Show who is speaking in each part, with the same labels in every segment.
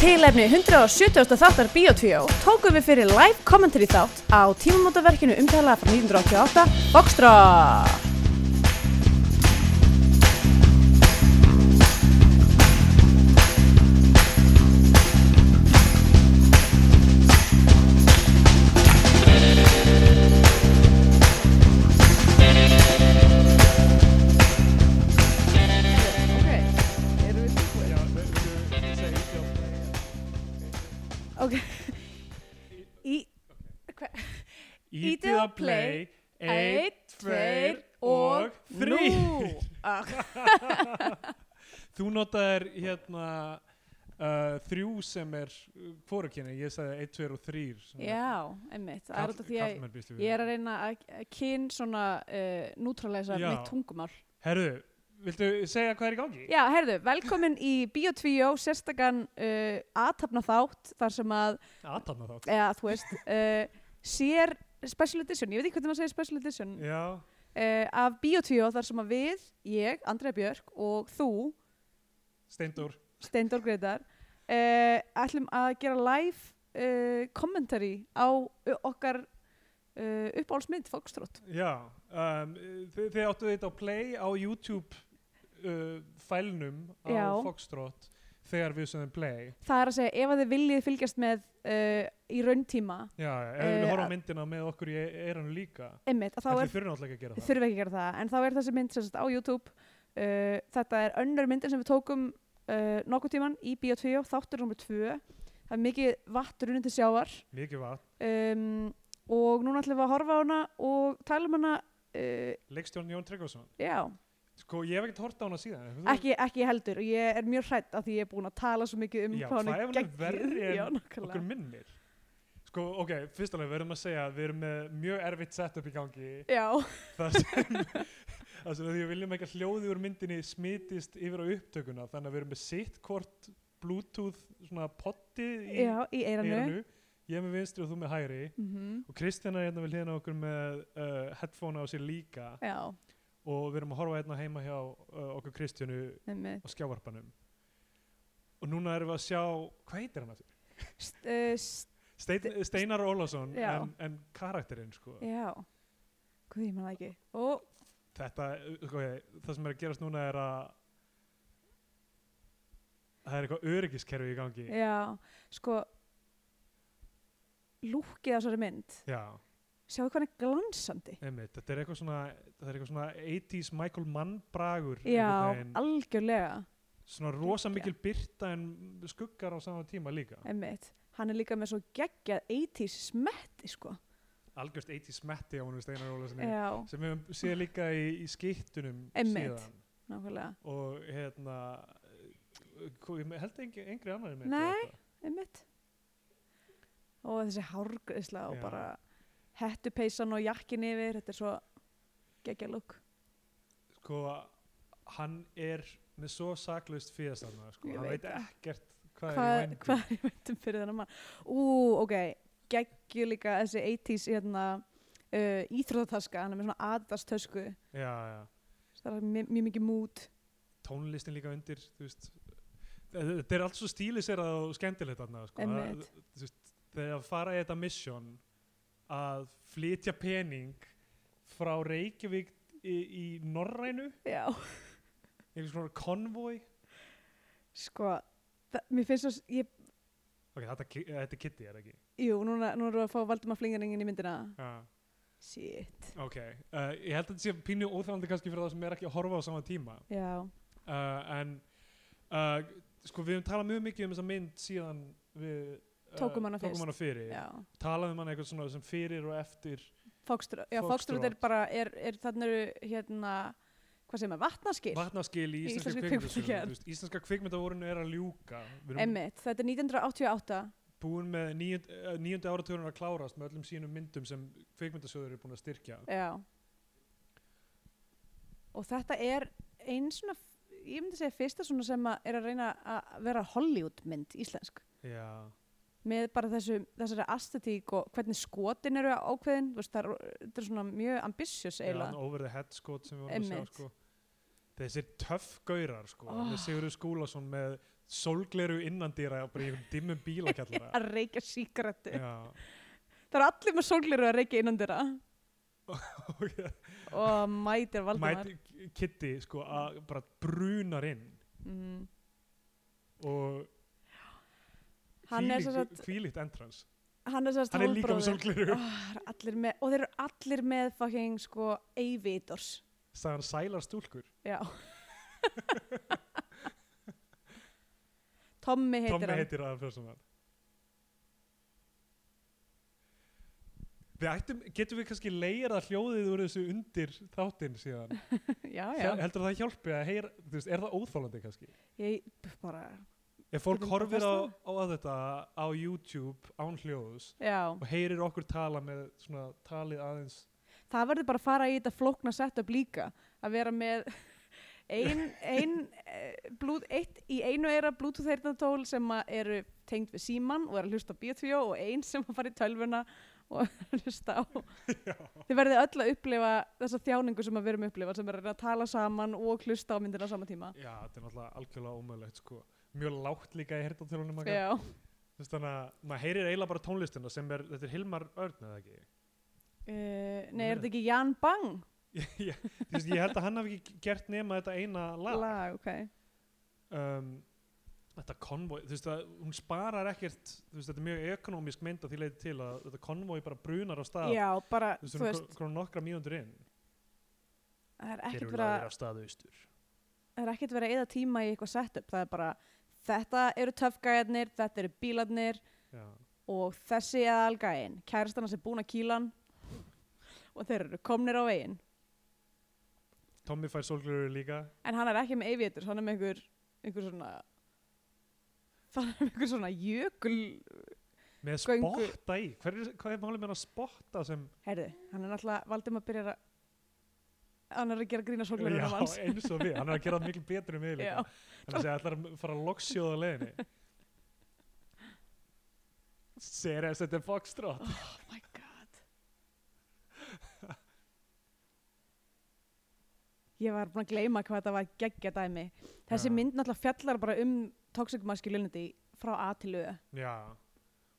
Speaker 1: tilefni 170. þáttar Bíotvíó tókum við fyrir live commentary þátt á tímamótaverkinu umtalaða frá 1988, Boxstra. Ok. Í, hva?
Speaker 2: Ítið að play
Speaker 1: Einn,
Speaker 2: Eitt, tveir og þrý
Speaker 1: Nú. Ah,
Speaker 2: Þú notaðir hérna uh, þrjú sem er fórukynni, ég sagði eitt, tveir og þrýr
Speaker 1: Já, einmitt. Það er út af því að
Speaker 2: að
Speaker 1: ég er að reyna að að kyn svona uh, nútrálæsa
Speaker 2: Já.
Speaker 1: mitt tungumál.
Speaker 2: Herðu, viltu segja hvað er í gangi?
Speaker 1: Já, herðu, velkomin í Bíotvíó, sérstakann uh, aðtapna þátt þar sem að,
Speaker 2: Aðtanna þátt
Speaker 1: eða þú veist, uh, sér special edition, ég veit ekki hvernig maður segir special edition, uh,
Speaker 2: Já,
Speaker 1: af Bíotvíó þar sem að við, ég, Andrea Björk og þú,
Speaker 2: Steindór
Speaker 1: Steindor Greitar, uh, ætlum að gera live uh, commentary á ö- okkar uh, uppáhaldsmynd, Fokstrótt.
Speaker 2: Já, um, þið, þið áttu þetta á play á YouTube uh, fælnum á
Speaker 1: Já.
Speaker 2: Foxtrot þegar við sögum play
Speaker 1: Það er að segja, ef að þið viljið fylgjast með uh, í rauntíma,
Speaker 2: Já, ef við
Speaker 1: Eh,
Speaker 2: uh, horfum á
Speaker 1: að-
Speaker 2: myndina með okkur í eiranu líka
Speaker 1: einmitt, að þá
Speaker 2: En
Speaker 1: er
Speaker 2: þið þurfum náttúrulega ekki að gera það
Speaker 1: þurfi ekki að gera það en þá er þessi mynd sérst á YouTube uh, þetta er önnur myndin sem við tókum uh, nokkuð tíman í Bíó 2 þáttur nummer 2 það er mikið vatn runnin til sjávar
Speaker 2: Mikið vatn,
Speaker 1: um, og núna ætlum við að horfa á hana og tala um hana uh,
Speaker 2: leikstjórn Jón Tryggvason
Speaker 1: já,
Speaker 2: Sko, ég hef ekkert hort á hana síðan hefur þú-
Speaker 1: ekki, ekki heldur og ég er mjög hrætt af því ég er búin að tala svo mikið um
Speaker 2: Já,
Speaker 1: hvað
Speaker 2: hvað ef
Speaker 1: hún
Speaker 2: hún er
Speaker 1: er
Speaker 2: verri en
Speaker 1: geggjur
Speaker 2: Okkur minnir Sko, ok, fyrst alveg verðum að segja að við erum með mjög erfitt setup í gangi
Speaker 1: já,
Speaker 2: þar sem þar sem við viljum ekki að hljóði úr myndinni smitist yfir á upptökuna þannig að við erum með sitt hvort bluetooth svona potti í
Speaker 1: já, í eiranu
Speaker 2: eyranu ég með vinstri og þú með hægri
Speaker 1: mm
Speaker 2: og Kristjana er hérna við hliðina á okkur með uh, headphone á sér líka
Speaker 1: já,
Speaker 2: og við erum að horfa hérna heima hjá uh, okkur Kristjánu
Speaker 1: nefnir
Speaker 2: á skjávarpanum og núna erum við að sjá hvað heitir hann aftur?
Speaker 1: uh, st-
Speaker 2: Stein, Steinar Ólafsson
Speaker 1: Já.
Speaker 2: en, en karakterinn sko
Speaker 1: já hvað ég maður ekki og
Speaker 2: þetta, sko, ég, það sem er að gerast núna er að það er eitthvað öryggiskerfi í gangi
Speaker 1: Já, sko lúkið á þessari mynd
Speaker 2: já,
Speaker 1: sjáðu hvað hann er glansandi
Speaker 2: einmitt, þetta er eitthvað svona þetta er eitthvað svona 80s Michael Mann bragur
Speaker 1: Já,
Speaker 2: einhvern veginn.
Speaker 1: algjörlega
Speaker 2: svona rosa mikil byrta en skuggar á sama tíma líka
Speaker 1: einmitt. Hann er líka með svo geggjað 80s smetti sko
Speaker 2: algjörst 80s metti á honum Steinar Ólafssoni
Speaker 1: Já,
Speaker 2: sem við höfum séð líka í, í skittunum
Speaker 1: Einmitt.
Speaker 2: síðan
Speaker 1: nákvæmlega
Speaker 2: og hérna eh, ko- ég me- held engri, engri annari með
Speaker 1: Nei. einmitt. og þessi hárgreisla og
Speaker 2: Já.
Speaker 1: bara hettupeysan og jakkin yfir þetta er svo geggjað lúk
Speaker 2: sko hann er með svo saklaust fíðastanna sko.
Speaker 1: Ég
Speaker 2: hann
Speaker 1: veit
Speaker 2: veit ekkert hvað
Speaker 1: Hvað
Speaker 2: er í
Speaker 1: hvað er
Speaker 2: vændi
Speaker 1: í væntum fyrir þennan mann? Ú, ok, geggju líka þessi 80s hérna, uh, íþróttataska, hann er með svona aðdastösku
Speaker 2: já, já.
Speaker 1: það er mjög, mjög mikið mút
Speaker 2: tónlistin líka undir þú veist Eh, Þe- þetta er allt svo stíliserað og skemmtilegt þarna sko. Það-
Speaker 1: Einmitt.
Speaker 2: þú veist, þegar að fara í þetta mission að flytja pening frá Reykjavík í, í Norrænu
Speaker 1: já,
Speaker 2: einhvers konar konvói
Speaker 1: sko það- mér finnst þess, ég,
Speaker 2: ok, þetta, ki- þetta er Kitty, er það ekki?
Speaker 1: jú, núna, núna erum við að fá Valdimar Flingaringin í myndina
Speaker 2: Já.
Speaker 1: shit,
Speaker 2: Ok, uh, ég held að þetta sé pínu óþjálandi kannski fyrir það sem er ekki að horfa á sama tíma
Speaker 1: já,
Speaker 2: uh, en uh, sko við höfum talað mjög mikið um þessa mynd síðan við uh,
Speaker 1: Tókum hana fyrst.
Speaker 2: fyrir
Speaker 1: já
Speaker 2: talað um hana eitthvað svona sem fyrir og eftir
Speaker 1: Fokströð, já,
Speaker 2: Foxtrot.
Speaker 1: Fokströð er bara er, er þannig eru, hérna hvað segir maður, vatnaskil
Speaker 2: vatnaskil í
Speaker 1: Í íslenskri
Speaker 2: íslenska
Speaker 1: kvikmyndagerð.
Speaker 2: kvikmyndasögunum Þú veist, íslenska kvikmyndavorinu er að ljúka við erum
Speaker 1: emmitt, þetta er 1988
Speaker 2: búin með níund, uh, níundu áratugurinn að klárast með öllum sínum myndum sem kvikmyndasögur eru búin að styrkja
Speaker 1: já og þetta er einn svona ég myndi segja fyrsta svona sem að er að reyna að vera Hollywood mynd íslensk
Speaker 2: já,
Speaker 1: með bara þessu, þessari astetík og hvernig skotin eru ákveðin þú veist, það er, þetta er svona mjög ambisjus
Speaker 2: já
Speaker 1: eiginlega
Speaker 2: over the head skot sem við vorum að sjá
Speaker 1: Einmitt.
Speaker 2: sko. þessir töff gaurar sko
Speaker 1: Oh.
Speaker 2: með Sigurður Skúlason með sólgleru innandýra bara í einhvern dimmum bílakjallara
Speaker 1: að reykja síkarettu.
Speaker 2: já,
Speaker 1: Það eru allir með sólgliru að reykja innan dyrra
Speaker 2: og ég-
Speaker 1: og mætir Valdimar.
Speaker 2: mæti Kitty sko að bara brunar inn
Speaker 1: Mm.
Speaker 2: og
Speaker 1: Hann er sem sagt- Ah.
Speaker 2: kvílitt entrans
Speaker 1: Hann er sérst
Speaker 2: hann er líka með sólgleru
Speaker 1: allir með, og þeir eru allir með fucking sko Eivitors.
Speaker 2: sagði hann sælar stúlkur
Speaker 1: Já. Tommy heitir
Speaker 2: Tommi
Speaker 1: hann.
Speaker 2: heitir að fjörsum hann Við ættum, getum við kannski leirað hljóðið úr þessu undir þáttinn síðan
Speaker 1: Já, já.
Speaker 2: Hjá- Heldur það hjálpi að heyra, þú veist, er það óþólandi kannski?
Speaker 1: Ég bara,
Speaker 2: Ef fólk
Speaker 1: Getum við
Speaker 2: horfir á,
Speaker 1: bara
Speaker 2: á þetta á YouTube án hljóðus
Speaker 1: já.
Speaker 2: og heyrir okkur tala með svona talið aðeins
Speaker 1: það verður bara að fara í þetta flókna setup líka að vera með ein, ein, blúð, eitt, í einu eira bluetooth heyrnatól sem að eru tengd við síman og eru að hlusta á biotvjó og ein sem að fara í tölvuna og hlusta á þið verðið öll að upplifa þessa þjáningu sem að við erum að upplifa sem er að reyna að tala saman og hlusta á myndina á sama tíma
Speaker 2: Já, þetta er náttúrulega algjörlega ómöðlegt sko Mjög lágt líka í hertatölunum okkar
Speaker 1: Já,
Speaker 2: Þú veist, Þannig að maður heyrir eiginlega bara tónlistina sem er, þetta er Hilmar Örn eða ekki?
Speaker 1: Uh, nei, er þetta ekki Jan Bang
Speaker 2: ég, ég, þú veist, ég held að hann hafi ekki gert nema þetta eina lag
Speaker 1: ok
Speaker 2: um, þetta konvoi þú veist að hún sparar ekkert þú veist þetta er mjög ekonomísk mynd að því leiti til að þetta konvoi bara brunar á stað
Speaker 1: Já, bara,
Speaker 2: þú veist,
Speaker 1: þú veist,
Speaker 2: hún er nokkra mínútur inn
Speaker 1: það er
Speaker 2: Þeir
Speaker 1: ekkert
Speaker 2: eru
Speaker 1: vera
Speaker 2: lagðir af stað austur
Speaker 1: það er ekkert verið að eða tíma í eitthvað setup það er bara, þetta eru töfgæðarnir þetta eru bílarnir
Speaker 2: Já.
Speaker 1: og þessi er algæðin kærastana sem búin að kýlan og þeir eru komnir á veginn
Speaker 2: Tommy fær sólglöru líka
Speaker 1: en hann er ekki með eifiðtur, hann er með einhver, einhver svona hann er með einhver svona jökul
Speaker 2: með
Speaker 1: Göngu-
Speaker 2: spotta í Hver er, hvað er málið með hann að spotta sem
Speaker 1: herði, hann er náttúrulega Valdimar byrjar að hann er að gera grína sólglurinn af hans
Speaker 2: Já, eins og við, hann er að gera það miklu betur um
Speaker 1: Já.
Speaker 2: yfirleika hann segja allar að fara að loksjóða leiðinni Seriðast, þetta er Foxtrot
Speaker 1: oh my god ég var búin að gleyma hvað þetta var geggja dæmi þessi
Speaker 2: Já.
Speaker 1: mynd náttúrulega fjallar bara um toxic masculinity frá A til Ö
Speaker 2: Já,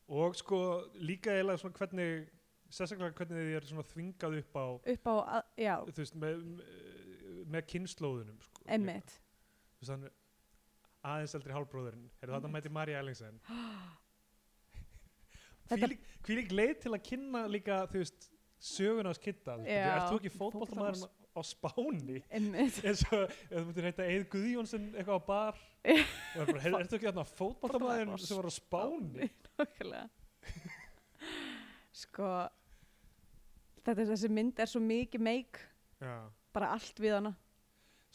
Speaker 2: og sko líka eiginlega svona hvernig, sérstaklega hvernig þið er svona þvingað upp á,
Speaker 1: upp á, að, já,
Speaker 2: þú veist, með, með kynnslóðunum, sko. líka.
Speaker 1: emmitt
Speaker 2: Þú veist, hann er aðeins eldri hálfbróðurinn, er þetta mæti Marja Ellingsen.
Speaker 1: Þetta-
Speaker 2: Hvílík hvílík leið til að kynna líka, þú veist, söguna að skitta.
Speaker 1: Já.
Speaker 2: Er þú ekki fótboltamaður á Spáni?
Speaker 1: emmitt,
Speaker 2: eins og ef þú myndir heita Eið Guðjónsson eitthvað á bar
Speaker 1: Já.
Speaker 2: og er bara, "Heyrðu, ertu ekki þarna fótboltamaðurinn sem var á Spáni?
Speaker 1: okkurlega sko þetta er þessi mynd er svo mikið meik
Speaker 2: Já.
Speaker 1: bara allt við hana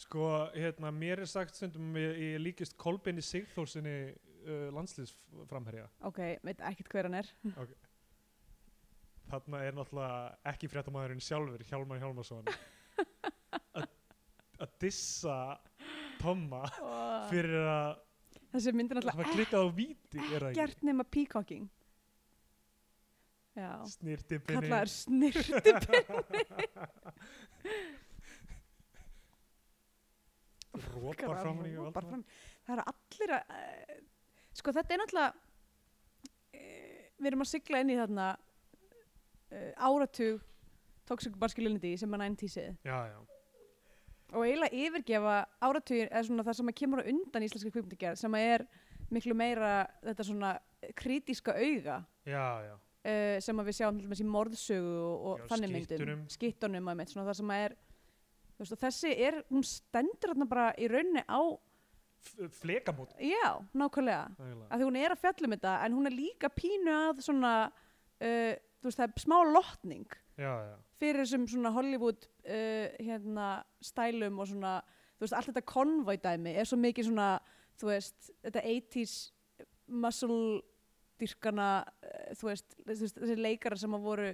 Speaker 2: Sko, hérna, mér er sagt stundum að ég, ég líkist Kolbeini Sigþórsinni uh, landslýðsframherja.
Speaker 1: ok, veit ekkert hver hann er
Speaker 2: Þarna er náttúrulega ekki fréttamaðurinn sjálfur, Hjálmar Hjálmarsson, að- að dissa Tomma
Speaker 1: Og
Speaker 2: fyrir að
Speaker 1: þessi mynd er
Speaker 2: hafa
Speaker 1: náttúrulega
Speaker 2: klikkað á víti, er það ekki?
Speaker 1: ekkert nema peacocking já
Speaker 2: Snýrtipinni.
Speaker 1: kallaður snirti
Speaker 2: Rópar fram í
Speaker 1: Rópar fram.
Speaker 2: Valdimar.
Speaker 1: það eru allir að uh, sko þetta er náttúrulega uh, við erum að sigla inn í þarna uh, áratug toxic masculinity sem er 90sið
Speaker 2: Já, já.
Speaker 1: og eiginlega yfirgefa áratugin eða svona það sem að kemur á undan íslenska kvikmyndagerð sem að er miklu meira þetta svona krítiska auga
Speaker 2: Já, já.
Speaker 1: uh, sem að við sjáum til dæmis í morðsögu og, og
Speaker 2: Já,
Speaker 1: þannig myndum
Speaker 2: skyttunum.
Speaker 1: skittunum að mitt, svona það sem að er þú veist, og þessi er, hún stendur þarna bara í rauninni á,
Speaker 2: F- Flekamót.
Speaker 1: já, nákvæmlega
Speaker 2: eiginlega.
Speaker 1: að því hún er að fjalla um þetta en hún er líka pínu að svona uh, þú veist, það er smá lotning
Speaker 2: Já, já.
Speaker 1: fyrir þessum svona Hollywood uh, hérna, stælum og svona þú veist, allt þetta konvoi dæmi er svo mikið svona, þú veist, þetta 80s muscle dyrkana, uh, þú veist, þú veist þessi leikara sem að voru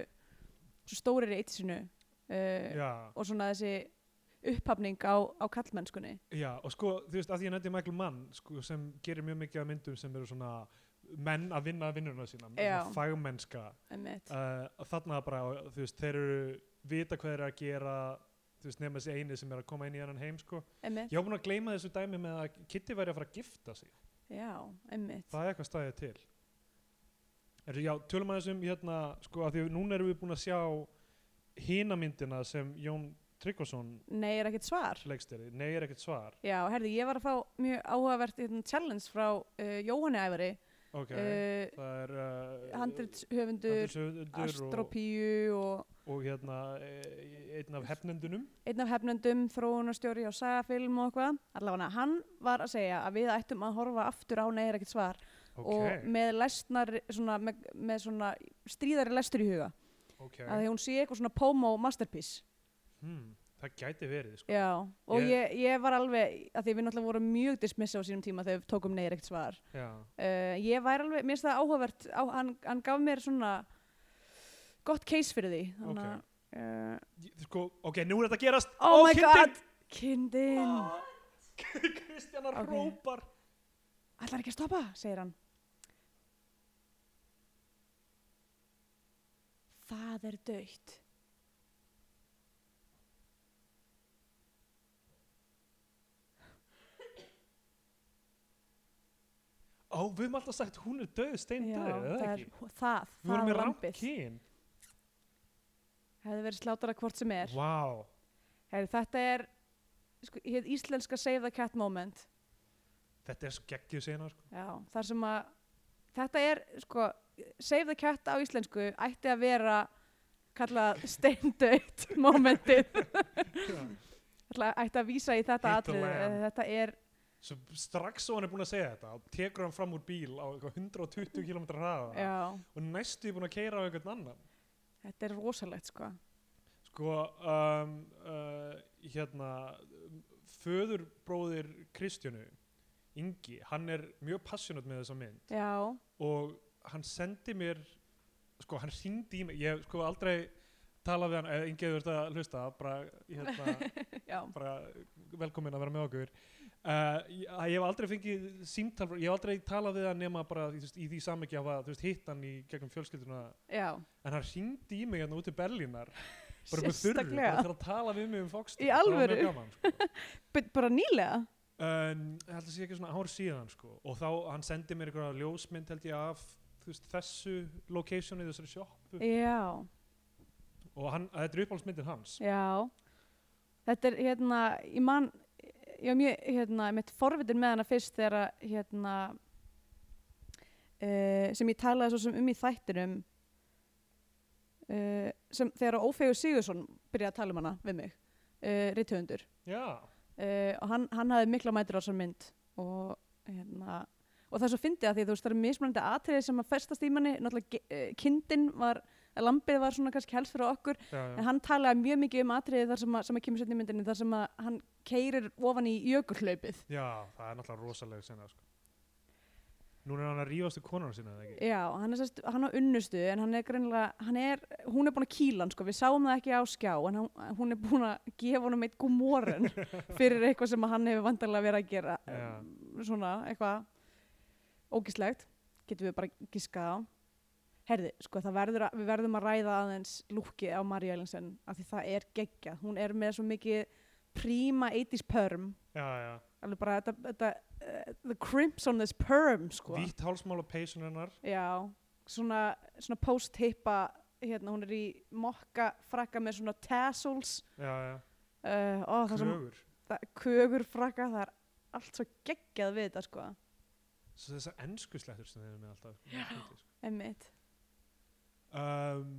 Speaker 1: svo stórir í 80sinu uh,
Speaker 2: Já.
Speaker 1: og svona þessi upphafning á, á kallmennskunni
Speaker 2: Já, og sko, þú veist, að því ég nefndi Michael Mann sko, sem gerir mjög mikið af myndum sem eru svona menn að vinna vinnurna sína
Speaker 1: Já.
Speaker 2: svona fagmennska
Speaker 1: einmitt.
Speaker 2: Eh, uh, og þarna bara, þú veist, þeir eru vita hvað þeir eru að gera þú veist, nema þessi eini sem er að koma inn í annan heim sko.
Speaker 1: Einmitt.
Speaker 2: ég var búin að gleyma þessu dæmi með að Kitty væri að fara að gifta sig
Speaker 1: Já, einmitt.
Speaker 2: það er eitthvað stæðið til er, já, tölum aðeins um hérna, sko, að því að núna erum við búin að sjá hina myndina sem Jón Tryggvason
Speaker 1: Nei, er ekkert svar.
Speaker 2: leiksteri, nei er ekkert svar
Speaker 1: Já, herði, ég var að fá mjög áhugavert hérna, challenge frá uh, Jóhanni Ævari,
Speaker 2: ok,
Speaker 1: okay.
Speaker 2: það er
Speaker 1: uh,
Speaker 2: uh,
Speaker 1: handritshöfundur,
Speaker 2: handritshöfundur og,
Speaker 1: astropíu og
Speaker 2: og hérna eh, einn af hefnendunum
Speaker 1: einn af hefnendum, þróunarstjóri á sagafilm og eitthvað. Allavega, hann var að segja að við ættum að horfa aftur á Nei er ekkert svar og
Speaker 2: ok,
Speaker 1: með, lesnar, svona, með, með svona stríðari lestur í huga.
Speaker 2: ok
Speaker 1: Að því hún sé eitthvað svona pomo masterpiece.
Speaker 2: hmm, það gæti verið sko.
Speaker 1: Já, og
Speaker 2: Ég-
Speaker 1: ég, ég var alveg, að því við náttúrulega vorum mjög dismissa á sínum tíma þegar við tókum Nei er ekkert svar.
Speaker 2: já,
Speaker 1: Uh, ég væri alveg, mér finnst það áhugavert, á, hann, hann gaf mér svona gott case fyrir því.
Speaker 2: ok
Speaker 1: Þannig, okay. uh,
Speaker 2: Ég- sko, ok, nú er þetta að gerast
Speaker 1: oh
Speaker 2: Ó,
Speaker 1: my
Speaker 2: kindin!
Speaker 1: god, kindin,
Speaker 2: Kristjana
Speaker 1: Ok.
Speaker 2: rópar
Speaker 1: ætlar ekki að stoppa, segir hann. Það er döitt.
Speaker 2: Ó, við höfum alltaf sagt hún er döð, stein döð, eða
Speaker 1: það er
Speaker 2: ekki?
Speaker 1: það, það,
Speaker 2: Við vorum
Speaker 1: það
Speaker 2: með
Speaker 1: lampið.
Speaker 2: rámkín.
Speaker 1: Hefði verið slátara hvort sem er.
Speaker 2: Vá, wow.
Speaker 1: Herri, þetta er, sko, hér íslenska save the cat moment.
Speaker 2: þetta er svo geggjum sena, sko.
Speaker 1: Já, þar sem að þetta er, sko, Save the Cat á íslensku ætti að vera kallað steindauðt momentið.
Speaker 2: Já.
Speaker 1: Ætla- ætti að vísa í þetta
Speaker 2: Hit the
Speaker 1: atrið.
Speaker 2: lamb.
Speaker 1: Þetta er,
Speaker 2: Svo strax svo hann er búin að segja þetta, þá tekur hann fram úr bíl á eitthvað 120 km hraða
Speaker 1: já,
Speaker 2: og næstu er búin að keira á einhvern annan.
Speaker 1: þetta er rosalegt, sko.
Speaker 2: Sko, um, uh, hérna, um, föðurbróðir Kristjánu, Ingi, hann er mjög passionate með þessa mynd.
Speaker 1: Já,
Speaker 2: og hann sendi mér sko hann hringdi í mig ég hef sko aldrei talað við hann eða engið verið að hlusta bara, hérna,
Speaker 1: já,
Speaker 2: bara velkomin að vera með okkur uh, ég, að ég hef aldrei fengið símtal, frá- ég hef aldrei talað við hann nema bara þú veist, í því samekja að þú veist, hitt hann í gegnum fjölskylduna
Speaker 1: já.
Speaker 2: en hann hringdi í mig hérna út í Berlínar bara með þurru,
Speaker 1: Sérstaklega.
Speaker 2: bara til að tala við mig um fókstu
Speaker 1: Í alvöru?
Speaker 2: gaman, sko.
Speaker 1: B- Bara nýlega?
Speaker 2: en ég held að sé ekki svona ár síðan sko. og þá hann sendi mér einhverja ljósmynd held ég af þú veist, þessu locationi, þessari sjoppu
Speaker 1: Já,
Speaker 2: og hann, að þetta er uppáhaldsmyndin hans
Speaker 1: já. Þetta er, hérna, ég man, ég var mjög, hérna, mitt forvitin með hana fyrst þegar, að, hérna, uh, sem ég talaði svo sem um í þættinum, uh, sem þegar Ófegur Sigursson byrjaði að tala um hana við mig, uh, rithöfundur.
Speaker 2: já,
Speaker 1: uh, og hann, hann hafði mikla mætur á þessar mynd og, hérna, og það er svo fyndið að því þú veist það eru mismunandi atriði sem að festast í manni náttúrulega ge- eh, kindin var eh, lambið var svona kannski helst fyrir okkur
Speaker 2: já, já.
Speaker 1: en hann talaði mjög mikið um atriði þar sem að, sem að kemur seinna í myndinni þar sem að hann keirir ofan í jökulhlaupið
Speaker 2: já það er náttúrulega rosalega sena sko. núna er hann að rífast í konan sinna eða ekki
Speaker 1: Já, hann, er, sest, hann á unnustu en hann er greinilega, hann er, hún er búin að kýla hann sko, við sáum það ekki á skjá en hann, hún er búin að gefa honum eitt gúmóren fyrir eitthvað sem að hann hefur vandarlega verið að gera
Speaker 2: Já.
Speaker 1: um, svona eitthvað ógislegt, getum við bara giskað á Herði, sko, það verður að, við verðum að ræða aðeins lúkið á Marja Elinsen af því það er geggja, hún er með svo mikið príma 80s perm
Speaker 2: já, já,
Speaker 1: alveg bara þetta, þetta uh, the crimps on this perm sko.
Speaker 2: vítt hálsmál á peysun hennar
Speaker 1: Já, svona, svona post-hippa, hérna, hún er í mokka frakka með svona tassels,
Speaker 2: já, já,
Speaker 1: uh, ó, það sem
Speaker 2: krögur
Speaker 1: það, kögur frakka, það er allt svo geggjað við þetta, sko,
Speaker 2: svo þessar ennskuslættur sem þeir eru með alltaf sko, skrítið, sko.
Speaker 1: emmitt.
Speaker 2: um,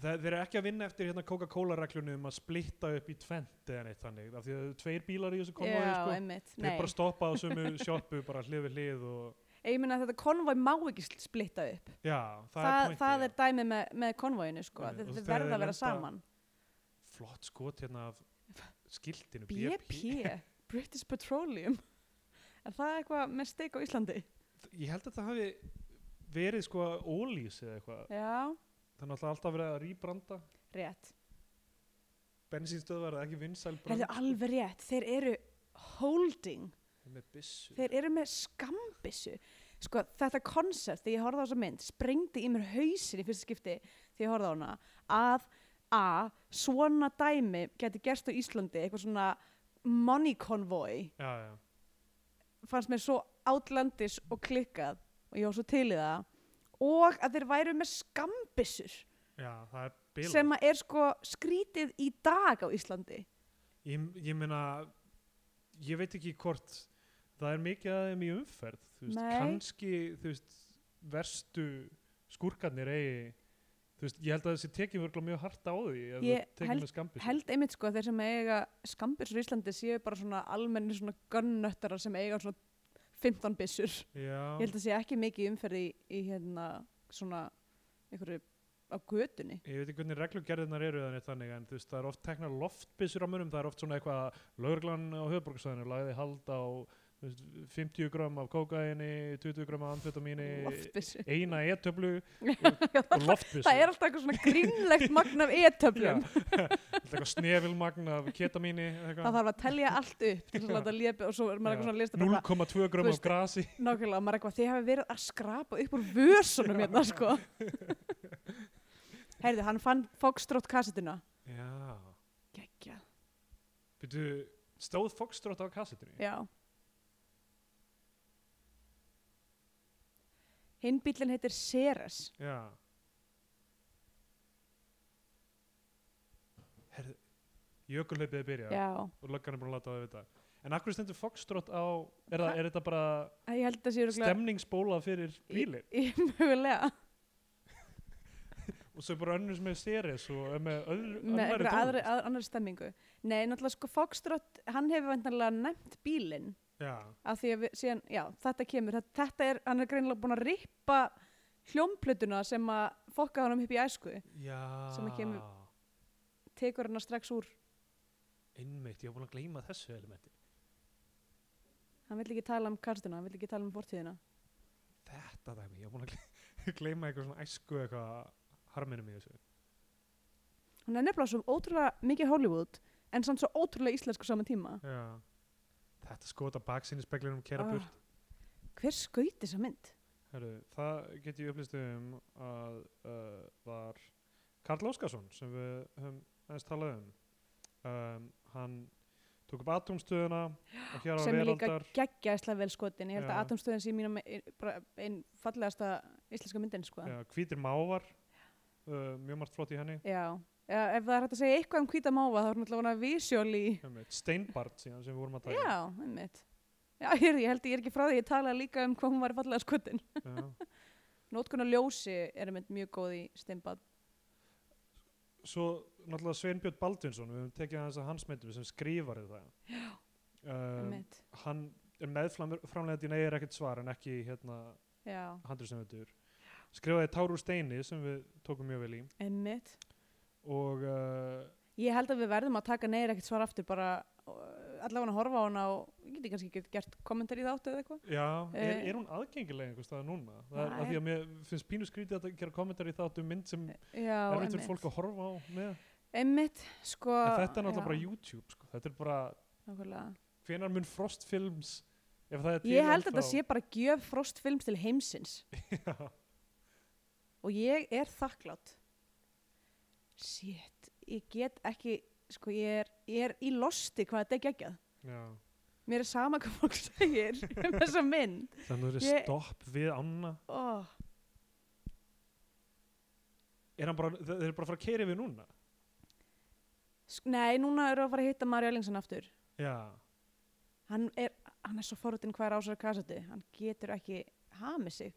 Speaker 2: það, þeir eru ekki að vinna eftir hérna Coca-Cola reglunum um að splitta upp í tvent eða neitt þannig af því að það eru tveir bílar í þessu konvoi
Speaker 1: Já,
Speaker 2: sko.
Speaker 1: emmitt,
Speaker 2: þeir
Speaker 1: nei.
Speaker 2: bara stoppa á sömu sjoppu bara hlið við hlið og
Speaker 1: Ég meina að þetta konvoi má ekki sl- splitta upp.
Speaker 2: já, það,
Speaker 1: Það,
Speaker 2: er, pointið,
Speaker 1: það
Speaker 2: já.
Speaker 1: er dæmið með, með konvóinu, sko,
Speaker 2: Einmitt, og
Speaker 1: þetta
Speaker 2: þegar
Speaker 1: verða að
Speaker 2: þeir
Speaker 1: vera
Speaker 2: lenda-
Speaker 1: saman.
Speaker 2: flott skot hérna af skiltinu
Speaker 1: BP, British Petroleum, er það eitthvað með steik á Íslandi?
Speaker 2: ég held að það hafi verið sko ólýs eða eitthvað
Speaker 1: Já,
Speaker 2: það er náttúrulega alltaf verið að rýbranda
Speaker 1: rétt.
Speaker 2: bensínstöðvar eða ekki vinsæl
Speaker 1: Það
Speaker 2: brand
Speaker 1: er alveg rétt, þeir eru holding
Speaker 2: með byssu
Speaker 1: Þeir eru með skambissu. Sko, þetta konsept, þegar ég horfði á þessa mynd, sprengdi í mér hausin í fyrsta skipti þegar ég horfði á hana, að a, svona dæmi geti gerst á Íslandi, eitthvað svona money convoy,
Speaker 2: já, já.
Speaker 1: fannst mér svo átlandis og klikkað og ég var svo til í það og að þeir væru með skambissur
Speaker 2: já, það er bilað
Speaker 1: sem að er sko skrítið í dag á Íslandi
Speaker 2: ég, ég meina ég veit ekki hvort það er mikið að þeim í umferð þú veist,
Speaker 1: Nei.
Speaker 2: kannski þú veist, verstu skúrkarnir eigi þú veist, ég held að þessi tekið verður mjög hart á því ef
Speaker 1: Ég
Speaker 2: þú tekið
Speaker 1: held-
Speaker 2: með skambis
Speaker 1: held einmitt sko að þeir sem eiga skambissur í Íslandi séu bara svona almenni svona gönnöttarar sem eiga svona 15 bissur ég
Speaker 2: já,
Speaker 1: held að sé ekki mikið umferði í, í hérna svona einhverju á götunni
Speaker 2: Ég veit ekki hvernig reglugerðinar eru þannig þannig en þú veist, það er oft teknar loftbissur á munum, það er oft svona eitthvað að lögreglan á höfbruksvæðinu lagði hald á þú veist, 50 gram af kókaini, 20 gram af amfetamíni,
Speaker 1: loftbissur
Speaker 2: eina e-töflu og
Speaker 1: það
Speaker 2: loftbissur.
Speaker 1: er alltaf eitthvað svona grínlegt magn af e-töflum
Speaker 2: Þetta eitthvað snefilmagn af ketamíni
Speaker 1: það þarf að telja allt upp til þess að láta lépi og svo er maður eitthvað svona að lista bara
Speaker 2: 0,2 grömm
Speaker 1: Þú
Speaker 2: af
Speaker 1: veist-
Speaker 2: grasi
Speaker 1: eitthvað- nákvæmlega, maður er eitthvað, þið hafi verið að skrapa upp úr vösunum hérna sko heyrðu, hann fann Foxtrot kassetuna
Speaker 2: Já,
Speaker 1: geggja,
Speaker 2: byrju, stóð Foxtrot á kassetinu?
Speaker 1: já hinn bílinn heitir Ceres
Speaker 2: Já Herðu, jökulhlaupið er byrjað
Speaker 1: já,
Speaker 2: og löggan er búin að láta það vita En akkur stendur Foxtrot á, er, það, er þetta bara
Speaker 1: Æ, ég held að sé örugglega-
Speaker 2: stemningsbóla fyrir bílinn?
Speaker 1: Í- í- mögulega
Speaker 2: Og svo er bara önnur sem er seris og er með öðru,
Speaker 1: með
Speaker 2: annarri
Speaker 1: einhverja aðri,
Speaker 2: tónlist?
Speaker 1: að, annari stemmingu nei, náttúrulega sko Foxtrot hann hefur vantanlega nefnt bílinn
Speaker 2: Já,
Speaker 1: af því að við, síðan, já, þetta kemur þetta, þetta er, hann er greinilega búinn að rippa hljómplötuna sem að fokkaði honum upp í æsku,
Speaker 2: já
Speaker 1: Sem að kemur- tekur hann strax úr
Speaker 2: Einmitt, ég var búin að gleyma þessu elementi
Speaker 1: hann vill ekki tala um kastuna, hann vill ekki tala um fortíðina
Speaker 2: þetta dæmi, ég var búin að gle- gleyma eitthvað svona æsku eitthvað harminum í þessu.
Speaker 1: hann er nefnilega svo ótrúlega mikið Hollywood en samt svo ótrúlega íslensku saman tíma
Speaker 2: Já. Þetta skota baksinni speklinum kera
Speaker 1: Ah.
Speaker 2: burt.
Speaker 1: hver skauti þessa mynd?
Speaker 2: Heru, það get ég upplýst um að uh, var Karl Óskarsson sem við höfum aðeins talað um. um hann tók upp atomstöðuna og hér á
Speaker 1: sem er líka
Speaker 2: veraldar.
Speaker 1: geggjaðislega vel skotin ég held að
Speaker 2: Já.
Speaker 1: Atomstöðin sé mína me- bara einn fallegasta íslenska myndin sko.
Speaker 2: Já, hvítir mávar, uh, mjög margt flott í henni.
Speaker 1: Já, ja, ef það er hægt að segja eitthvað um hvíta máva þá er náttúrulega vísjól í
Speaker 2: Einmitt, Steinbart síðan sem við vorum að um. taka.
Speaker 1: Já, einmitt Já, ég, ég held ég er ekki frá því ég talaði líka um hvað hún var fallega skotin
Speaker 2: Já.
Speaker 1: Nótkunn og ljósi er einmitt mjög góð í steimbad
Speaker 2: svo náttúrulega Sveinbjörn Baldvinsson við höfum tekið aðeins að hans myndum sem skrifarið það um,
Speaker 1: einmitt
Speaker 2: hann er meðframlegað í neyðir ekkert svar en ekki hérna
Speaker 1: Já,
Speaker 2: handrið sem þetta er skrifaði Tár úr steini sem við tókum mjög vel í
Speaker 1: einmitt
Speaker 2: og uh,
Speaker 1: Ég held að við verðum að taka neyra ekkert svar aftur bara uh, allavega að horfa á hana og ég geti kannski get gert kommentar í þáttu eða eitthvað
Speaker 2: já, er,
Speaker 1: Eh.
Speaker 2: er hún aðgengilega einhvers staðar núna? Það er
Speaker 1: Það
Speaker 2: að því
Speaker 1: er-
Speaker 2: að mér finnst pínu skrítið að gera kommentari þátt um mynd sem
Speaker 1: Já,
Speaker 2: er veitur
Speaker 1: Eh, einmitt
Speaker 2: fólk að horfa á með
Speaker 1: Einmitt, sko
Speaker 2: en þetta er náttúrulega bara YouTube sko. þetta er bara,
Speaker 1: nákvæmlega.
Speaker 2: hvenar mun Frost Films ef það er til
Speaker 1: Ég held að
Speaker 2: ennþá-
Speaker 1: þetta sé bara gjöf frostfilms til heimsins
Speaker 2: Já.
Speaker 1: og ég er þakklátt Shit, ég get ekki sko ég er, ég er í losti hvað þetta er geggjað
Speaker 2: já
Speaker 1: mér er sama hvað fólk segir um þessa mynd
Speaker 2: Þannig að það er
Speaker 1: Ég-
Speaker 2: stopp við ána.
Speaker 1: oh,
Speaker 2: Er hann bara, þe- þeir eru bara að fara að keira yfir núna?
Speaker 1: Nei, núna eru að fara að hitta Marja Ellingsson aftur
Speaker 2: Já.
Speaker 1: hann er, hann er svo forutinn hvað er á sér kassetu hann getur ekki hamið sig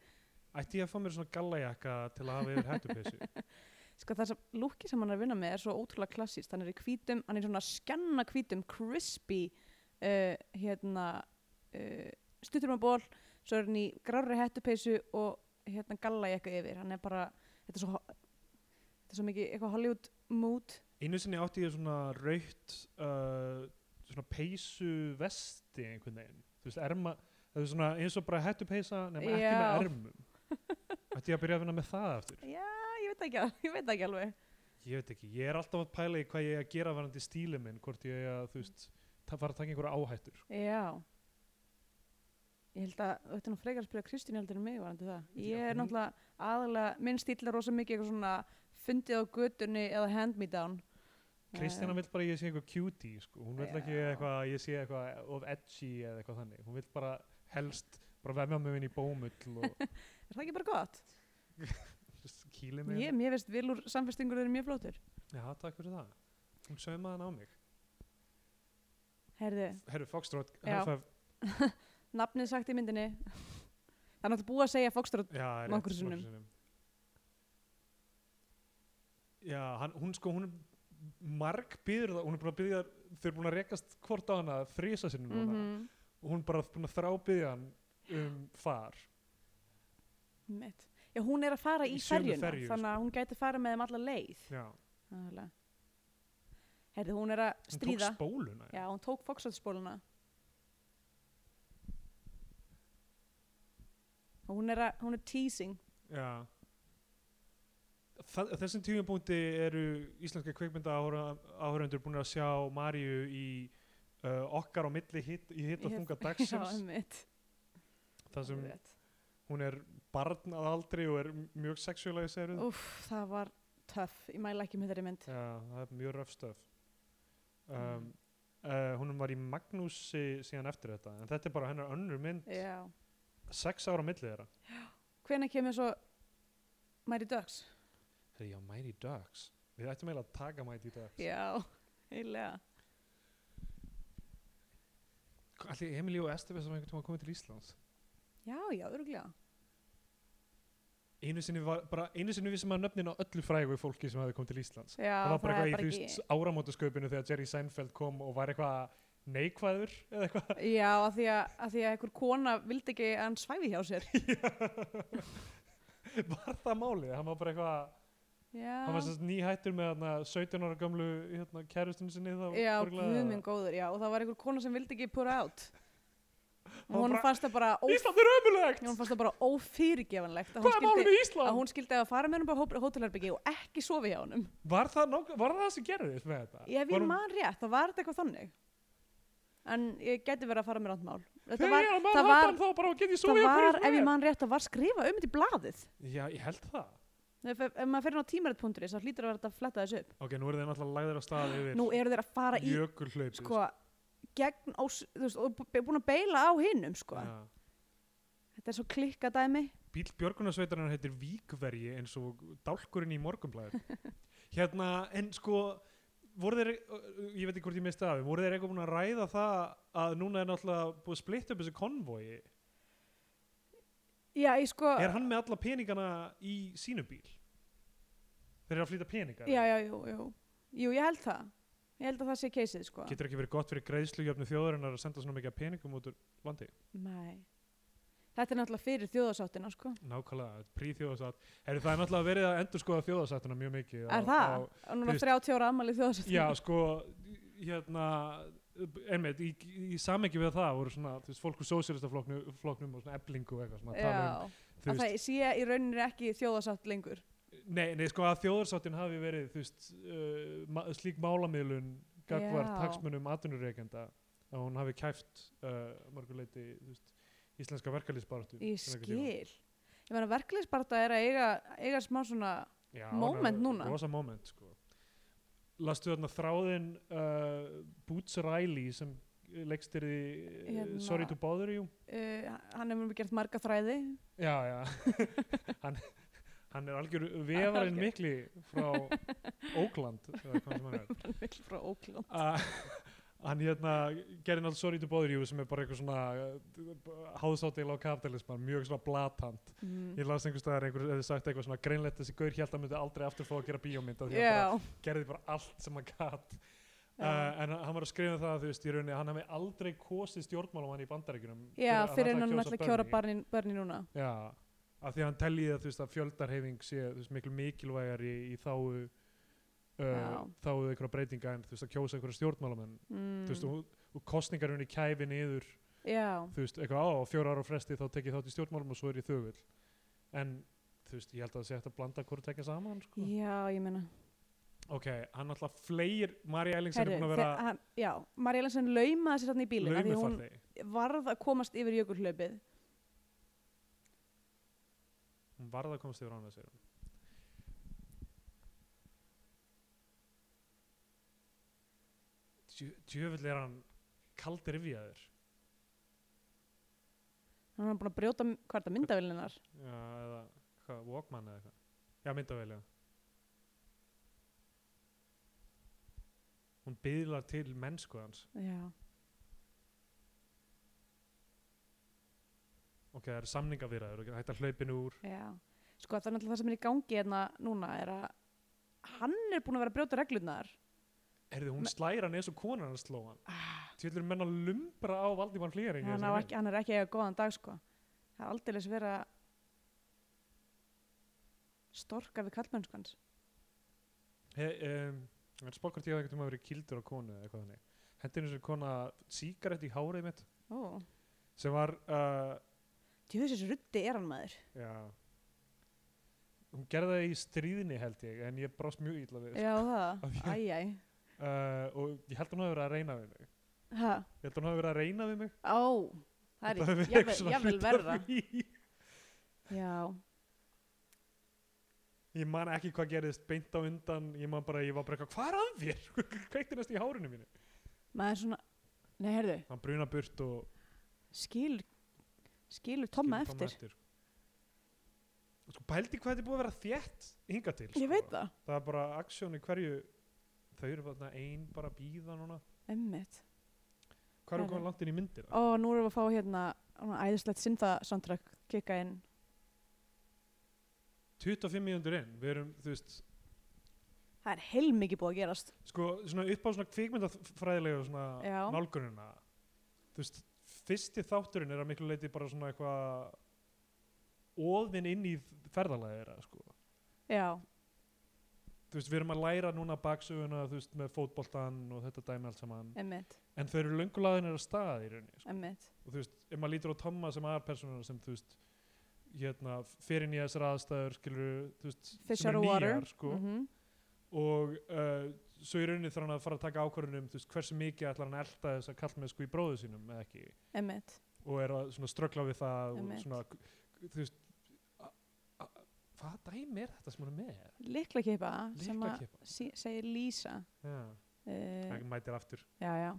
Speaker 2: Ætti ég að fá mér svona gallajakka til að hafa yfir hættupeysu?
Speaker 1: sko þess að lúki sem hann er að vinna með er svo ótrúlega klassist hann er í hvítum, hann er í svona skjanna hvítum crispy uh, hérna uh, stuttur með ból svo er hann í grári hettupeysu og hérna galla ég eitthvað yfir hann er bara, þetta er svo ho- þetta er svo mikið eitthvað Hollywood mood
Speaker 2: Einu sinni átti ég svona raukt, uh, svona peysu vesti einhvern veginn. Þú veist, erma, það er svona eins og bara hættupeysa nema ekki með
Speaker 1: Já.
Speaker 2: ermum. Ætti ég að byrja að vinna með það eftir?
Speaker 1: já, Ah, ég veit það ekki, al- ég veit það ekki alveg
Speaker 2: Ég veit ekki, ég er alltaf að pæla í hvað ég er að gera varandi stíli minn, hvort ég er að, þú veist, ta- fara að taka einhverja áhættur.
Speaker 1: já ég held að, þetta er nú frekar að spyrja Kristín heldur en mig varandi það ég
Speaker 2: Já,
Speaker 1: er
Speaker 2: hún-
Speaker 1: náttúrulega aðalega, minn stíl er rosa mikið eitthvað svona fundið á götunni eða Eh, hand me down
Speaker 2: Kristina vill bara að ég sé eitthvað cutie sko. hún vill ekki
Speaker 1: Já.
Speaker 2: eitthvað að ég sé eitthvað of edgy eða eitthvað þannig hún vill bara helst bara vefja mig inn í bómull og
Speaker 1: Er það ekki bara gott?
Speaker 2: kýli mig
Speaker 1: Ég, mér veist vilur samfestingur eru mjög flótur.
Speaker 2: já takk fyrir það hún saumaði hann á mig
Speaker 1: Herðu,
Speaker 2: herru Foxtrot
Speaker 1: Já.
Speaker 2: high five.
Speaker 1: nafnið sagt í myndinni. Það er náttúrulega búið að segja Foxtrot.
Speaker 2: já, rétt,
Speaker 1: Nokkrum
Speaker 2: nokkrum
Speaker 1: sinnum.
Speaker 2: já hann, hún sko hún marg býður það hún er búin að býða þau eru búin að rekast hvort á hana þrísa sinni núna
Speaker 1: Mhm.
Speaker 2: og hún er bara búin að þrábyðja hann um far
Speaker 1: Mitt. Já, hún er að fara í,
Speaker 2: Í
Speaker 1: í
Speaker 2: sömu
Speaker 1: ferjuna,
Speaker 2: ferju, sko.
Speaker 1: þannig að hún gæti fara með þeim alla leið.
Speaker 2: já
Speaker 1: Nálega. Herðu, hún er að stríða.
Speaker 2: Hún tók spóluna.
Speaker 1: Já, hún tók Foxtrot-spóluna. Og hún er, að, hún er teasing.
Speaker 2: Já. Þa- á Þessum tímapunkti eru íslenska kveikmynda áhörundur búin að sjá Maríu í uh, okkar á milli hit, í hitt og
Speaker 1: Ég-
Speaker 2: þunga
Speaker 1: Já,
Speaker 2: dagsins
Speaker 1: mitt.
Speaker 2: þar sem hún er barn að aldri og er m- mjög sexualiseruð.
Speaker 1: Úf, það var töff. Ég mæla ekki með þeirri mynd.
Speaker 2: Já, það er mjög röfstöf. Um,
Speaker 1: Mm.
Speaker 2: uh, hún var í Magnúsi síðan eftir þetta en þetta er bara hennar önnur mynd
Speaker 1: Já.
Speaker 2: sex ára á milli þeirra.
Speaker 1: Hvenær kemur svo Mighty Ducks?
Speaker 2: Hefði já, Mighty Ducks. Við ættum eiginlega að taka Mighty Ducks.
Speaker 1: Já, heilega.
Speaker 2: Allir Emilíu og Estefes sem einhvern tíma komið til Íslands.
Speaker 1: Já, já, öruglega.
Speaker 2: einu sinni, var, bara, einu sinni vissi maður nöfnin á öllu frægu fólki sem hafði komið til Íslands
Speaker 1: Já,
Speaker 2: það var bara
Speaker 1: er
Speaker 2: eitthvað í þú veist áramótasköpinu þegar Jerry Seinfeld kom og var eitthvað neikvæður eða eitthvað
Speaker 1: Já, af því að, að því að einhver kona vildi ekki að hann svæfi hjá sér.
Speaker 2: Já. var það málið, hann var bara eitthvað
Speaker 1: Já,
Speaker 2: hann var sérst nýhættur með hana, 17 ára gamlu hérna, kærustunni sinni þá
Speaker 1: já
Speaker 2: örugglega-
Speaker 1: guðminn góður, já. Og það var einhver kona sem vildi ekki put out.
Speaker 2: var
Speaker 1: Og hún
Speaker 2: bara-
Speaker 1: fannst það bara, ó,
Speaker 2: Ísland er ömulegt,
Speaker 1: hún fannst það bara ófyrirgefanlegt að
Speaker 2: hvað
Speaker 1: hún
Speaker 2: er málið
Speaker 1: skildi,
Speaker 2: með Ísland
Speaker 1: að hún skildi að fara með hann bara hótelherbyggi og ekki sofi hjá honum.
Speaker 2: var, það, nokk- var það það sem gerðist með þetta
Speaker 1: Ef
Speaker 2: Var
Speaker 1: ég
Speaker 2: hún-
Speaker 1: man rétt, þá var þetta eitthvað þannig. En ég geti verið að fara með rátt mál. Þetta
Speaker 2: þegar
Speaker 1: var,
Speaker 2: ég á
Speaker 1: það var-
Speaker 2: Manhattan þá bara get ég
Speaker 1: það
Speaker 2: svo
Speaker 1: var ef ég man rétt, það var skrifað um þetta í blaðið.
Speaker 2: já, ég held það
Speaker 1: Ef, ef ef maður fer inn á tímarit.is, þá hlýtur að vera þetta að fletta þessu upp.
Speaker 2: ok, nú eru þeir náttúrulega lagðir á stað yfir
Speaker 1: Nú eru þeir að fara í,
Speaker 2: jökulhlaupið
Speaker 1: sko, gegn ás, þú veist, og b- búin að beila á hinnum, sko.
Speaker 2: Já.
Speaker 1: Þetta er svo klikka dæmi.
Speaker 2: Bíl Björgunarsveitarinnar heitir Víkverji eins og dálkurinn í morgumblæður. hérna, en sko, voru þeir, ö, ö, ég veit ekki hvort ég misti af, þeim, voru þeir eitthvað búin að ræða það að núna er náttúrulega búið að splitta upp þessu konvogi?
Speaker 1: Já, ég sko,
Speaker 2: Er hann með alla peningana í sínu bíl? Þeir eru að flytja peningar.
Speaker 1: já, já, jú, jú. Jú, ég held það. Ég held að það sé keisið, sko.
Speaker 2: Getur ekki verið gott fyrir greiðslugjöfnu þjóðarinnar að senda svona mikið af peningum út úr landi?
Speaker 1: Nei. Þetta er náttúrulega fyrir þjóðasáttina, sko.
Speaker 2: Nákvæmlega, príþjóðasátt. Er það er náttúrulega verið að endur skoða þjóðasáttuna mjög mikið? á-
Speaker 1: er það?
Speaker 2: á-
Speaker 1: og núna
Speaker 2: þú veist-
Speaker 1: 30 ára ammali þjóðasáttina.
Speaker 2: Já, sko, hérna, einmitt, í, í samengi við það voru svona, þú veist, fólk úr sósélistafloknum flokknum og svona eblingu og eitthvað, svona að tala um,
Speaker 1: að
Speaker 2: þú veist,
Speaker 1: það sé í rauninni ekki þjóðasátt lengur.
Speaker 2: nei, nei, sko, að þjóðarsáttin hafi verið, þú veist, uh, ma slík málamiðlun gagvart
Speaker 1: Já.
Speaker 2: taksmunum atvinnureikenda, að hún hafi kæft uh, mörguleiti, þú veist, íslenska verkalýsbaratu.
Speaker 1: Ég skil. Ég meina verkliðsparta er að eiga, eiga smá svona,
Speaker 2: Já,
Speaker 1: Moment núna.
Speaker 2: Rosa moment, sko. Lastu þarna þráðin uh, Boots Riley sem leikstir í
Speaker 1: Hérna.
Speaker 2: Sorry to Bother You.
Speaker 1: uh, hann hefur gert marga þræði.
Speaker 2: Já, já. hann, hann er algjör vefarinn
Speaker 1: algjör.
Speaker 2: mikli frá Ókland. eða hvað sem hann er.
Speaker 1: Hann er miklu frá Ókland.
Speaker 2: Ah, Hann hérna gerði náttúrulega Sorry to Bother You sem er bara eitthvað svona háðsáttil á kapitalisman, mjög svona blatant.
Speaker 1: Mm.
Speaker 2: Ég las einhvers staðar einhver hefði sagt eitthvað svona greinlegt þessi gaur hjælt að myndi aldrei aftur fá að gera bíómynda því hann
Speaker 1: Já.
Speaker 2: bara gerði bara allt sem hann gat.
Speaker 1: Já.
Speaker 2: Uh, en hann var að skrifa það þú veist í rauninni að hann hefði aldrei kosið stjórnmálamann í bandaríkjunum
Speaker 1: Já, fyrir en
Speaker 2: ætlaði
Speaker 1: hann
Speaker 2: að
Speaker 1: ætla að
Speaker 2: kjósa
Speaker 1: kjóra barni,
Speaker 2: Bernie.
Speaker 1: barni núna.
Speaker 2: Já, af því að hann teljiði að, þú veist, að fjöldarhefing sé þú veist, miklu mikilvægar í, í þáu uh,
Speaker 1: Já.
Speaker 2: þáu einhverja breytinga en þú veist að kjósa einhverja stjórnmálamenn
Speaker 1: Mm.
Speaker 2: þú veist, og, og kostningar hún í kæfi niður
Speaker 1: Já,
Speaker 2: þú veist, eitthvað á, á fjóra ára á fresti þá tekið þátt í stjórnmálum og svo er ég þögull en þú veist, ég held að það sé hægt að blanda hvort tekja saman, sko
Speaker 1: já, ég meina.
Speaker 2: ok, hann alltaf fleir, Marja Ellingsen
Speaker 1: Herru,
Speaker 2: er búin að
Speaker 1: þe-
Speaker 2: vera
Speaker 1: hann- já, Marja Lensen laumaði sér þarna í bílinn af því hún
Speaker 2: laumifarði
Speaker 1: varð að komast yfir jökulhlaupið.
Speaker 2: hún varða komst yfir ánað sér djö- djöfull er hann kaldir yfjaður
Speaker 1: Hann er búin að brjóta, hvað er þetta, myndavillinar?
Speaker 2: já, eða hvað, Walkman eða eitthvað já, myndavél, já hún byðlar til mennsku hans
Speaker 1: Já.
Speaker 2: ok, það eru samningavýraður, ok, hættar hlaupinu úr
Speaker 1: Já. Sko það er náttúrulega það sem er í gangi hérna núna er að hann er búin að vera að brjóta reglunar.
Speaker 2: heyrðu, hún
Speaker 1: Me-
Speaker 2: slæra hann eins og konan hans sló hann
Speaker 1: Ah,
Speaker 2: tjöllur menn að lumbra á Valdíman Flýring
Speaker 1: hann, á ekki, hann er ekki að eiga góðan dag sko. Það er aldeilis verið að storka við kallmönnskans.
Speaker 2: He, um, en spokkvart ég að einhvern veginn verið kildur á konu eða eitthvað þannig hendur eins og kona síkarett í hárið mitt
Speaker 1: Ó,
Speaker 2: sem var uh,
Speaker 1: djöfisins ruddi er hann maður.
Speaker 2: já hún gerði það í stríðinni held ég en ég brást mjög illa við sko.
Speaker 1: Já það,
Speaker 2: Af því að-
Speaker 1: æjæ.
Speaker 2: uh, og ég held hún hafi verið að reyna við mig
Speaker 1: Ha,
Speaker 2: ég held hún hafi verið að reyna við mig
Speaker 1: á, það
Speaker 2: Þetta hafi
Speaker 1: er
Speaker 2: verið
Speaker 1: jafnvel-
Speaker 2: eitthvað svona
Speaker 1: jafnvel
Speaker 2: hluti af
Speaker 1: verra.
Speaker 2: því.
Speaker 1: Já,
Speaker 2: ég man ekki hvað gerðist beint á undan ég man bara, ég var bara eitthvað, hvað er að þér kveikti næst í hárinu mínu
Speaker 1: maður svona, nei herðu,
Speaker 2: hann bruna burt og
Speaker 1: skilur, skilur Tomma
Speaker 2: skilur Tomma
Speaker 1: eftir.
Speaker 2: eftir. Og sko pældi hvað þetta er búið að vera þétt hinga til sko.
Speaker 1: Ég veit það,
Speaker 2: það er bara aksjón í hverju þau eru bara ein bara að bíða núna
Speaker 1: emmitt.
Speaker 2: hvað eru
Speaker 1: Herra.
Speaker 2: komin langt inn í myndir
Speaker 1: Ó, nú erum við að fá hérna svona æðislegt syntha soundtrack kika inn.
Speaker 2: 25 mínútur inn, við erum þú veist,
Speaker 1: Það er heil mikið búið að gerast.
Speaker 2: sko svona upp á svona kvikmyndafræðilega svona
Speaker 1: Já.
Speaker 2: nálgunina þú veist, fyrsti þátturinn er að miklu leiti bara svona eitthvað óðin inn í ferðalagi þeirra sko
Speaker 1: Já,
Speaker 2: þú veist, við erum að læra núna baksöguna þú veist, með fótboltan og þetta dæmi allt saman
Speaker 1: emmitt,
Speaker 2: en þau eru löngulaðinir að staða í rauninni sko.
Speaker 1: emmitt.
Speaker 2: og þú veist, ef maður lítur á Tomma sem aðarpersonuna sem, þú veist, hérna, fyrir nýja þessar aðstæður, skilur, þú veist,
Speaker 1: Fish
Speaker 2: sem
Speaker 1: out
Speaker 2: eru
Speaker 1: of water.
Speaker 2: nýjar, sko,
Speaker 1: Mhm.
Speaker 2: og uh, svo í rauninni þarf hann að fara að taka ákvörðunum, þú veist, hversu mikið ætlar hann að elta þess að kalla með sko í bróðu sínum eða ekki,
Speaker 1: Emmitt,
Speaker 2: og er að svona ströggla við það og
Speaker 1: Einmitt.
Speaker 2: svona, þú veist, a- a- hvað dæmi er þetta sem hann er með?
Speaker 1: líkla kipa sem að
Speaker 2: Lyklakippa.
Speaker 1: sí, segir Lísa.
Speaker 2: Já,
Speaker 1: Uh,
Speaker 2: hann mætir aftur.
Speaker 1: já, já.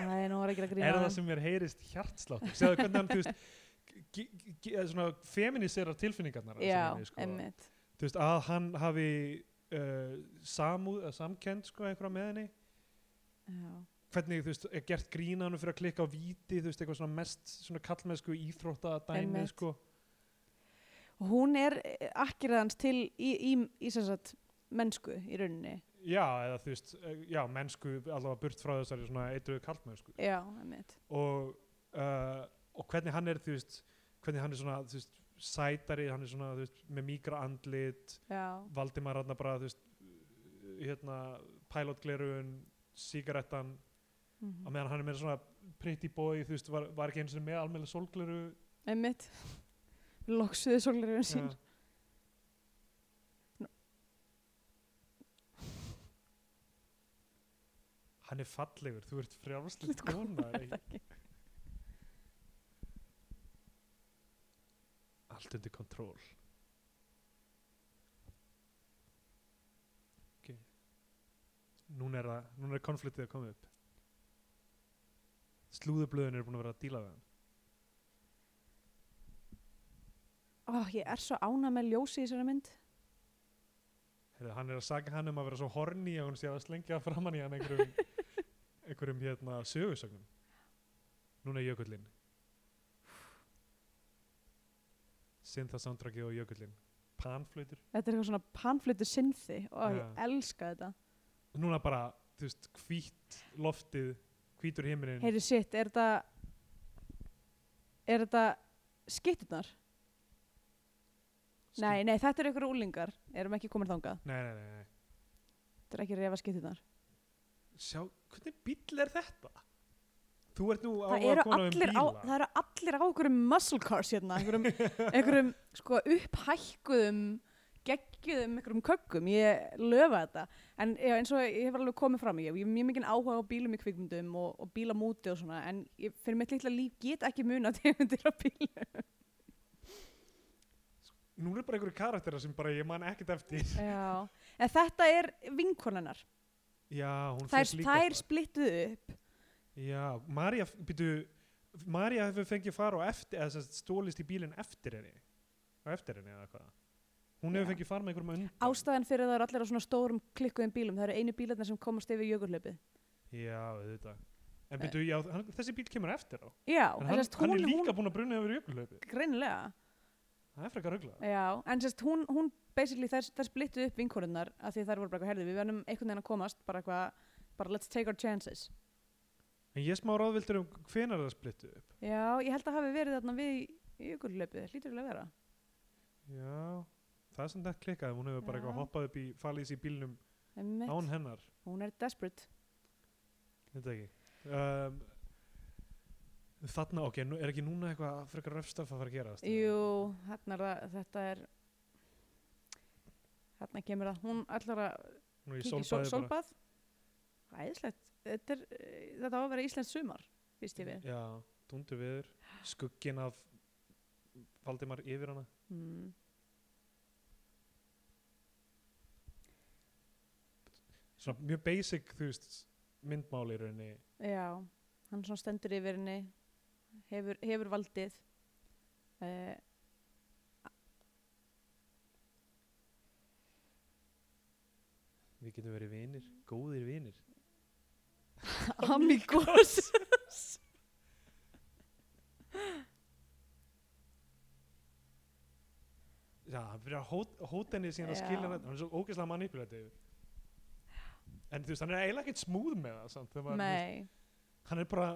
Speaker 1: Nei, nú var ekki að grína
Speaker 2: Er
Speaker 1: á
Speaker 2: það
Speaker 1: það.
Speaker 2: sem mér heyrist hjartsláttur? Segðu hvernig hann, þú veist, g- g- g- eða svona feminiserar tilfinningarnar hans í
Speaker 1: Já,
Speaker 2: rauninni, sko.
Speaker 1: emmitt.
Speaker 2: þú veist, að hann hafi uh, samúð, uh, samkend sko einhverja með henni
Speaker 1: Já,
Speaker 2: hvernig, þú veist, er gert grína hann fyrir að klikka á víti, þú veist, eitthvað svona mest svona kallmennsku íþrótta dæmi
Speaker 1: Einmitt.
Speaker 2: sko
Speaker 1: Og hún er akkiraðans til í, í, í sem sagt mennsku í rauninni.
Speaker 2: já, eða þú veist, eh, já, mennsku allavega burt frá þessari svona eitruðu kallmennsku
Speaker 1: Já, emmitt.
Speaker 2: og, uh, og hvernig hann er, þú veist hvernig hann er svona, þú veist, sætari hann er svona, þú veist, með mýgra andlit
Speaker 1: Já,
Speaker 2: Valdimar hann bara, þú veist hérna, pilotglerun sígarettan
Speaker 1: mhm.
Speaker 2: á meðan hann er meira svona pretty boy þú veist, var, var ekki eins og með almennlega sólgleru
Speaker 1: Einmitt. Loksuðu sólirinn sín.
Speaker 2: Já.
Speaker 1: Nú.
Speaker 2: hann er fallegur, þú ert frjálslit kona er
Speaker 1: Ekki.
Speaker 2: ekki- allt undir kontról ok núna er, það, núna er konfliktið að koma upp slúðublöðin er búin að vera að díla við hann
Speaker 1: Ó, ég er svo ána með ljósi í þessari mynd.
Speaker 2: Heyrðu, hann er að saka hann um að vera svo horni að hún sé að slengja framann í hann einhverjum, einhverjum hérna sögusögnum. Núna er Jökullin. Sinn það soundtrackið og Jökullin. Panflöytur.
Speaker 1: Þetta er eitthvað svona panflutu synthi og
Speaker 2: Já.
Speaker 1: ég elska þetta.
Speaker 2: Núna bara, þú veist, hvít loftið, hvítur himinin.
Speaker 1: Heyri sitt, er þetta er þetta skittunar? Nei, nei, þetta eru einhverju úlingar. Erum ekki komin þangað.
Speaker 2: Nei, nei, nei, nei.
Speaker 1: Þetta er ekki refa skittunar.
Speaker 2: Sjá, hvernig bíll er þetta? Þú ert nú
Speaker 1: Það
Speaker 2: á að
Speaker 1: eru,
Speaker 2: kona um
Speaker 1: allir á,
Speaker 2: bíla.
Speaker 1: það eru allir á einhverjum muscle cars hérna, einhverjum, einhverjum sko upphækkuðum, geggiðum einhverjum köggum, ég löfa þetta. En já, eins og ég hef alveg komið fram, ég ég hef mjög mikinn áhuga á bílum í kvikmyndum og, og bílamúti og svona, en ég, fyrir mitt litla líf get ekki muna tegundir á bílum.
Speaker 2: Núna er bara einhverju karakterar sem bara ég man ekkert eftir.
Speaker 1: Já, en þetta er vinkonennar
Speaker 2: já, hún
Speaker 1: þær,
Speaker 2: fékk líka
Speaker 1: þær
Speaker 2: far.
Speaker 1: splittuðu upp
Speaker 2: já, Marja, býtu Marja hefur fengið fara á eftir eða sem sagt stólist í bílinn eftir henni á eftir henni eða hvað hún hefur
Speaker 1: Já.
Speaker 2: fengið fara með einhverjum á undan
Speaker 1: ástæðan fyrir það eru allir á svona stórum klikkuðum bílum það eru einu bílarnir sem komast yfir jökulhlaupið
Speaker 2: já, þetta en býtu, já, hann, þessi bíl kemur eftir á en
Speaker 1: já, en
Speaker 2: hann,
Speaker 1: sérst, hún,
Speaker 2: hann er líka
Speaker 1: hún
Speaker 2: búin að bruna yfir jökulhlaupi
Speaker 1: greinlega
Speaker 2: það er frekar röglega
Speaker 1: Já, en sérst, hún, hún basically, þær, þær splittu upp vinkonunnar af því að þær voru bara eitthvað herði, við verðum einhvern veginn að komast, bara eitthvað, bara let's take our chances.
Speaker 2: en ég er smá ráðvildur um hvenar það splittu upp
Speaker 1: Já, ég held að hafi verið þarna við í jökulhlaupið, hlýtur vel að vera.
Speaker 2: já, það er sem þetta klikkað hún hefur bara
Speaker 1: Já.
Speaker 2: eitthvað hoppað upp í falið í bílnum
Speaker 1: Einmitt.
Speaker 2: án hennar
Speaker 1: Hún er desperate.
Speaker 2: Þetta ekki um, Þarna, ok, nú, er ekki núna eitthvað frekar röfstaf að fara að gerast?
Speaker 1: Jú, þarna er það, þetta er, þarna kemur það, hún ætlar að
Speaker 2: Nú er ég
Speaker 1: kíkja í sól,
Speaker 2: sólbaði bara
Speaker 1: sólbað. Æðislegt, þetta er, eh, þetta á að vera Íslands sumar, býst ég við.
Speaker 2: Já, dúndu viður Skugginn af Valdimar yfir hana
Speaker 1: Mm.
Speaker 2: Svona mjög basic, þú veist myndmáli í rauninni
Speaker 1: Já, hann svona stendur yfir henni, hefur, hefur valdið. Uh,
Speaker 2: Við getum verið vinir, góðir vinir
Speaker 1: amigos!
Speaker 2: Já, hann byrjar að hót, hóta henni síðan að
Speaker 1: Já.
Speaker 2: skilja hann Hann er svo ógeðslega manipulativ En þú veist, hann er eiginlega ekkert smúð með það samt, þegar maður- þú veist,
Speaker 1: Nei,
Speaker 2: Hann er bara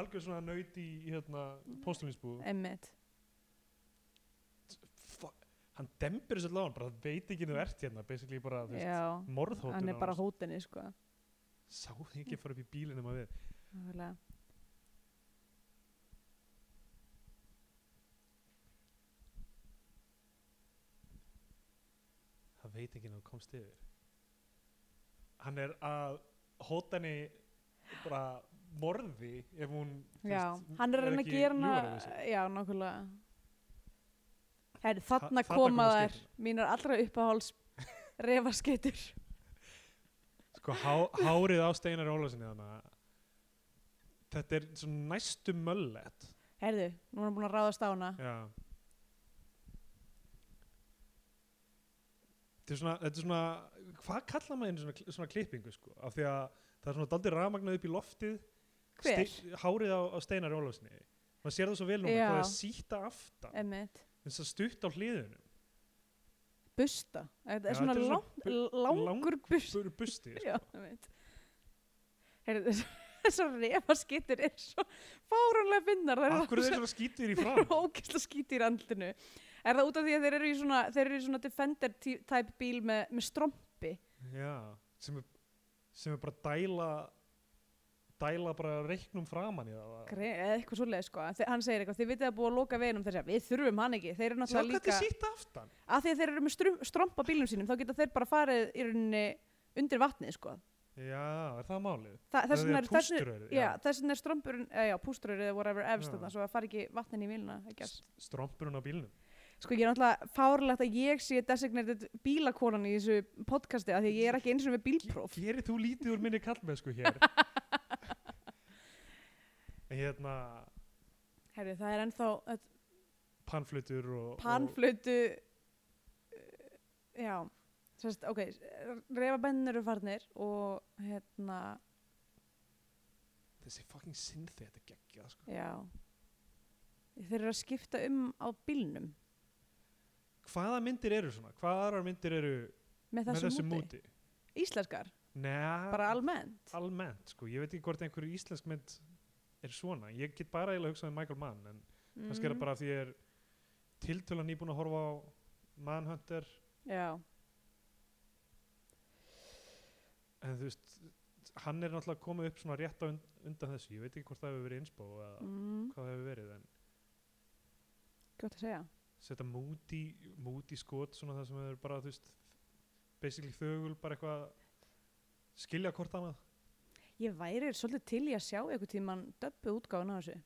Speaker 2: algjör svona nöyt í í hérna, postulinsbúðu
Speaker 1: emmitt.
Speaker 2: Fuck. hann dempir þessu lágan bara veit ekki þú ert hérna basically bara þú veist,
Speaker 1: Já,
Speaker 2: morðhótun
Speaker 1: hann er
Speaker 2: á
Speaker 1: bara
Speaker 2: honum.
Speaker 1: hótinni, sko.
Speaker 2: sá þig ekki fara upp í bílinn um að við
Speaker 1: Nákvæmlega.
Speaker 2: það veit ekki þú komst yfir hann er að hóta henni bara morði ef hún þú
Speaker 1: Já,
Speaker 2: veist,
Speaker 1: hann er að reyna að
Speaker 2: ekki
Speaker 1: gera
Speaker 2: ljúgandi við
Speaker 1: hana,
Speaker 2: sig.
Speaker 1: já, nákvæmlega. Herri, þarna
Speaker 2: þarna
Speaker 1: koma
Speaker 2: koma
Speaker 1: þær,
Speaker 2: skeytin.
Speaker 1: mínar allra uppáháls refaskeitur.
Speaker 2: sko há, hárið á Steinar Ólasinni þannig þetta er svo næstu möllett
Speaker 1: Herðu, nú er hann búin að ráðast á hana.
Speaker 2: já Þetta er, svona, þetta er svona, hvað kallar maður einu svona, kl- svona klippingu sko? Af því að það er svona daldi rafmagnað upp í loftið
Speaker 1: Hver?
Speaker 2: Ste- hárið á, á steinar Ólafsni maður sér það svo vel núna
Speaker 1: Já.
Speaker 2: hvað það er síta aftan
Speaker 1: Emmitt.
Speaker 2: eins og stutt á hliðunum
Speaker 1: Busta. Þetta
Speaker 2: Já,
Speaker 1: er svona,
Speaker 2: þetta er svona
Speaker 1: langt-
Speaker 2: bu-
Speaker 1: langur busta.
Speaker 2: fyrir busti sko.
Speaker 1: Já, það veit. Heyrðu, þessar refaskittir er svo fáránlega finnar. Það
Speaker 2: sko. af hverju þeir svona skítur í fram
Speaker 1: eru ógæsla skíti í randinu. Er það út af því að þeir eru í svona, þeir eru í svona Defender tí- type bíl með, með strompi?
Speaker 2: já, sem, er, sem er bara dæla dæla bara reiknum framan í það
Speaker 1: Gre- Eða eitthvað svoleið sko. Þe- Hann segir eitthvað, þið vitið að búa að loka veginum þess að við þurfum hann ekki. Þeir eru
Speaker 2: sjá hvað
Speaker 1: náttúrulega líka,
Speaker 2: þetta er síta aftan
Speaker 1: að því að þeir eru með strum, strompa bílum sínum, þá geta þeir bara farið í rauninni undir vatnið sko.
Speaker 2: já, er það málið
Speaker 1: Þa, þess vegna er, þess,
Speaker 2: pústuröður
Speaker 1: já, þess vegna er strompurinn, eh, já, pústurur eða whatever efst
Speaker 2: Já.
Speaker 1: þarna, svo það fari ekki vatnin í vilna, I guess.
Speaker 2: strompurinn á bílnum
Speaker 1: Sko ég er náttúrulega fárlegt að ég sé designated bílakonan í þessu podcasti af því að ég er ekki eins og með bílpróf.
Speaker 2: Gerir þú lítið úr minni kallmenn sko hér En hérna
Speaker 1: Herri, það er ennþá eh, þetta
Speaker 2: panflutur og,
Speaker 1: panflötu, uh, já, sérst, ok, refabennir eru farnir og hérna,
Speaker 2: og þessi fucking synthi þetta er geggjað sko.
Speaker 1: já, þeir eru að skipta um á bílnum
Speaker 2: Hvaða myndir eru svona? Hvaða aðrar myndir eru
Speaker 1: með
Speaker 2: með
Speaker 1: þessu,
Speaker 2: þessu
Speaker 1: múti.
Speaker 2: múti?
Speaker 1: Íslenskar,
Speaker 2: Nei,
Speaker 1: bara almennt.
Speaker 2: almennt sko. Ég veit ekki hvort einhver íslensk mynd er svona. Ég get bara eiginlega hugsað um Michael Mann en kannski er
Speaker 1: Mm. Mhm.
Speaker 2: það bara af því ég er tiltölan nýbúin að horfa á Manhunter
Speaker 1: Já,
Speaker 2: en þú veist hann er náttúrulega komið upp svona rétt á und undan þessu. Ég veit ekki hvort það hefur verið innspó eða
Speaker 1: mm,
Speaker 2: hvað það hefur verið en
Speaker 1: gott að segja.
Speaker 2: setja múti, múti skot svona það sem er bara, þú veist basically þögul, bara eitthvað skilja hvort annað
Speaker 1: Ég væri svolítið til í að sjá einhvern tímann döbbu útgáðan á þessu.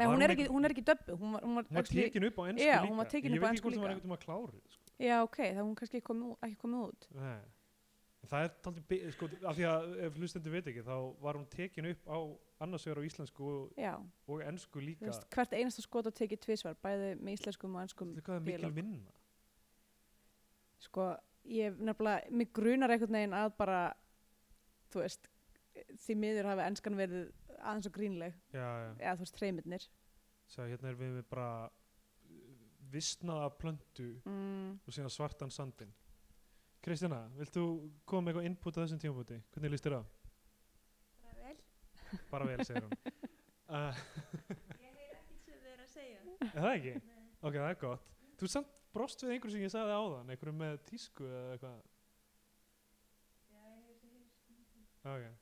Speaker 1: En hún er ekki, hún er ekki döbbu, hún var, hún var,
Speaker 2: hún var
Speaker 1: actually-
Speaker 2: tekin upp á ennsku
Speaker 1: Já,
Speaker 2: líka
Speaker 1: hún var tekin
Speaker 2: Ég
Speaker 1: upp á
Speaker 2: veit ekki
Speaker 1: ensku
Speaker 2: hvort hún var
Speaker 1: líka.
Speaker 2: einhvern veginn að kláru sko.
Speaker 1: já, ok, þá er hún kannski komi, ú- ekki komið út
Speaker 2: Nei. En Það er taldið, sko, af því að ef hlustendur veit ekki, þá var hún tekin upp á annars vegar á íslensku og,
Speaker 1: já,
Speaker 2: og ensku
Speaker 1: þú
Speaker 2: líka.
Speaker 1: veist, hvert einasta skot að tekið tvisvar bæði með íslenskum og ennskum
Speaker 2: Þetta er hvað er mikil
Speaker 1: dialóg.
Speaker 2: vinna.
Speaker 1: sko, ég hef nefnilega, mig grunar einhvern veginn að bara þú veist, því miður hafi ennskan verið aðeins og grínleg
Speaker 2: Já, já.
Speaker 1: eða þú veist, treymirnir
Speaker 2: Svo hérna erum við með bara uh, visnaða plöntu
Speaker 1: mm.
Speaker 2: og síðan svartan sandin. Kristjana, vilt þú koma með eitthvað input á þessum tímabúti? Hvernig líst þér á?
Speaker 3: Bara vel,
Speaker 2: Bara vel, segir hún. uh,
Speaker 3: ég heyr ekkert sem þið er að segja.
Speaker 2: er það ekki? Ok, það er gott. Þú samt brost við einhverjum sem ég sagði áðan, einhverjum með tísku eða eitthvað.
Speaker 3: Já, ég heyr sem þið
Speaker 2: Ok.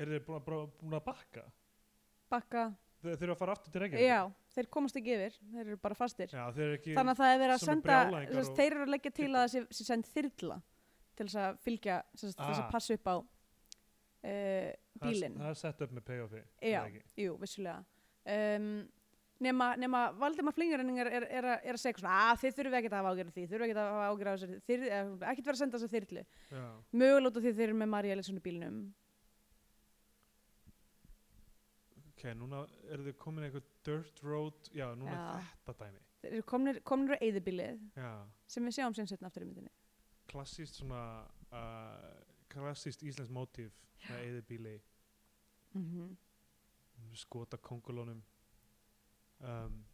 Speaker 2: Eru þeir búin að, búin að- búin að bakka?
Speaker 1: bakka,
Speaker 2: Þeir þeir eru að fara aftur til Reykjavík?
Speaker 1: já, þeir komast ekki yfir þeir eru bara fastir
Speaker 2: Já, þeir eru ekki...
Speaker 1: þannig að það er verið að
Speaker 2: Sem er
Speaker 1: senda
Speaker 2: brjálæðingar
Speaker 1: þú veist,
Speaker 2: og-
Speaker 1: þeir eru að leggja til að það sé, sé send þyrla til þess að fylgja sem sagt, þess
Speaker 2: Ah.
Speaker 1: að passa upp á uh,
Speaker 2: það er-
Speaker 1: bílinn
Speaker 2: Það er sett upp með payoffi. er það
Speaker 1: Já,
Speaker 2: ekki?
Speaker 1: jú, vissulega um, nema, nema Valdimar Flingjarningar er, er, að- er að segja eitthvað svona að þið þurfum ekkert að hafa ágjörð því, þurfum ekkert að hafa ágjörð á þessari, þið, eh, ekkert vera að senda þessa þyrlu
Speaker 2: Já.
Speaker 1: mögulega út af því að þeir eru með Marja Elinsson í bílnum
Speaker 2: Ok, núna eru þau komin í eitthvað dirt road. Já, núna er
Speaker 1: Já.
Speaker 2: þetta dæmi.
Speaker 1: þeir eru komnir, komnir á eyðibílið
Speaker 2: Já.
Speaker 1: sem við sjáum síðan setna aftur í myndinni
Speaker 2: Klassíst svona... Uh, klassíst íslensk mótíf með eðibíli.
Speaker 1: mm -hmm.
Speaker 2: skota kongulónum um,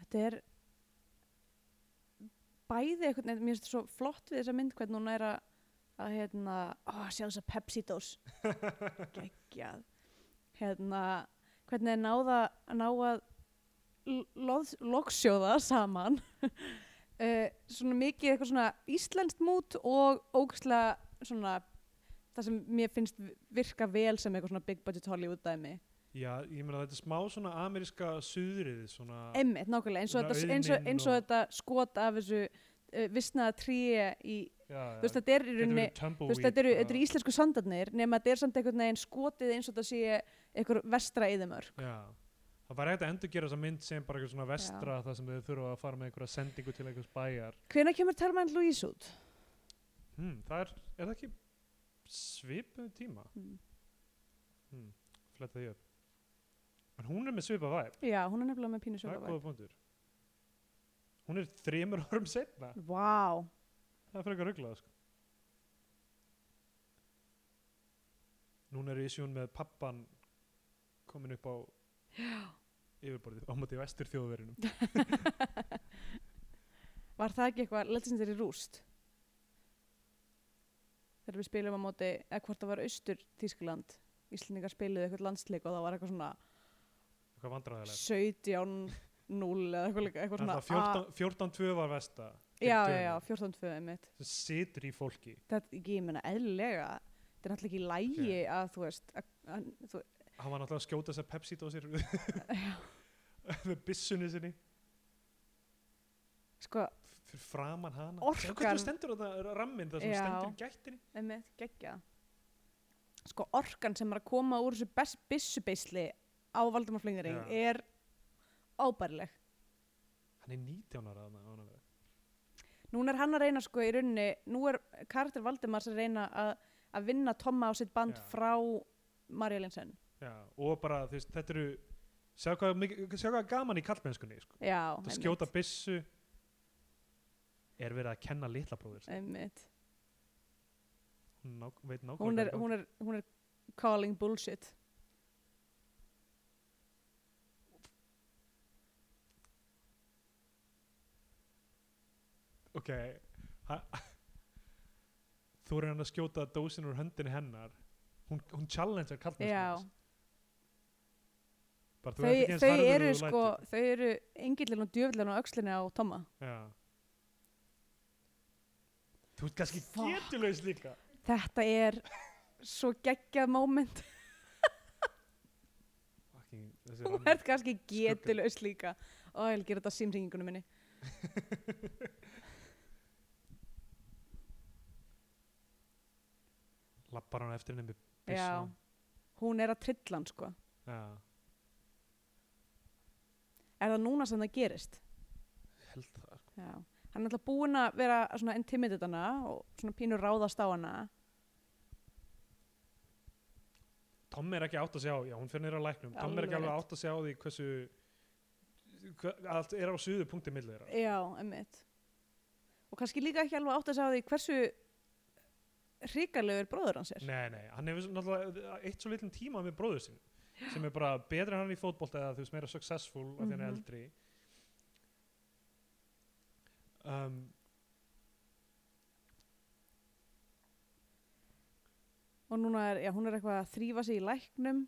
Speaker 1: þetta er bæði eitthvað, mér finnst þetta svo flott við þessa mynd hvernig hún er að að hérna, ó, sjá þess að Pepsi dós geggjað hérna, hvernig er náða að ná að l- loðs- logsjóða saman uh, svona mikið eitthvað svona íslenskt mút og ógæslega svona það sem mér finnst virka vel sem eitthvað svona big budget Hollywood dæmi
Speaker 2: Já, ég meina þetta er smá svona ameríska suðrið svona
Speaker 1: Einmitt, nákvæmlega, eins og,
Speaker 2: Svona
Speaker 1: þetta, eins, og,
Speaker 2: auðnin
Speaker 1: eins og
Speaker 2: og-
Speaker 1: þetta skot af þessu uh, visnaða tríi í,
Speaker 2: já,
Speaker 1: þú veist, þetta er í rauninni, þú veist, þetta eru, þetta eru íslensku sandarnir, nema þetta er samt einhvern veginn skotið eins og þetta sé einhver vestra eðimörk.
Speaker 2: Já, það var hægt að endur gera þessa mynd sem bara eitthvað svona vestra þar sem þau þurfa að fara með einhverja sendingu til einhvers bæjar
Speaker 1: Hvenær kemur Thelma and Louise út?
Speaker 2: hmm, Það er, er það ekki svipuð tíma?
Speaker 1: Hmm.
Speaker 2: Hmm, fletta því upp En hún er með svipað væp,
Speaker 1: Já, hún er nefnilega með pínu
Speaker 2: það er
Speaker 1: sjókavæð.
Speaker 2: góða punktur Hún er þremur árum setna
Speaker 1: Vá, wow.
Speaker 2: Það er frekar rugglað sko. Núna er ísjón með pappan komin upp á yfirborðið á móti vestur þjóðverjunum.
Speaker 1: var það ekki eitthvað, letið sem þeir eru rúst? Þegar við spilum á móti, eða hvort það var austur Þískland, Íslendingar spiluðu eitthvað landsleik og það var eitthvað svona
Speaker 2: Eitthvað vandræðilegt.
Speaker 1: 17-0 eða eitthvað, líka, eitthvað svona
Speaker 2: Þannig að 14-2 var vesta gegn
Speaker 1: Já, já,
Speaker 2: Dönum,
Speaker 1: já, 14-2 einmitt.
Speaker 2: sem situr í fólki.
Speaker 1: Þetta, ég meina, eðlilega, þetta er náttúrulega ekki í lægi að, þú veist, að, að, þú,
Speaker 2: Hann var náttúrulega að skjóta þess að Pepsi dósir með bissunni sinni
Speaker 1: sko,
Speaker 2: fyrir framan hana.
Speaker 1: Orkan.
Speaker 2: Sjáðu Hvernig stendur þetta ramminn það sem
Speaker 1: Já.
Speaker 2: stendur í gættinni?
Speaker 1: einmitt, geggja. Sko, orkan sem er að koma úr þessu bes- byssubeisli á Valdimar Flingering
Speaker 2: Já.
Speaker 1: er ábærileg.
Speaker 2: Hann er 19 ára þarna. á hann að vera.
Speaker 1: Núna er hann að reyna, sko, í rauninni, nú er karakter Valdimars að reyna að, að vinna Tomma á sitt band
Speaker 2: Já.
Speaker 1: frá Marja Linsen.
Speaker 2: Já, og bara þú veist, þetta eru sjá hvað, mikið- sjá hvað er gaman í kallmennskunni sko.
Speaker 1: Já,
Speaker 2: það skjóta byssu er verið að kenna litla bróður sinn.
Speaker 1: Einmitt.
Speaker 2: hún ná, veit nákvæmlega
Speaker 1: Hún er,
Speaker 2: hvað
Speaker 1: hún, er, hún er calling bullshit.
Speaker 2: ok ha- þú er hann að skjóta dósin úr höndinni hennar hún, hún challengear
Speaker 1: Já.
Speaker 2: kallmennskunni bara, þú ert ekki
Speaker 1: þau,
Speaker 2: eins
Speaker 1: þau
Speaker 2: harður
Speaker 1: eru
Speaker 2: og þú
Speaker 1: sko,
Speaker 2: lætur.
Speaker 1: þau eru engillin og djöflin á öxlinni á Tomma.
Speaker 2: Já. þú ert kannski
Speaker 1: Fuck.
Speaker 2: getulaus líka
Speaker 1: Þetta er svo geggjað moment.
Speaker 2: Fucking, þessi
Speaker 1: Þú
Speaker 2: ramminn.
Speaker 1: ert kannski getulaus líka. Ó, ég vil gera þetta á símringingunum minni.
Speaker 2: lappar hann á eftir henni með
Speaker 1: Já.
Speaker 2: byssuna
Speaker 1: hún er að trilla hann sko
Speaker 2: Já,
Speaker 1: er það núna sem það gerist
Speaker 2: held það sko.
Speaker 1: Já. hann er alltaf búinn að vera að svona intimidate hana og svona pínur ráðast á hana
Speaker 2: Tom er ekki átt að sjá, já hún fyrir nýra læknum Tom er ekki
Speaker 1: Alveg
Speaker 2: alveg
Speaker 1: rétt.
Speaker 2: átt að sjá því hversu hva, allt er á suðu punkti millir þeirra
Speaker 1: já, emmitt og kannski líka ekki alveg átt að segja því hversu hrikalegur bróður hans er
Speaker 2: Nei, nei, hann hefur svo- náttúrulega eitt svo litlum tíma með bróður sinn sem er bara betri en hann í fótbolta eða þú veist meira successful af því hann er
Speaker 1: Mhm.
Speaker 2: eldri um,
Speaker 1: og núna er, já, hún er eitthvað að þrýfa sig í læknum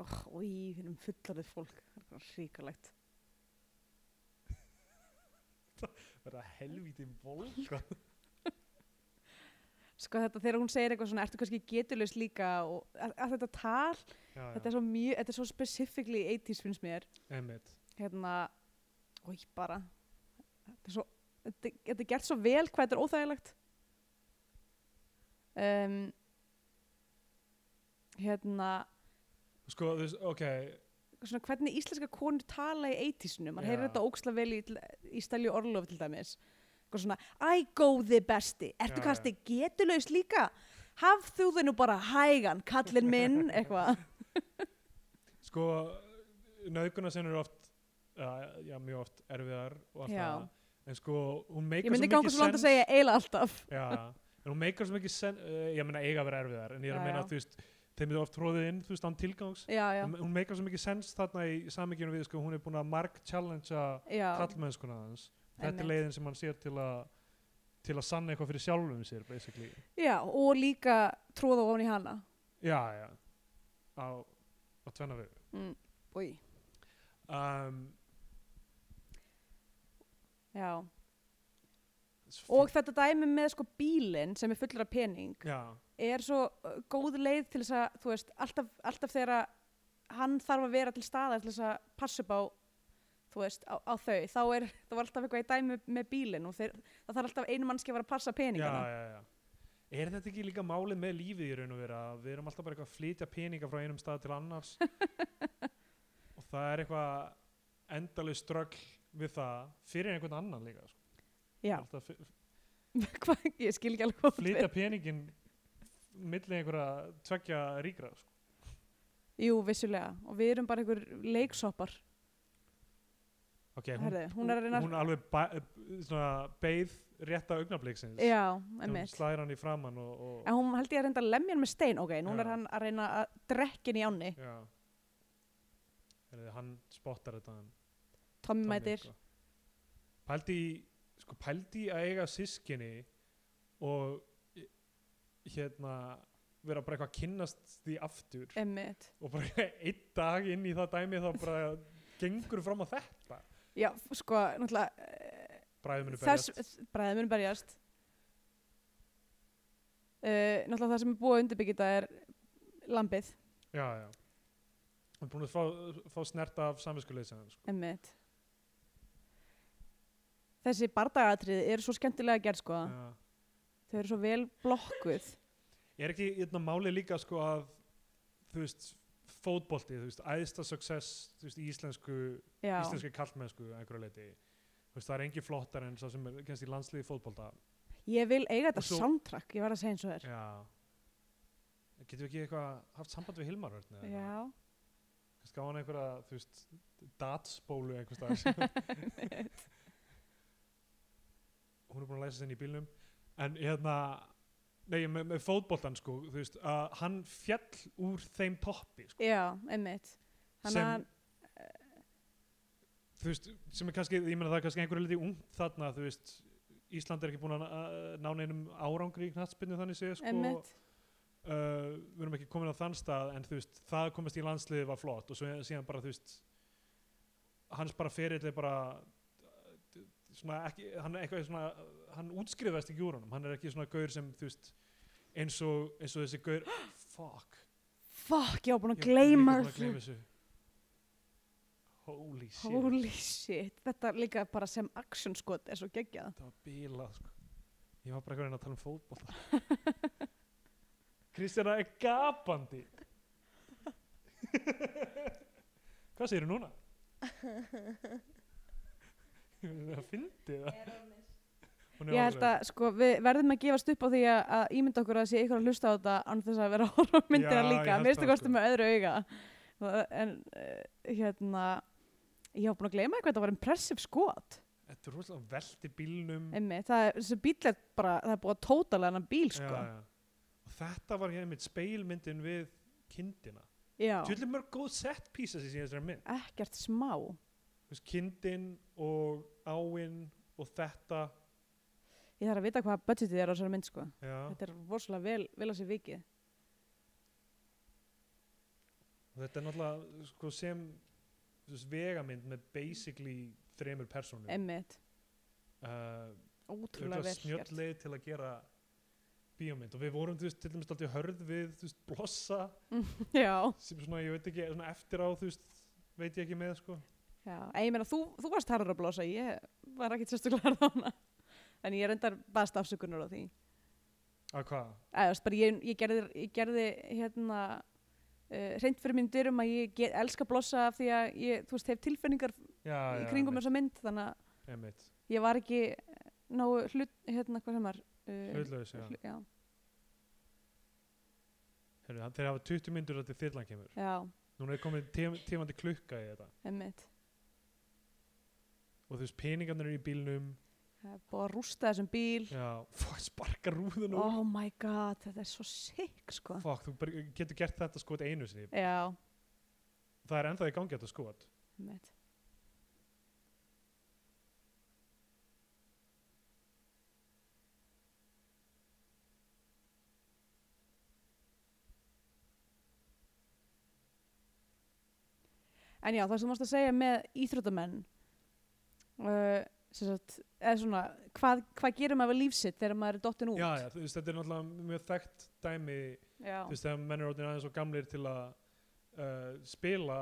Speaker 1: og oh, í hinnum fullarðið fólk það er eitthvað hrikalegt
Speaker 2: verða helvítið volka
Speaker 1: sko þetta þegar hún segir eitthvað svona ertu kannski getulust líka og að, að þetta tal
Speaker 2: Já,
Speaker 1: þetta er svo mjög, þetta er svo specifically 80s finnst mér
Speaker 2: Einmitt.
Speaker 1: hérna, oi bara þetta er svo þetta, þetta er gert svo vel hvað þetta er óþægilegt um, hérna
Speaker 2: Sko, þú veist, ok,
Speaker 1: svona, hvernig íslenska konur tala í 80s-num mann
Speaker 2: Já.
Speaker 1: heyrir þetta óksla vel í, í Stelju Orlof til dæmis Eitthvað svona, æ góði besti, ertu
Speaker 2: Já,
Speaker 1: kannski getulaus líka haf þú þau nú bara hægan, kallinn minn eitthvað,
Speaker 2: sko, nöðguna sem eru oft, uh, já, mjög oft erfiðar og allt
Speaker 1: Já.
Speaker 2: það, en sko, hún meikar
Speaker 1: ég myndi ganga svo langt að segja eila alltaf
Speaker 2: Já, en hún meikar svo mikið sens, uh, ég meina eiga að vera erfiðar, en ég er
Speaker 1: Já,
Speaker 2: að meina,
Speaker 1: já.
Speaker 2: þú veist, þeim eru oft tróðið inn, þú veist, án tilgangs,
Speaker 1: já, já,
Speaker 2: En hún meikar svo mikið sens þarna í samíkjunum við, sko, hún er búin að mark-challengea
Speaker 1: já
Speaker 2: kallmennskuna hans, þetta
Speaker 1: Einmitt.
Speaker 2: er leiðin sem hann sér til að, til að sanna eitthvað fyrir sjálfum sér, basically.
Speaker 1: Já, og líka tróða ofan í hana.
Speaker 2: Já, já, á, á tvenna vegu.
Speaker 1: Mm. Új.
Speaker 2: Um,
Speaker 1: Já.
Speaker 2: svo
Speaker 1: Og þetta dæmi með sko bílinn sem er fullur af pening
Speaker 2: Já,
Speaker 1: er svo uh, góð leið til þess að, þú veist, alltaf, alltaf þegar að hann þarf að vera til staðar til þess að passa upp á, þú veist, á, á þau. Þá er, það var alltaf eitthvað í dæmi með bílinn og þeir, það þarf alltaf einu mannski að vera að passa
Speaker 2: já,
Speaker 1: peningana.
Speaker 2: já, já. Er þetta ekki líka málið með lífið í raun og vera að við erum alltaf bara eitthvað að flytja peninga frá einum stað til annars og það er eitthvað endaleg ströggl við það fyrir einhvern annan líka sko.
Speaker 1: Já.
Speaker 2: Alltaf fi-
Speaker 1: Hvað, ég skil ekki alveg hvað þú átt
Speaker 2: flytja
Speaker 1: við.
Speaker 2: peningin milli einhverja tveggja ríkra sko.
Speaker 1: Jú, vissulega. Og við erum bara einhver leiksoppar.
Speaker 2: okay, hún,
Speaker 1: Herðu, hún er að reyna...
Speaker 2: hún alveg ba- eh, svona, beið rétta augnabliksins
Speaker 1: Já,
Speaker 2: hún
Speaker 1: einmitt.
Speaker 2: slæðir hann í framann og, og
Speaker 1: En hún held ég að reynda að lemja hann með stein, ok, núna
Speaker 2: Já.
Speaker 1: er hann að reyna að drekkin í áni,
Speaker 2: já. Heyrðu, hann spottar þetta hann
Speaker 1: Tommy
Speaker 2: Tommy,
Speaker 1: mætir.
Speaker 2: sko. pældi í sko pældi í að eiga sískinni og eh, hérna vera bara eitthvað að kynnast því aftur
Speaker 1: Emmitt.
Speaker 2: og bara einn dag inn í það dæmi þá bara gengur fram á þetta
Speaker 1: Já, f- sko, náttúrulega, eh,
Speaker 2: bræðum henni
Speaker 1: þess,
Speaker 2: berjast
Speaker 1: bræðið munu berjast. Uh, náttúrulega það sem er búið að undirbyggja þetta er lambið,
Speaker 2: já, já. hann er búin að fá, fá snerta af samvinskuleysinu sko.
Speaker 1: emmitt. Þessi bardagatriði eru svo skemmtilega gerð, sko.
Speaker 2: Já.
Speaker 1: Þau eru svo vel blokkuð.
Speaker 2: er ekki hérna máli líka sko að þú veist fótbolti, þú veist, æðsta success þú veist, í íslensku
Speaker 1: Já,
Speaker 2: íslenski kallmennsku að einhverju leiti Þú veist, það er engin flottar en það sem er kannski landsliði í fótbolta
Speaker 1: ég vil eiga
Speaker 2: Og
Speaker 1: þetta
Speaker 2: svo-
Speaker 1: soundtrack, ég var að segja eins og þér.
Speaker 2: já getum við ekki eitthvað haft samband við Hilmar Örn eða eitthvað?
Speaker 1: Já.
Speaker 2: kannski á hann einhverja þú veist datsbólu einhvers staðar hún er búin að læsa sinni í bílnum en hérna nei, með, með fótboltan sko þú veist, að hann fjall úr þeim toppi sko,
Speaker 1: Já, emmitt. Þannig
Speaker 2: Sem-
Speaker 1: að
Speaker 2: þú veist, sem er kannski ég meina það er kannski einhverju leiti ungt þarna þú veist, Ísland er ekki búin að að ná neinum árangri í knattspinnu þannig séð sko
Speaker 1: Einmitt.
Speaker 2: uh, við erum ekki komin á þann stað en þú veist, það að komast í landsliði var flott og svo síðan bara, þú veist hans bara ferill er bara uh, d- svona ekki hann, er eitthvað svona, uh, hann útskrifast ekki úr honum hann er ekki svona gaur sem, þú veist eins og, eins og þessi gaur fuck,
Speaker 1: Fuck, ég var búin að
Speaker 2: ég er líka
Speaker 1: gleyma
Speaker 2: búinn að
Speaker 1: þessu.
Speaker 2: gleyma þessu holy shit
Speaker 1: Holy shit, þetta líka bara sem action skot er svo geggjað.
Speaker 2: sko. þetta var bílað sko. ég var bara eitthvað að reyna að tala um fótbolta Kristjana er gapandi Hvað segir þú núna? Það fyndi það
Speaker 3: Er honest.
Speaker 2: Hún er
Speaker 1: Ég held
Speaker 2: alveg-
Speaker 1: að sko, við verðum að gefast upp á því að, að ímynda okkur að sé ykkur að hlusta á þetta án þess að vera að horfa á myndina
Speaker 2: Já, ég
Speaker 1: líka,
Speaker 2: held
Speaker 1: mér stu
Speaker 2: það,
Speaker 1: kosti
Speaker 2: sko.
Speaker 1: með öðru auga. Það- En uh, hérna, ég hef búin að gleyma eitthvað, þetta var impressive skot.
Speaker 2: Þetta er rosalega hún velti bílnum
Speaker 1: Einmitt, það er, þessi bíl er bara, það er búið að tótala hennan bíl sko.
Speaker 2: já, já. Og þetta var hér mitt speilmyndin við kindina
Speaker 1: Já,
Speaker 2: Tjöldlega mörg góð set pieces í síðan þessari mynd
Speaker 1: ekkert smá.
Speaker 2: Þú veist, Kindin og áinn og þetta
Speaker 1: Ég þarf að vita hvað budgetið er á þessari mynd sko.
Speaker 2: Já,
Speaker 1: Þetta er rosalega vel, vel að sér vikið.
Speaker 2: og þetta er náttúrulega sko, sem þú veist, vegamynd með basically þremur persónum
Speaker 1: Einmitt,
Speaker 2: uh,
Speaker 1: ótrúlega
Speaker 2: örugglega
Speaker 1: vel gert.
Speaker 2: snjöll leið til að gera bíómynd og við vorum þú veist, til dæmis alltaf hörð við þú veist, blossa
Speaker 1: Já,
Speaker 2: sem svona, ég veit ekki, svona eftir á þú veist, veit ég ekki með sko
Speaker 1: já. En ég meina, þú, þú varst harður að blosa, ég var ekkert sérstaklega harð á hana. En ég reyndar baðst afsökunar á því.
Speaker 2: að hvað?
Speaker 1: Eða, þú veist, bara ég, ég, gerði, ég gerði, hérna, uh, reynd fyrir minn dyrum að ég get, elska blossa af því að ég, þú veist, hef tilfinningar
Speaker 2: Já,
Speaker 1: í kringum þessa mynd, þannig að
Speaker 2: Emitt,
Speaker 1: ég var ekki eh, nógu hlut, hérna, hvað sem var? Uh,
Speaker 2: hlutlaus, já
Speaker 1: hlu- já.
Speaker 2: Heru, Þeir hafa 20 myndur að til þyrlan kemur
Speaker 1: Já,
Speaker 2: Núna er komið tím, tímandi klukka í þetta
Speaker 1: emmitt.
Speaker 2: og þú veist, peningarnir eru í bílnum
Speaker 1: Það er búið að rústa þessum bíl.
Speaker 2: Já, fuck, sparka rúðun úr
Speaker 1: Oh my god, þetta er svo sick sko.
Speaker 2: Fuck, þú bara getur gert þetta sko, skot einu sinni
Speaker 1: Já,
Speaker 2: Það er ennþá í gangi þetta skot
Speaker 1: mitt. En já, það sem þú mást að segja með íþróttamenn, uh, sem sagt, eða svona, hvað, hvað gerir maður við lífsitt þegar maður er dottinn út?
Speaker 2: Já, já, þú veist, þetta er náttúrulega mjög þekkt dæmi
Speaker 1: já.
Speaker 2: þú veist, þegar menn er orðin aðeins og gamlir til að uh, spila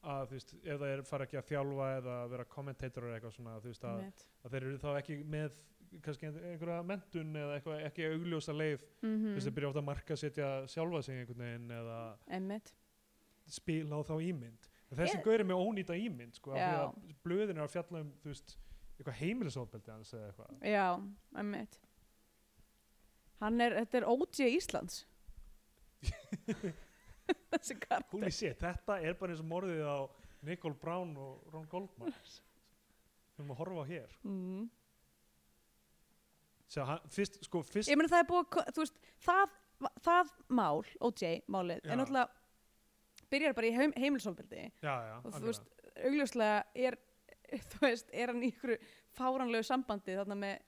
Speaker 2: að þú veist, ef það er fara ekki að þjálfa eða að vera kommentator eða eitthvað svona þú veist, að,
Speaker 1: einmitt.
Speaker 2: að þeir eru þá ekki með kannski einhverja mentun eða eitthvað ekki augljósa leið, þú veist, þeir
Speaker 1: Mhm,
Speaker 2: byrja ofta að marka setja sjálfa sig einhvern veginn eða
Speaker 1: einmitt.
Speaker 2: spila á þá ímynd En þessi
Speaker 1: Ég-
Speaker 2: yeah. gaur er með ónýta ímynd sko, af því
Speaker 1: Já.
Speaker 2: að blöðin er að fjalla um þú veist, eitthvað heimilisofbeldi hans eða eitthvað
Speaker 1: Já, einmitt. Hann er, þetta er OG Íslands. Þessi
Speaker 2: Holy
Speaker 1: karakter.
Speaker 2: shit, þetta er bara eins og morðið á Nicole Brown og Ron Goldman við erum að horfa á hér
Speaker 1: Mm.
Speaker 2: Sjá, hann, fyrst, sko, fyrst
Speaker 1: Ég meina það er búið, að ko- þú veist, það, það mál, OJ málið,
Speaker 2: Já.
Speaker 1: er náttúrulega, byrjar bara í heim, heimilsofbeldi
Speaker 2: já, já,
Speaker 1: og þú
Speaker 2: algjörlega.
Speaker 1: veist, augljóslega er, þú veist, er hann í ykkur fáranlegu sambandi þarna með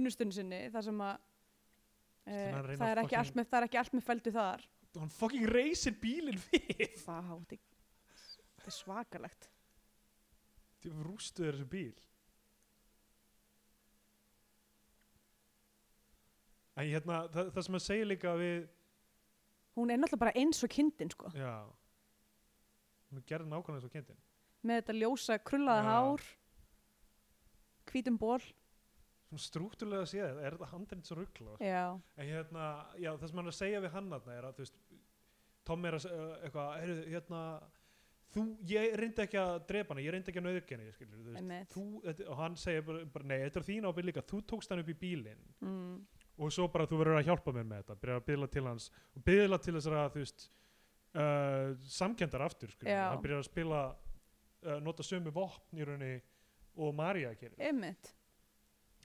Speaker 1: unnustunni sinni, þar sem að e,
Speaker 2: Þannig að hann reyna
Speaker 1: það,
Speaker 2: að
Speaker 1: er ekki allt
Speaker 2: fucking-
Speaker 1: með, það er ekki allt með feldu þar.
Speaker 2: hann fucking reysir bílinn við
Speaker 1: Vá, þetta er- þetta er svakalegt.
Speaker 2: þú rústu þessu bíl en hérna, það, það sem að segja líka við
Speaker 1: Hún er náttúrulega bara eins og kindin, sko.
Speaker 2: já hún gerði nákvæmlega eins og kynntin
Speaker 1: Með þetta ljósa, krullaða
Speaker 2: Já.
Speaker 1: hár, hvítum ból.
Speaker 2: svona strúkturlega séð, er þetta handrið svo ruggla
Speaker 1: Já,
Speaker 2: en hérna, já, það sem hann er að segja við hann þarna er að, þú veist, Tom er að segja uh, eitthvað, heyrðu, hérna þú, ég reyndi ekki að drepa hana ég reyndi ekki að nöðurkenni, ég skilur, þú veist
Speaker 1: Einmitt.
Speaker 2: þú, þetta, og hann segir bara, bara, nei, þetta er þín ábyrð líka þú tókst hann upp í bílinn
Speaker 1: mm.
Speaker 2: og svo bara þú verður að hjálpa mér með þetta byrjar að byðla til hans og byðla til þessara, þú veist uh, samkendar aftur, skilur,
Speaker 1: Já.
Speaker 2: hann byrjar að spila uh, nota sömu vopn í rauninni og Maria gerir
Speaker 1: einmitt.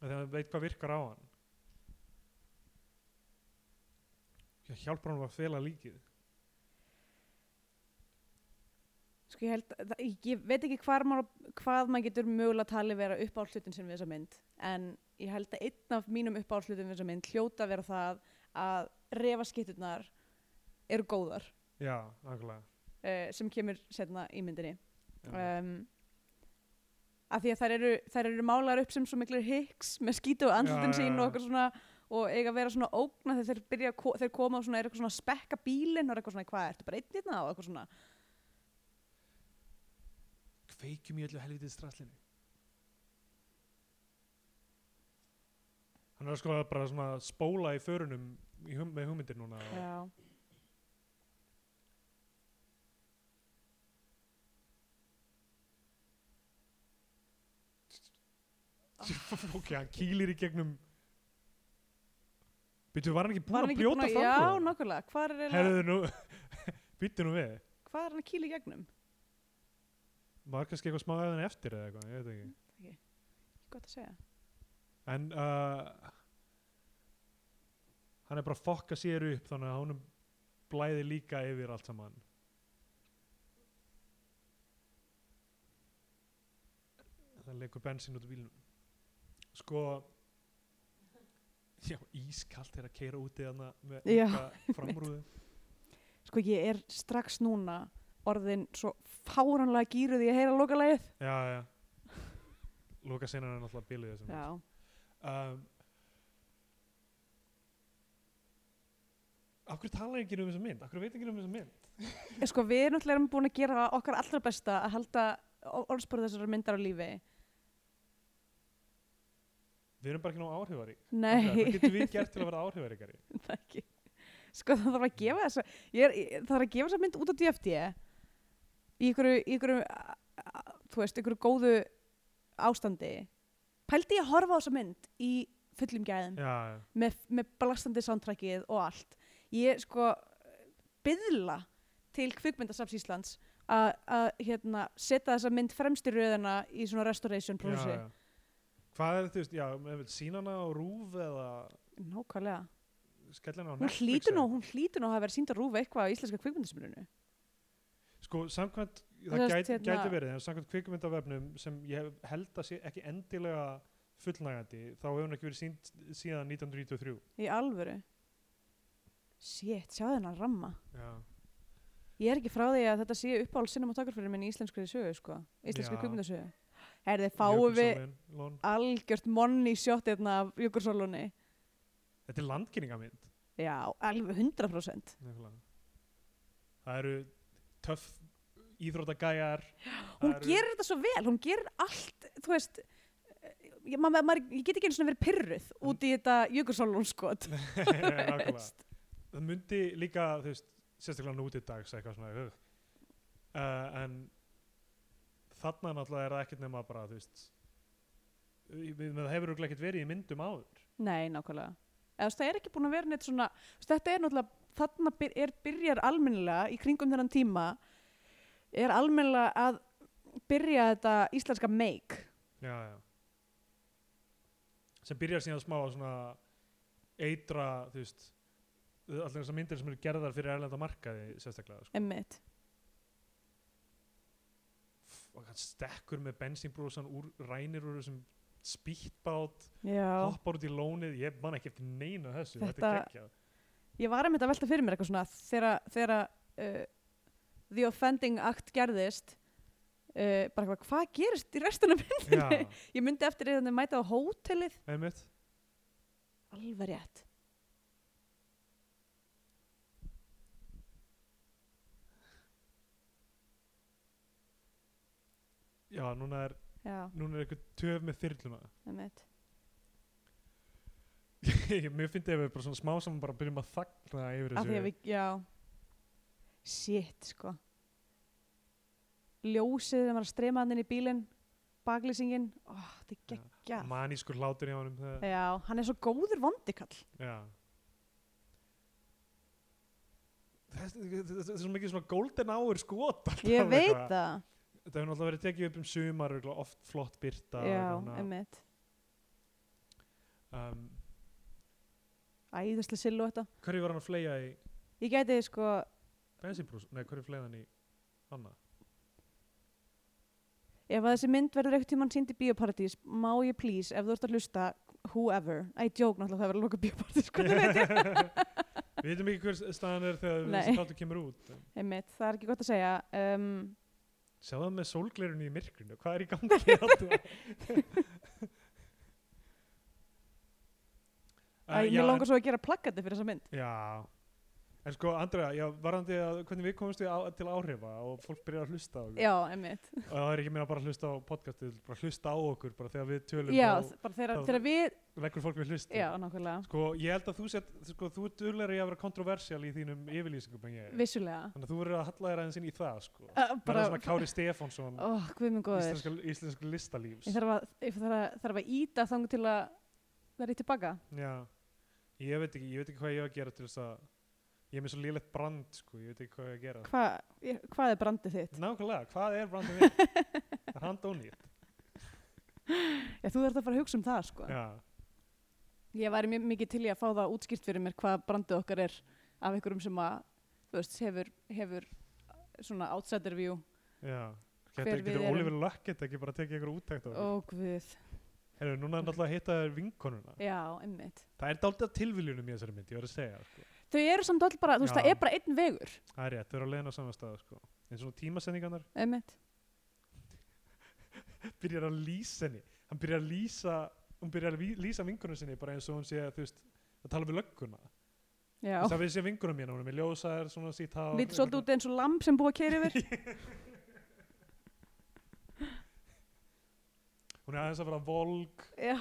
Speaker 2: að þegar hann veit hvað virkar á hann ég hjálpar hann að fela líkið
Speaker 1: Sko ég held, það, ég veit ekki hvar maður, hvað maður getur mögulega talið vera uppáhaldslutin sem við þessa mynd. En ég held að einn af mínum uppáhaldslutin við þessa mynd hljóta að vera það að refaskitturnar eru góðar
Speaker 2: já, anglega
Speaker 1: uh, sem kemur setna í myndinni. um, af því að þær eru, þær eru málar upp sem svo miklu hicks með skítu og andlutin
Speaker 2: Já, já,
Speaker 1: sín
Speaker 2: já.
Speaker 1: og eitthvað svona og eiga að vera svona ógna þegar þeir, byrja, að ko- þeir koma og svona, er eitthvað svona að spekka bílinn og er eitthvað svona, hvað, ertu bara einn hérna og eitthvað svona
Speaker 2: kveikjum í öllu helvitið straslinu hann er sko bara svona að spóla í förunum í hum, með hugmyndir núna og,
Speaker 1: já,
Speaker 2: ok, hann kýlir í gegnum Býttu, var hann ekki
Speaker 1: Var
Speaker 2: búinn
Speaker 1: hann
Speaker 2: að
Speaker 1: ekki búinn
Speaker 2: brjóta
Speaker 1: að-
Speaker 2: fram
Speaker 1: Já, nákvæmlega, hvað er, eiginlega-
Speaker 2: Herðu nú, býttu nú við
Speaker 1: hvað er hann að kýla í gegnum?
Speaker 2: Var kannski eitthvað smá eðan eftir eða eitthvað, ég veit ekki
Speaker 1: Ekki gott að segja.
Speaker 2: En uh, hann er bara að fokka sér upp þannig að honum blæði líka yfir allt saman. Það leikur bensín út af bílnum. Sko, já, ískalt er að keira úti þarna með
Speaker 1: Já,
Speaker 2: enga framrúðu.
Speaker 1: Sko, ég er strax núna orðin svo fáranlega gýruð í að heyra lokalegið.
Speaker 2: Já, já. Loka senan er náttúrulega bílið þessum.
Speaker 1: Já,
Speaker 2: um, Af hverju tala ekki um þessa mynd? Af hverju veit ekki um þessa mynd?
Speaker 1: Eh, sko, við erum náttúrulega búin að gera okkar allra besta að halda orðspor þessara myndar á lífi.
Speaker 2: Við erum bara ekki nóg áhrifarík Hvað
Speaker 1: Nei,
Speaker 2: getum við gert til að vera áhrifaríkari?
Speaker 1: það ekki. Sko, það þarf að gefa þessa, ég er, ég- það þarf að gefa þessa mynd út á DFD í ykkur, í ykkur, þú veist, ykkur góðu ástandi. Pældi ég að horfa á þessa mynd í fullum gæðum.
Speaker 2: Já, já.
Speaker 1: með, með blastandi soundtrackið og allt ég sko byðla til kvikmyndasafs Íslands að að, hérna, setja þessa mynd fremst í röðina í svona restoration
Speaker 2: já,
Speaker 1: prósi
Speaker 2: já. Hvað er þú veist, já, með sínana á rúf eða
Speaker 1: nákvæmlega,
Speaker 2: skellina á
Speaker 1: hún
Speaker 2: Netflix
Speaker 1: hlýtur nú
Speaker 2: eða-
Speaker 1: hún hlýtur nú að hafa verið sínd að rúfa eitthvað á íslenska kvikmyndasafninu
Speaker 2: Sko, samkvæmt,
Speaker 1: Þú
Speaker 2: það
Speaker 1: veist,
Speaker 2: gæti,
Speaker 1: hérna-
Speaker 2: gæti verið en samkvæmt kvikmyndavefnum sem ég hef- held að sé ekki endilega fullnægandi þá hefur hún ekki verið sínt síðan 1993
Speaker 1: í alvöru shit, sjáðu hennar ramma
Speaker 2: Já,
Speaker 1: ég er ekki frá því að þetta sé uppáhald cinematografurinn minn í íslenskri sögu sko, íslenskri
Speaker 2: Já.
Speaker 1: kvikmyndasögu herði, fáum við
Speaker 2: Jökulsárlón.
Speaker 1: algjört money shot hérna af Jökulsólunni
Speaker 2: Þetta er landkynningamynd
Speaker 1: Já, alveg 100%.
Speaker 2: Nefnilega. Það eru töff íþróttagæjar
Speaker 1: Hún gerir þetta svo vel, hún gerir allt, þú veist, eh, ég, maður, maður, ég get ekki einu svona verið pyrruð út í þetta sko. jökulsálun skot.
Speaker 2: nákvæmlega. Það myndi líka, þú veist, sérstaklega nútið dags eitthvað svona uh, en þarna náttúrulega er það ekkert nema bara, þú veist við- við- það hefur örugglega ekkert verið í myndum áður
Speaker 1: Nei, nákvæmlega. Eða, þú veist, það er ekki búin að vera neitt svona, þú veist, þetta er náttúrulega, þarna byr, er, byrjar almennilega í kringum þennan tíma, er almennilega að byrja þetta íslenska make.
Speaker 2: já, já. sem byrjar síðan smá að svona eitra, þú veist allir þessar myndir sem eru gerðar fyrir erlenda markaði sérstaklega, sko.
Speaker 1: Emmitt.
Speaker 2: og hann stekkur með bensínbrúsan úr rænir úr þessum spýttbát,
Speaker 1: Já.
Speaker 2: hoppar út í lónið ég man ekki eftir neina þessu, þetta, er
Speaker 1: Þetta-
Speaker 2: geggjað
Speaker 1: Ég var einmitt að velta fyrir mér eitthvað svona þegar, þegar uh, The Offending Act gerðist uh, bara eitthvað, hvað gerist í restunum myndinni?
Speaker 2: Já,
Speaker 1: Ég myndi eftir því að mæta á hótelið
Speaker 2: einmitt
Speaker 1: alveg rétt.
Speaker 2: já, núna er,
Speaker 1: Já,
Speaker 2: núna er eitthvað töf með þyrluna
Speaker 1: einmitt.
Speaker 2: Ég- mér finnst ef við bara svona smá saman bara byrjum að þagna yfir
Speaker 1: Af því
Speaker 2: þessu
Speaker 1: að við, já Shit, sko Ljósið þegar maður strema hann inn í bílinn baklýsingin, oh, þetta er
Speaker 2: Já, Mm.
Speaker 1: geggja
Speaker 2: manískur hlátur hjá honum það,
Speaker 1: Já, hann er svo góður vondikall
Speaker 2: já Þess- þetta er svo mikið svona golden hour skot alltaf
Speaker 1: Ég veit
Speaker 2: eitthvað.
Speaker 1: það,
Speaker 2: þetta hefur náttúrulega verið tekið upp um sumar örugglega oft flott byrta
Speaker 1: já,
Speaker 2: og eitthvað svona.
Speaker 1: einmitt
Speaker 2: um,
Speaker 1: Æðislega sillu þetta
Speaker 2: hverju var hann að fleja í
Speaker 1: Ég gæti sko,
Speaker 2: bensinbrús, nei hverju fleið hann í annað
Speaker 1: Ef að þessi mynd verður ekkert tímann sýnd í bioparadís, má ég please, ef þú ert að hlusta, whoever, I joke náttúrulega það verður að loka bioparadís, sko, það veit ég.
Speaker 2: við veitum ekki hver staðan er þegar
Speaker 1: Nei.
Speaker 2: þessi þáttu kemur út
Speaker 1: Einmitt, það er ekki gott að segja. Um,
Speaker 2: sjá það með sólglerunni í myrkrinu hvað er í gangi hérna?
Speaker 1: að
Speaker 2: Eh,
Speaker 1: mér
Speaker 2: já, Uh,
Speaker 1: langar svo að gera plakkandi fyrir þessa mynd.
Speaker 2: en- já En sko, Andrea, já, varandi að hvernig við komumst við á, til áhrifa og fólk byrjar að hlusta á okkur.
Speaker 1: já, emmitt
Speaker 2: Og það er ekki meina bara að hlusta á podcastið, bara hlusta á okkur, bara þegar við tölum
Speaker 1: já,
Speaker 2: þá
Speaker 1: bara þegar,
Speaker 2: þá-
Speaker 1: þegar við,
Speaker 2: leggur fólk við hlusta.
Speaker 1: já, nákvæmlega
Speaker 2: Sko, ég held að þú sett, sko, þú ert duglegri að vera kontroversial í þínum yfirlýsingum en ég. er.
Speaker 1: vissulega
Speaker 2: Þannig að þú verður að halla þér aðeins inn í það, sko.
Speaker 1: uh,
Speaker 2: Verða
Speaker 1: bara,
Speaker 2: svona Kári Stefánsson,
Speaker 1: ó, guð minn góður
Speaker 2: íslensku, íslensku listalífs.
Speaker 1: ég þarf að, ég þarf að, þarf að íta þangu til að verði tilbaka
Speaker 2: Já, ég veit ekki, ég veit ekki hvað ég hef að gera til þess að, ég er með svo lélegt brand, sko, ég veit ekki hvað ég hef að gera.
Speaker 1: Hva, ég- hvað er brandið þitt?
Speaker 2: Nákvæmlega, hvað er brandið mitt? Það er handónýtt.
Speaker 1: Já, þú þarf að fara að hugsa um það, sko
Speaker 2: Já,
Speaker 1: Ég væri mjög mikið til í að fá það útskýrt fyrir mér hvað brandið okkar er af einhverjum sem að, þú veist, hefur, hefur svona outsider view
Speaker 2: já.
Speaker 1: Hver
Speaker 2: Getur,
Speaker 1: við
Speaker 2: getur
Speaker 1: erum.
Speaker 2: Oliver Luckett ekki bara tekið einhverju úttækt á því?
Speaker 1: Ó, guð,
Speaker 2: Herru, núna er náttúrulega að hitta þér vinkonuna.
Speaker 1: já, einmitt
Speaker 2: Það er dálítið tilviljunum í þessari mynd, ég verð að segja. Sko.
Speaker 1: Þau eru samt all bara, þú veist,
Speaker 2: Já.
Speaker 1: það er bara einn vegur
Speaker 2: Það er rétt, þau eru að leiðin á sama stað. Sko. En svona tímasendingarnar
Speaker 1: einmitt
Speaker 2: byrjar að lýsa henni. Hann byrjar að lýsa, hún byrjar að ví- lýsa vinkonun sinni bara eins og hún sé, þú veist, að tala við lögguna.
Speaker 1: Já,
Speaker 2: Þú veist, það við sé vinkonun mín, hún er með ljósaðar, svona sítt hár.
Speaker 1: lítið svolítið út eins og lamb sem búið að keira yfir
Speaker 2: Hún er aðeins að vera volg.
Speaker 1: Já,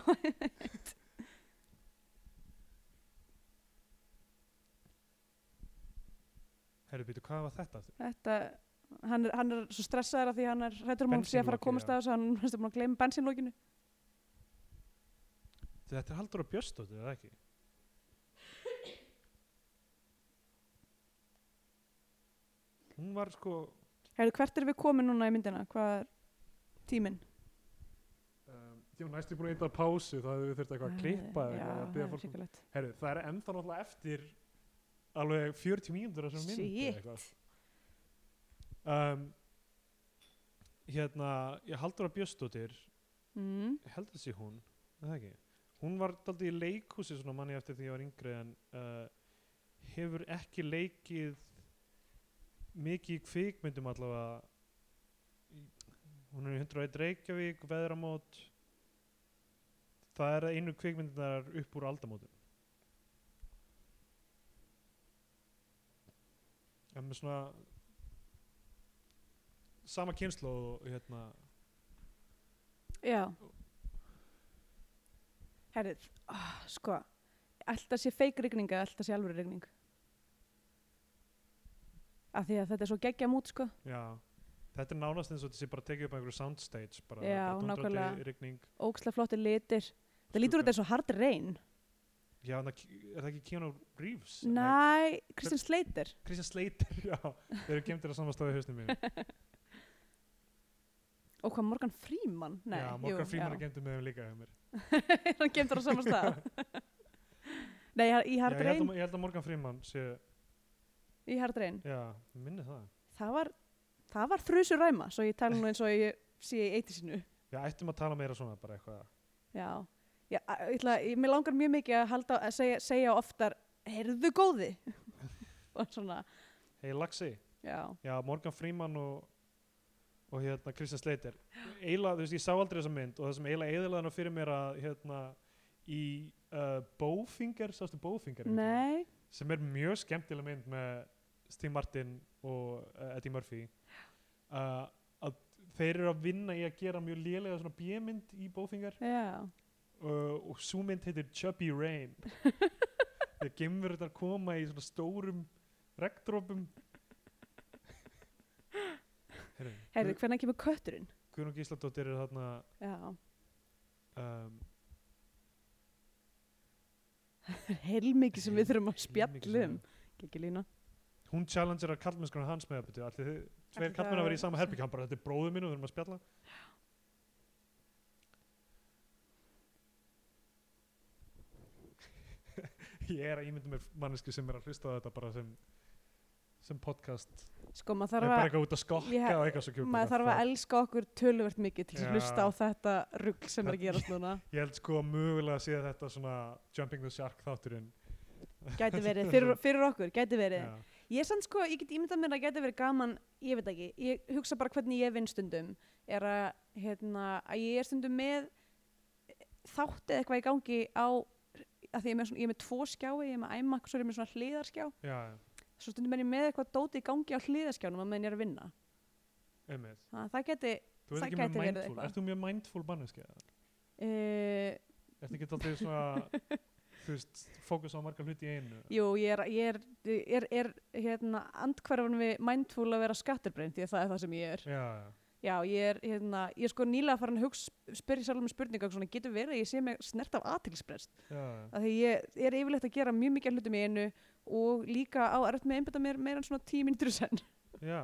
Speaker 2: Herru, býtu, hvað var þetta?
Speaker 1: þetta Hann er, hann er svo stressaður af því að hann er hrættur um að hún sé að fara að
Speaker 2: Bensínloki,
Speaker 1: komast
Speaker 2: já.
Speaker 1: að þessu hann er búin að gleyma bensinlókinu
Speaker 2: Þetta er Haldur og Björstóttir, eða ekki? Hún var sko
Speaker 1: Herðu, hvert er við komin núna í myndina? Hvað er tíminn?
Speaker 2: um, Ég var næstu búin að eitthvað pásu þá hefðu við þurft eitthvað að klippa eða
Speaker 1: Já,
Speaker 2: eitthvað að
Speaker 1: það
Speaker 2: biðja
Speaker 1: er
Speaker 2: fólk um-
Speaker 1: ríkulegt.
Speaker 2: Heyrðu, það er ennþá náttúrulega eftir alveg 40 mínútur af þessum mynd eða
Speaker 1: Shit.
Speaker 2: eitthvað. um, Hérna, ég Haldur og Björstóttir
Speaker 1: Mm.
Speaker 2: ég held að sé hún er það ekki? hún var daldið í leikhúsi svona manni eftir því ég var yngri en uh, hefur ekki leikið mikið í kvikmyndum allavega Í- hún er í 101 Reykjavík veðramót það er einu kvikmyndunar upp úr aldamótum en með svona sama kynslu og hérna
Speaker 1: Já. Herðu, oh, sko, alltaf sé feik rigning eða alltaf sé alvöru rigning. Af því að þetta er svo geggja mút, sko.
Speaker 2: Já, þetta er nánast eins og þetta sé bara tekið upp á einhverju soundstage bara,
Speaker 1: Já,
Speaker 2: bara dundrandi
Speaker 1: nákvæmlega.
Speaker 2: rigning.
Speaker 1: Óksla flottir litir. Það lítur út
Speaker 2: Skuggar.
Speaker 1: eins og hard rain.
Speaker 2: Já, en það ki- er það ekki Keanu Reeves?
Speaker 1: Næ, Kristján Sleiter.
Speaker 2: Christian Slater, já, þeir eru gemtir að samanstaði hausnum mínu.
Speaker 1: Og hvað, Morgan Freeman? Nei,
Speaker 2: já, Morgan Freeman er gemtir með þeim líka hjá mér.
Speaker 1: gemd. Hann gemdur á sama stað. Nei, í
Speaker 2: Já,
Speaker 1: hard
Speaker 2: ég, held
Speaker 1: rain.
Speaker 2: að, ég held að Morgan Freeman sé,
Speaker 1: Í hard rain.
Speaker 2: já, minni það.
Speaker 1: það var, það var frusur ræma svo ég tala nú eins og ég sé í eiti sinu
Speaker 2: Já, ættum að tala meira svona bara eitthvað.
Speaker 1: já, já a- ég ætla, ég, mér langar mjög mikið að, halda, að segja, segja oftar heyrðu góði og svona,
Speaker 2: Hei, Laxi,
Speaker 1: já,
Speaker 2: já, Morgan Freeman og, og hérna Christian Slater. Eila, þú veist, ég sá aldrei þessa mynd og það sem eila eðilaði hana fyrir mér að, hérna, í uh, Bowfinger, sástu Bowfinger? einhvern tímann?
Speaker 1: nei
Speaker 2: sem er mjög skemmtileg mynd með Steve Martin og uh, Eddie Murphy uh, að þeir eru að vinna í að gera mjög lélega svona bjömynd í bófingar
Speaker 1: já,
Speaker 2: uh, og svo mynd heitir Chubby Rain þegar gemverðar koma í svona stórum regndrópum
Speaker 1: heyrðu, hvernig kemur kötturinn
Speaker 2: Guðrún Gísladóttir er þarna
Speaker 1: já,
Speaker 2: um,
Speaker 1: heilmikið sem við þurfum að
Speaker 2: mikið sem-
Speaker 1: spjalla um ekki lína,
Speaker 2: hún challenger að kallmennskunar hans með betur, allir þið,
Speaker 1: Ætli
Speaker 2: tveir
Speaker 1: það-
Speaker 2: kallmenn að vera í sama herbygg, hann bara, þetta er bróðu minn og við erum að spjalla ég er að ímynda mér manneski sem er að hlusta á þetta bara sem sem podcast,
Speaker 1: sko maður
Speaker 2: er
Speaker 1: þarf
Speaker 2: bara
Speaker 1: að
Speaker 2: eitthvað út að skokka
Speaker 1: Ég-
Speaker 2: og eitthvað svo kjúpa
Speaker 1: maður þarf að elska okkur töluvert mikið til
Speaker 2: Já.
Speaker 1: að hlusta á þetta rugl sem er að
Speaker 2: Það-
Speaker 1: gerast núna
Speaker 2: ég held sko að mögulega sé þetta svona Jumping the Shark þátturinn
Speaker 1: gæti verið, fyrir, fyrir okkur, gæti verið
Speaker 2: Já.
Speaker 1: Ég er samt sko, ég get ímyndað mér að geta verið gaman, ég veit ekki, ég hugsa bara hvernig ég vinn stundum, er að, hérna, að ég er stundum með þátt eða eitthvað í gangi á, að því ég er með, svona, ég er með tvo skjái, ég er með iMac, svo er ég með svona hliðarskjá
Speaker 2: Já, já.
Speaker 1: svo stundum er ég með eitthvað dóti í gangi á hliðaskjánum að meðan ég er að vinna
Speaker 2: Einmitt.
Speaker 1: þannig að það geti
Speaker 2: Þú ert
Speaker 1: Það
Speaker 2: ekki mjög
Speaker 1: gæti verið
Speaker 2: mindful,
Speaker 1: eitthvað.
Speaker 2: ert þú mjög mindful manneskja?
Speaker 1: uh,
Speaker 2: Ert ekki alltaf svona, þú veist, fókus á marga hluti í einu?
Speaker 1: jú, ég er, ég er, ég er, er hérna, andhverfan við mindful að vera skatturbreyn því að það er það sem ég er
Speaker 2: Já, já.
Speaker 1: já, ég er, hérna, ég er sko nýlega farin að hugsa, spyrja sjálf um spurninga svona, getur verið að ég sé mig snert af aðtilsprest
Speaker 2: já, já.
Speaker 1: af því ég er yfirleitt að gera mjög mikið af hlutum í einu og líka á erft með að einbytta mér meira en svona tíu mínútur í senn
Speaker 2: Já.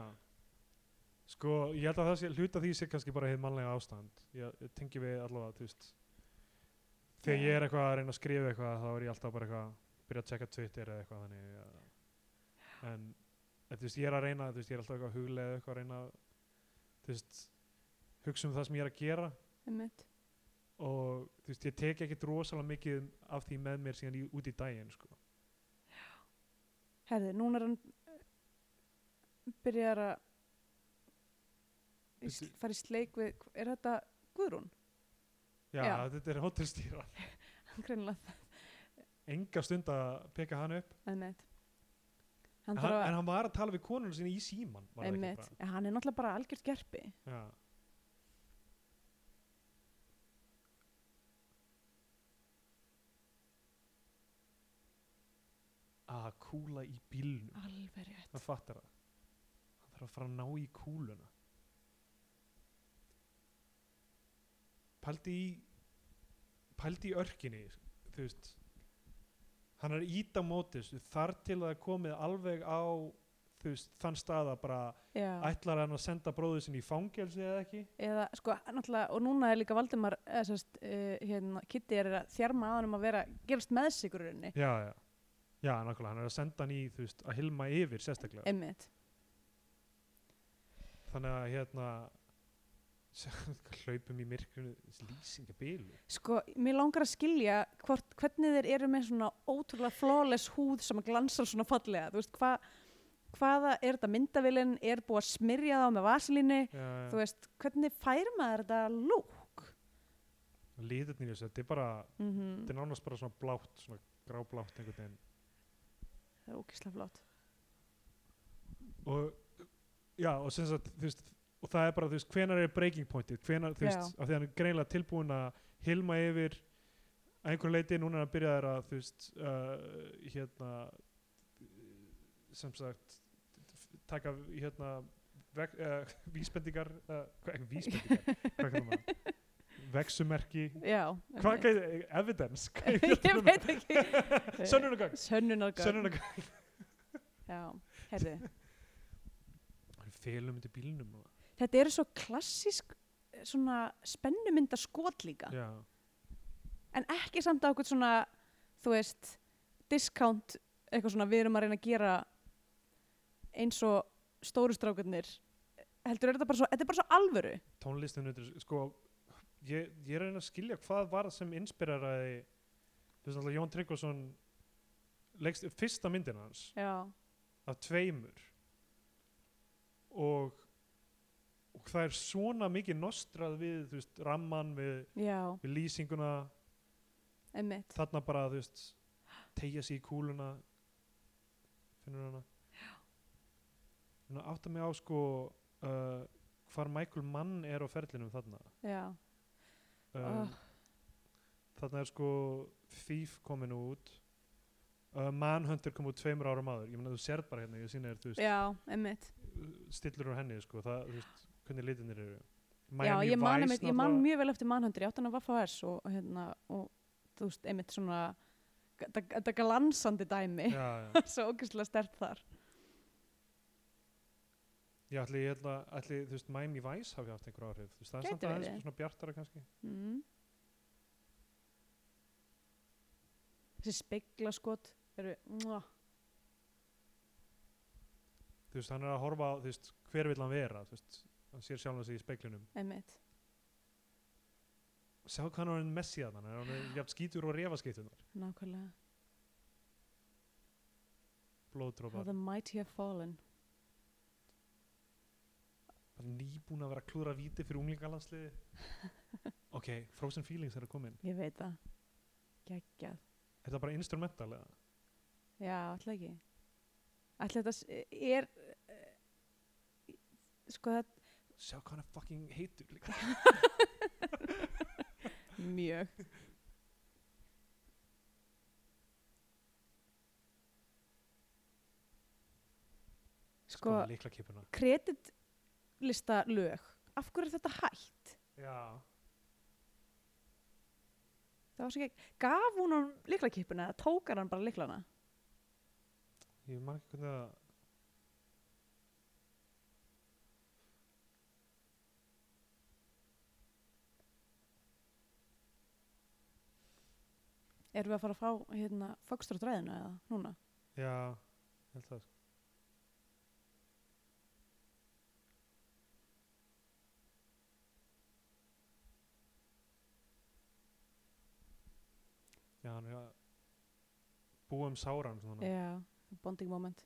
Speaker 2: Sko, ég held að það sé, hluta því sé kannski bara heið mannlega ástand. Ég, ég tengi við allavega, þú veist, þegar
Speaker 1: Já.
Speaker 2: ég er eitthvað að reyna að skrifa eitthvað, þá er ég alltaf bara eitthvað, byrja að checka Twitter eða eitthvað þannig. Já. En, en, þú veist, ég er að reyna, þú veist, ég er alltaf eitthvað huglega eitthvað að reyna, að, þú veist, hugsa um það sem ég er að gera
Speaker 1: Einmitt.
Speaker 2: og þú veist, ég tek ekkert rosalega mikið af því með mér síðan í, út í daginn, sko.
Speaker 1: herði, núna er hann byrjar að í
Speaker 2: Bíddu.
Speaker 1: sl- fara í sleik við, er þetta Guðrún?
Speaker 2: Já,
Speaker 1: Já.
Speaker 2: þetta er hótelstýra.
Speaker 1: Greinilega,
Speaker 2: Enga stund að peka hann upp.
Speaker 1: það er neitt hann,
Speaker 2: En hann,
Speaker 1: þarf
Speaker 2: en
Speaker 1: að,
Speaker 2: hann var að tala við konunum sinni í síman, var það
Speaker 1: einmitt,
Speaker 2: ekki
Speaker 1: En hann er náttúrulega bara algjört gerpi
Speaker 2: bara? Já. Að kúla í bílnum,
Speaker 1: alveg rétt,
Speaker 2: hann fattar það. Hann þarf að fara að ná í kúluna. Pældi í, pældi í örkinni, þú veist. Hann er ít á mótis, þar til að það er komið alveg á, þú veist, þann stað að bara
Speaker 1: já
Speaker 2: ætlar hann að senda bróður sinni í fangelsi eða ekki
Speaker 1: eða sko, náttúrulega, og núna er líka Valdimar, eða sérst, uh, hérna Kitty er að þjarma að hann um að vera, gerast með sig úr rauninni,
Speaker 2: já, já, já, nákvæmlega, hann er að senda hann í þú veist, að hilma yfir sérstaklega
Speaker 1: einmitt
Speaker 2: þannig að hérna s- hlaupum í myrkrinu lýsingabilu
Speaker 1: sko, mér langar að skilja hvort, hvernig þeir eru með svona ótrúlega flawless húð sem að glansar svona fallega, þú veist, hva, hvaða er þetta myndavillin, er búið að smyrja það með vaselínu, þú
Speaker 2: ja,
Speaker 1: veist, hvernig fær maður þetta lúk?
Speaker 2: litirnir í þessu, þetta er bara
Speaker 1: Mm
Speaker 2: þetta er nánast bara svona blátt, svona gráblátt einhvern veginn
Speaker 1: Það er ókíslega flott.
Speaker 2: og já, og sem sagt, þú veist og það er bara, þú veist, hvenar er breaking pointið hvenar, þú veist, af því að hann er greinlega tilbúin að hilma yfir að einhverju leiti, núna er hann byrjaður að þú veist, uh, hérna sem sagt taka, hérna veg, uh, vísbendingar uh, hvað, ekki vísbendingar, hvað kallar maður veksumerki
Speaker 1: Já.
Speaker 2: hvað
Speaker 1: einmitt.
Speaker 2: gæti, evidence hvað er
Speaker 1: Ég
Speaker 2: hérna?
Speaker 1: veit ekki.
Speaker 2: sönnunargögn
Speaker 1: Sönnunargögn.
Speaker 2: sönnunargögn
Speaker 1: Já, herði.
Speaker 2: hann félum undir bílnum og,
Speaker 1: Þetta eru svo klassísk eh, svona spennumynda skot líka.
Speaker 2: já,
Speaker 1: en ekki samt á eitthvað svona þú veist, discount eitthvað svona, við erum að reyna að gera eins og stóru strákarnir heldur er þetta bara svo, þetta er bara svo alvöru
Speaker 2: tónlistin undir, þessu, sko ég, ég er að reyna að skilja hvað var það sem inspireraði þú veist alltaf Jón Tryggvason leggst fyrsta myndin hans
Speaker 1: já,
Speaker 2: af tveimur og, og það er svona mikið nostrað við þú veist, ramman við,
Speaker 1: já,
Speaker 2: við lýsinguna
Speaker 1: emmitt
Speaker 2: þarna bara þú veist tegja sig í kúluna finnur hana Nú átta mig á sko uh, hvar Michael Mann er á ferlinum þarna
Speaker 1: já,
Speaker 2: um,
Speaker 1: Ah.
Speaker 2: þarna er sko Thief komin út uh, Manhunter kom út tveimur árum áður ég meina þú sér bara hérna, ég sýna þér þú veist,
Speaker 1: já, emmitt
Speaker 2: stillur á henni sko, það, þú veist, hvernig litinir eru
Speaker 1: já, ég man,
Speaker 2: Vice
Speaker 1: einmitt, ég man
Speaker 2: náttúrulega-
Speaker 1: mjög vel eftir mannhundur, ég átti hann að vaffa þess og, og hérna, og þú veist, emmitt svona g- þetta- þetta glansandi dæmi
Speaker 2: já, já.
Speaker 1: svo ógeðslega stert þar
Speaker 2: ég ætli, ég ætla, ætli þú veist, Miami Vice hafi haft einhver áhrif þú veist, það er
Speaker 1: Gæti
Speaker 2: samt aðeins
Speaker 1: verið.
Speaker 2: svona bjartara kannski
Speaker 1: mm. þessi speglaskot eru, mwah,
Speaker 2: þú veist, hann er að horfa á, þú veist, hver vill hann vera þú veist, hann sér sjálf sig í speiklinum
Speaker 1: emmitt
Speaker 2: sjá hvað hann er orðinn messi að hann er hann jafn skítur og refaskítunar
Speaker 1: Nákvæmlega. How
Speaker 2: blóðdrópar
Speaker 1: the mighty have fallen.
Speaker 2: bara nýbúin að vera að klúra víti fyrir unglingalandsliði ok, Frozen Feelings er að koma inn
Speaker 1: Ég veit það. Gægjað.
Speaker 2: er það bara instrumental eða?
Speaker 1: Já, alltaf ekki. Ætli þetta s- er, eh, sko þetta
Speaker 2: Sjá hvað hann er fucking heitur líka.
Speaker 1: mjög. Sko,
Speaker 2: Skoðum líkla kipuna.
Speaker 1: kreditlista lög, af hverju er þetta hætt?
Speaker 2: Já.
Speaker 1: Það var svo ekki, gaf hún hann liklakippuna eða tókar hann bara liklana?
Speaker 2: Ég man ekki hvernig það...
Speaker 1: Erum við að fara að fá hérna fokstróttræðinu eða núna?
Speaker 2: Já, ég held það. sko. Já, hann er að búa um sáran svona.
Speaker 1: Já, bonding moment.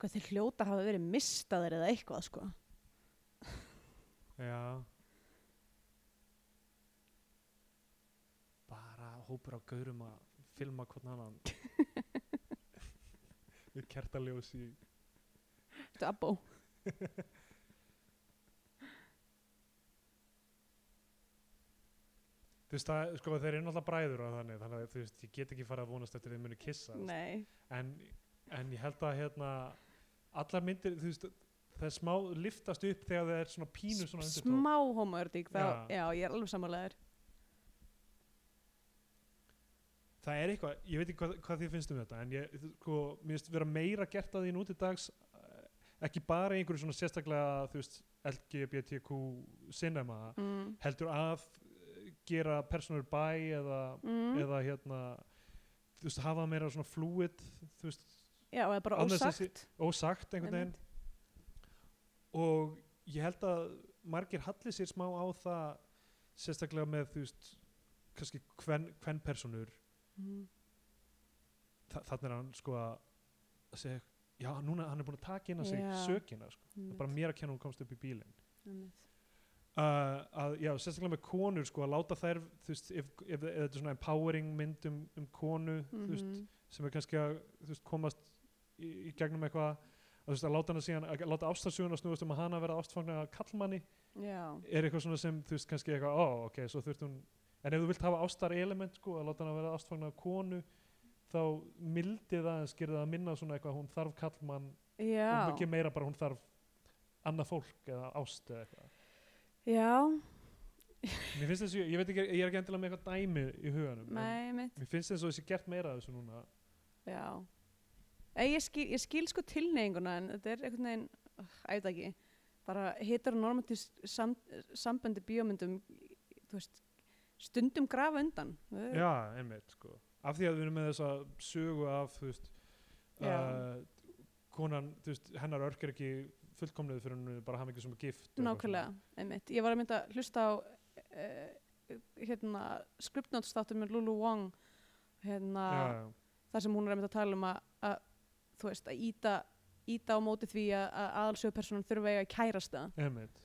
Speaker 1: Hvað þeir hljóta hafa verið mistaðir eða eitthvað sko.
Speaker 2: Já Bara hópur á gaurum að filma hvern annan Við kertaljós í
Speaker 1: Þetta er abbó.
Speaker 2: Þú veist það, sko þeir eru náttúrulega bræður og þannig Þannig að þú veist, ég get ekki farið að vonast eftir þeir muni kissa þú veist.
Speaker 1: Nei.
Speaker 2: en, en ég held að hérna Allar myndir, þú veist Það er smá liftast upp þegar það er svona pínu svona
Speaker 1: S-
Speaker 2: undirtón.
Speaker 1: Smá homoertík þá,
Speaker 2: Já.
Speaker 1: já. ég er alveg samanlegaður.
Speaker 2: Það er eitthvað, ég veit ekki hvað, hvað þið finnst um þetta en ég, þú- sko, mér finnst vera meira gert að því nú til dags eh, ekki bara í einhverju svona sérstaklega þú veist, LGBTQ cinema
Speaker 1: Mm.
Speaker 2: heldur að eh, gera personal by eða,
Speaker 1: Mm.
Speaker 2: eða hérna þú veist, hafa meira svona fluid þú veist,
Speaker 1: Já, eða bara
Speaker 2: Annars þessi-
Speaker 1: ósagt.
Speaker 2: ósagt einhvern veginn og ég held að margir hallir sér smá á það sérstaklega með þú veist kannski hvern, hvern personur
Speaker 1: Mm.
Speaker 2: Þa- þarna er hann sko að segja, já núna hann er búin að taka inn að segja
Speaker 1: Já.
Speaker 2: sökina sko, það er bara
Speaker 1: einmitt,
Speaker 2: mér að kenna hún komst upp í bílinn
Speaker 1: einmitt.
Speaker 2: uh, að, já, sérstaklega með konur sko að láta þær, þú veist, ef, ef, ef þetta er svona empowering mynd um, um konu þú veist,
Speaker 1: Mhm.
Speaker 2: sem er kannski að þú veist, komast í, í gegnum eitthvað að þú veist, að láta hana síðan, að láta ástarsuguna snúast um að hana verða ástfangna að kallmanni
Speaker 1: Já,
Speaker 2: er eitthvað svona sem, þú veist, kannski eitthvað ó, ok, svo þurft hún, en ef þú vilt hafa ástar element, sko, að láta hana vera ástfagna af konu þá mildi það en skýrði það að minna svona eitthvað, hún þarf kallmann
Speaker 1: já.
Speaker 2: og ekki meira bara hún þarf annað fólk eða ást eða eitthvað
Speaker 1: Já,
Speaker 2: mér finnst þessu, ég veit ekki, ég er ekki endilega með eitthvað dæmi í huganum,
Speaker 1: nei mitt,
Speaker 2: en mér finnst þessu þessi gert meira af þessu núna,
Speaker 1: já. Ég, ég, skil, ég skil sko tilneyinguna en þetta er einhvern veginn, ætta ekki, bara heteronormativ sam, sambandi bíómyndum, þú veist, stundum grafa undan. Þau-
Speaker 2: já, einmitt, sko af því að við erum með þessa sögu af, þú veist
Speaker 1: Já.
Speaker 2: uh, konan, þú veist, hennar örk er ekki fullkomnið fyrir hún er bara hafa ekki sem gift og eitthvað svona.
Speaker 1: Nákvæmlega, einmitt. Ég var að mynda að hlusta á uh, hérna, skriptnótsþáttum með Lulu Wong, hérna,
Speaker 2: já, já.
Speaker 1: þar sem hún er einmitt að tala um að, að þú veist, að íta, íta á móti því að, að aðalsögupersonan þurfa að eiga kærasta.
Speaker 2: Emmett,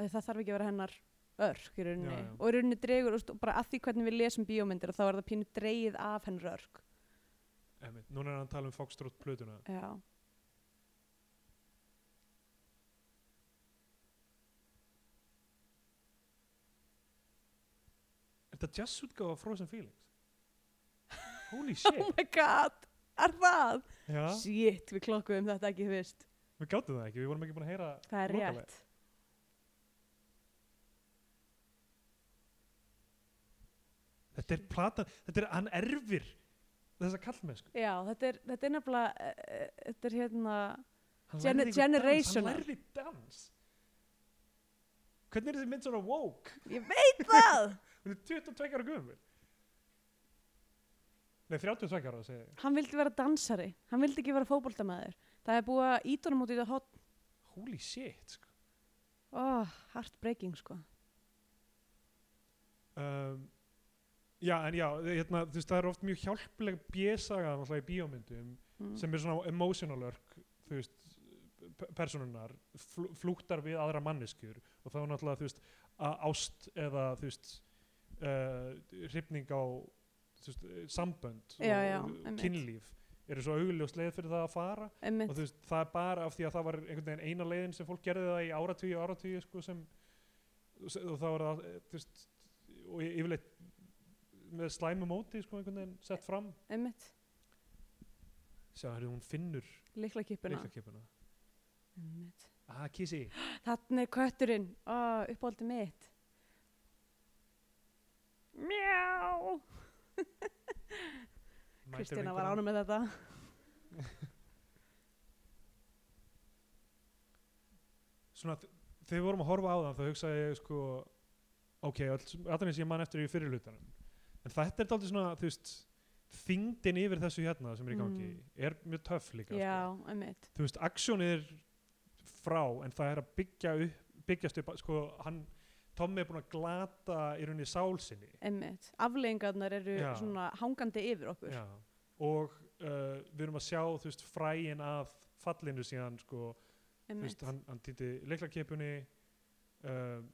Speaker 1: að það þarf ekki að vera hennar örk í rauninni
Speaker 2: Já, já.
Speaker 1: og í rauninni dregur þú veist, og bara að því hvernig við lesum bíómyndir þá er það pínu dreigið af hennar örk
Speaker 2: Emmett, núna er hann að tala um Foxtrot plötuna
Speaker 1: já,
Speaker 2: Er þetta jazz útgáfa af Frozen Feelings? Holy shit
Speaker 1: oh my god er það?
Speaker 2: Já,
Speaker 1: shit, við klokkuðum þetta ekki fyrst
Speaker 2: við gáttum það ekki, við vorum ekki búin að heyra
Speaker 1: það er
Speaker 2: lokalega.
Speaker 1: rétt
Speaker 2: Þetta er platan, þetta er, hann erfir þessa kallmennsku
Speaker 1: já, þetta er, þetta er nefnilega eh, eh, þetta er hérna
Speaker 2: Hann
Speaker 1: Gen-
Speaker 2: lærði ykkur dans,
Speaker 1: generational.
Speaker 2: Hann lærði dans Hvernig er þessi mynd svona woke?
Speaker 1: ég veit það
Speaker 2: Hún er 22 ára guðum Nei, 32 ára segi ég
Speaker 1: hann vildi vera dansari, hann vildi ekki vera fótboltamæður það er búið að íta honum út í þetta hot
Speaker 2: Holy shit sko.
Speaker 1: oh, heartbreaking sko
Speaker 2: um, Já, en já, hérna, þú veist, það er oft mjög hjálpleg bjösaga náttúrulega í bíómyndum
Speaker 1: mm.
Speaker 2: sem er svona emotional work þú veist, pe- persónunnar fl flúktar við aðra manneskjur og þá er náttúrulega þú veist, að ást eða þú veist uh, eh, hrifning á þú veist, eh, sambönd
Speaker 1: Já, já,
Speaker 2: og eh,
Speaker 1: einmitt.
Speaker 2: kynlíf eru svo augljóst leið fyrir það að fara og
Speaker 1: einmitt,
Speaker 2: þú veist, það er bara af því að það var einhvern veginn eina leiðin sem fólk gerði það í áratugi og áratugi sko, sem, og se- og þá var það eh, þú veist, og y- yfirleitt með slæmu móti sko, einhvern veginn sett fram
Speaker 1: einmitt
Speaker 2: sjá, hérna hún finnur
Speaker 1: líkla kippuna
Speaker 2: leikakipuna ah, kísi,
Speaker 1: þannig er kötturinn oh, uppáldi mitt mjá
Speaker 2: mætir
Speaker 1: Kristina var
Speaker 2: vinkonan.
Speaker 1: ánum með þetta
Speaker 2: svona, þ- þegar við vorum að horfa á það þá hugsaði ég sko ok, allan eins ég man eftir í fyrirlutanum en þetta er dálítið svona, þú veist þyngdin yfir þessu hérna sem er í gangi
Speaker 1: Mm.
Speaker 2: er mjög töff líka
Speaker 1: já,
Speaker 2: sko.
Speaker 1: einmitt
Speaker 2: þú veist, aksjónið er frá en það er að byggja upp, byggjast upp sko, hann, Tommy er búin að glata í rauninni sál sinni
Speaker 1: einmitt, afleggingarnar eru
Speaker 2: Já.
Speaker 1: svona hangandi yfir okkur
Speaker 2: Já. og uh, við erum að sjá þú veist, fræin af fallinu síðan sko, þú
Speaker 1: einmitt,
Speaker 2: veist, hann, hann týndi leiklakepunni uh,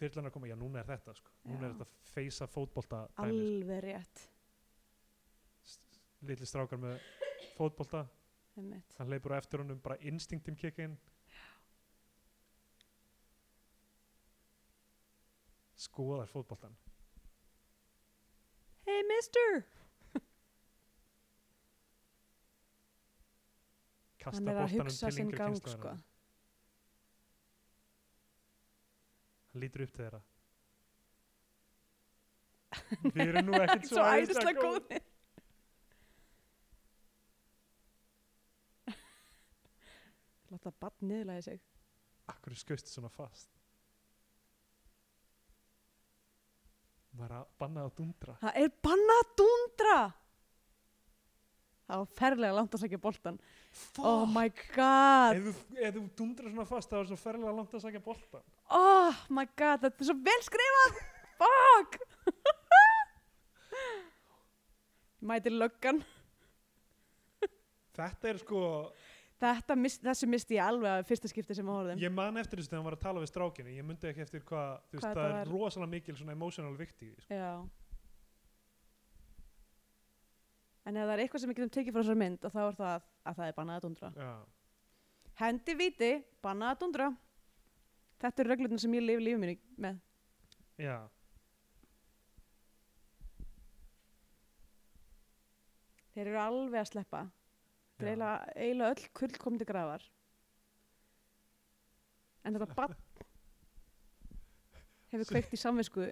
Speaker 2: þyrlan er að koma, já núna er þetta sko.
Speaker 1: Já.
Speaker 2: núna er þetta að feysa fótbolta dæmi,
Speaker 1: alveg rétt
Speaker 2: sko. litli strákar með fótbolta
Speaker 1: einmitt,
Speaker 2: hann leipur á eftir honum, bara um instinktin kikkin skoðar fótboltan
Speaker 1: hey mister
Speaker 2: kasta
Speaker 1: hann er að
Speaker 2: boltanum
Speaker 1: hugsa
Speaker 2: til
Speaker 1: sinn
Speaker 2: yngri
Speaker 1: gang sko
Speaker 2: kynslóðarinnar.
Speaker 1: sko.
Speaker 2: hann lítur upp til þeirra við erum nú ekkert
Speaker 1: svo æðislega góðir sko. Láta barn niðurlega sig
Speaker 2: Akkur skauðst svona fast Maður er að bannað að dundra
Speaker 1: Það er bannað að dundra Það var ferlega langt að sækja boltan Oh my god
Speaker 2: Ef þú, ef þú dundrar svona fast þá er svo ferlega langt að sækja bolta
Speaker 1: Oh my god, þetta er svo vel skrifað Fuck Mætir löggan
Speaker 2: Þetta er sko,
Speaker 1: Þetta, mis, þessu misti ég alveg að fyrsta skipti sem að horfðum
Speaker 2: ég man eftir þessu þegar hann var að tala við strákinu Ég myndi ekki eftir hvað, þú veist,
Speaker 1: Hvað
Speaker 2: það
Speaker 1: þetta
Speaker 2: er
Speaker 1: var?
Speaker 2: rosalega mikil svona emotional vikt í því sko.
Speaker 1: Já En ef það er eitthvað sem við getum tekið frá þessari mynd að þá er það að það er bannað að dundra
Speaker 2: Já,
Speaker 1: Hendi viti, bannað að dundra Þetta eru reglurnar sem ég lifi lífið mínu með
Speaker 2: já
Speaker 1: Þeir eru alveg að sleppa Þetta er
Speaker 2: já.
Speaker 1: eiginlega- eiginlega öll kull kom til grafar En þetta bann hefur kveikt í samvisku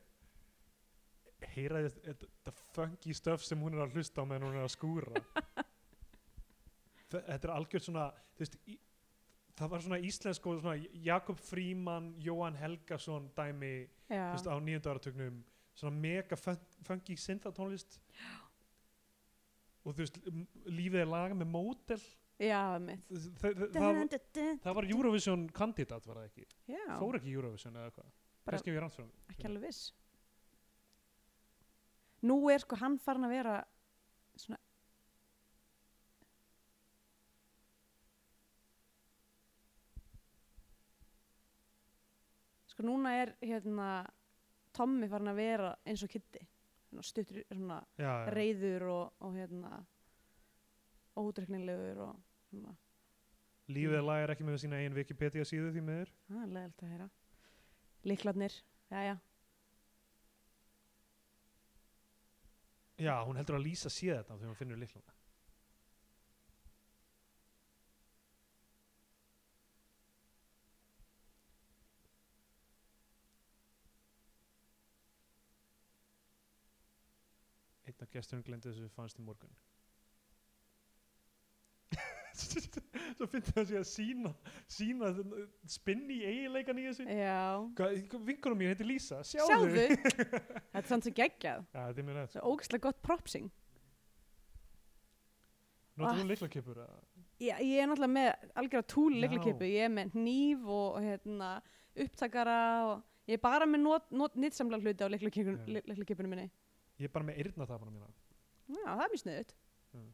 Speaker 2: Heyra þið- þetta þetta funky stuff sem hún er að hlusta á meðan hún er að skúra Þe- Þetta er algjörð svona þú veist, í, það var svona íslensk og svona Jakob Fríman, Jóhann Helgason dæmi þú
Speaker 1: Já,
Speaker 2: veist, á nýjönda áratugnum svona mega fun- funky synthatónlist og þú veist m- lífið er laga með mótel
Speaker 1: já, mitt
Speaker 2: Þ- þ- þ- það, það var Eurovision kandidat var það ekki
Speaker 1: Já,
Speaker 2: fór ekki í Eurovision eða eitthvað
Speaker 1: Bara-
Speaker 2: kannski við rann fyrir mig.
Speaker 1: ekki alveg viss nú er sko hann farin að vera svona sko núna er hérna Tommy farin að vera eins og Kitty Svona stuttur svona
Speaker 2: já, já.
Speaker 1: reyður og, og hérna ódreknilegur og svona
Speaker 2: lífið er laga er ekki með sína einn Wikipedia síðu því miður
Speaker 1: það er leðalt að heyra líklarnir, jæja
Speaker 2: Já, hún heldur að Lísa sé þetta þegar hún finnur liklana. Einn af gesturinn glendi þessu fannst í morgun. Svo finnst það sér að sína, sína spinni eiginleikan í þessu.
Speaker 1: já
Speaker 2: Vinkunum mín heitir Lísa, sjáðu.
Speaker 1: Sjáðu, þetta er samt sem geggjað
Speaker 2: Já, þetta er mér
Speaker 1: Svo
Speaker 2: nætt.
Speaker 1: ógeðslega gott propsing Ah.
Speaker 2: Notur hún liklakipur að...
Speaker 1: ég, ég er náttúrulega með algjörða túl
Speaker 2: Já.
Speaker 1: leiklikipu Ég er með hníf og hérna, upptakara og Ég er bara með not, not, nýtsamlega hluti á
Speaker 2: Já.
Speaker 1: leiklikipinu minni
Speaker 2: Ég er bara með hérna. eyrnatapana mína.
Speaker 1: Já, það er mjög sniðut
Speaker 2: Mm.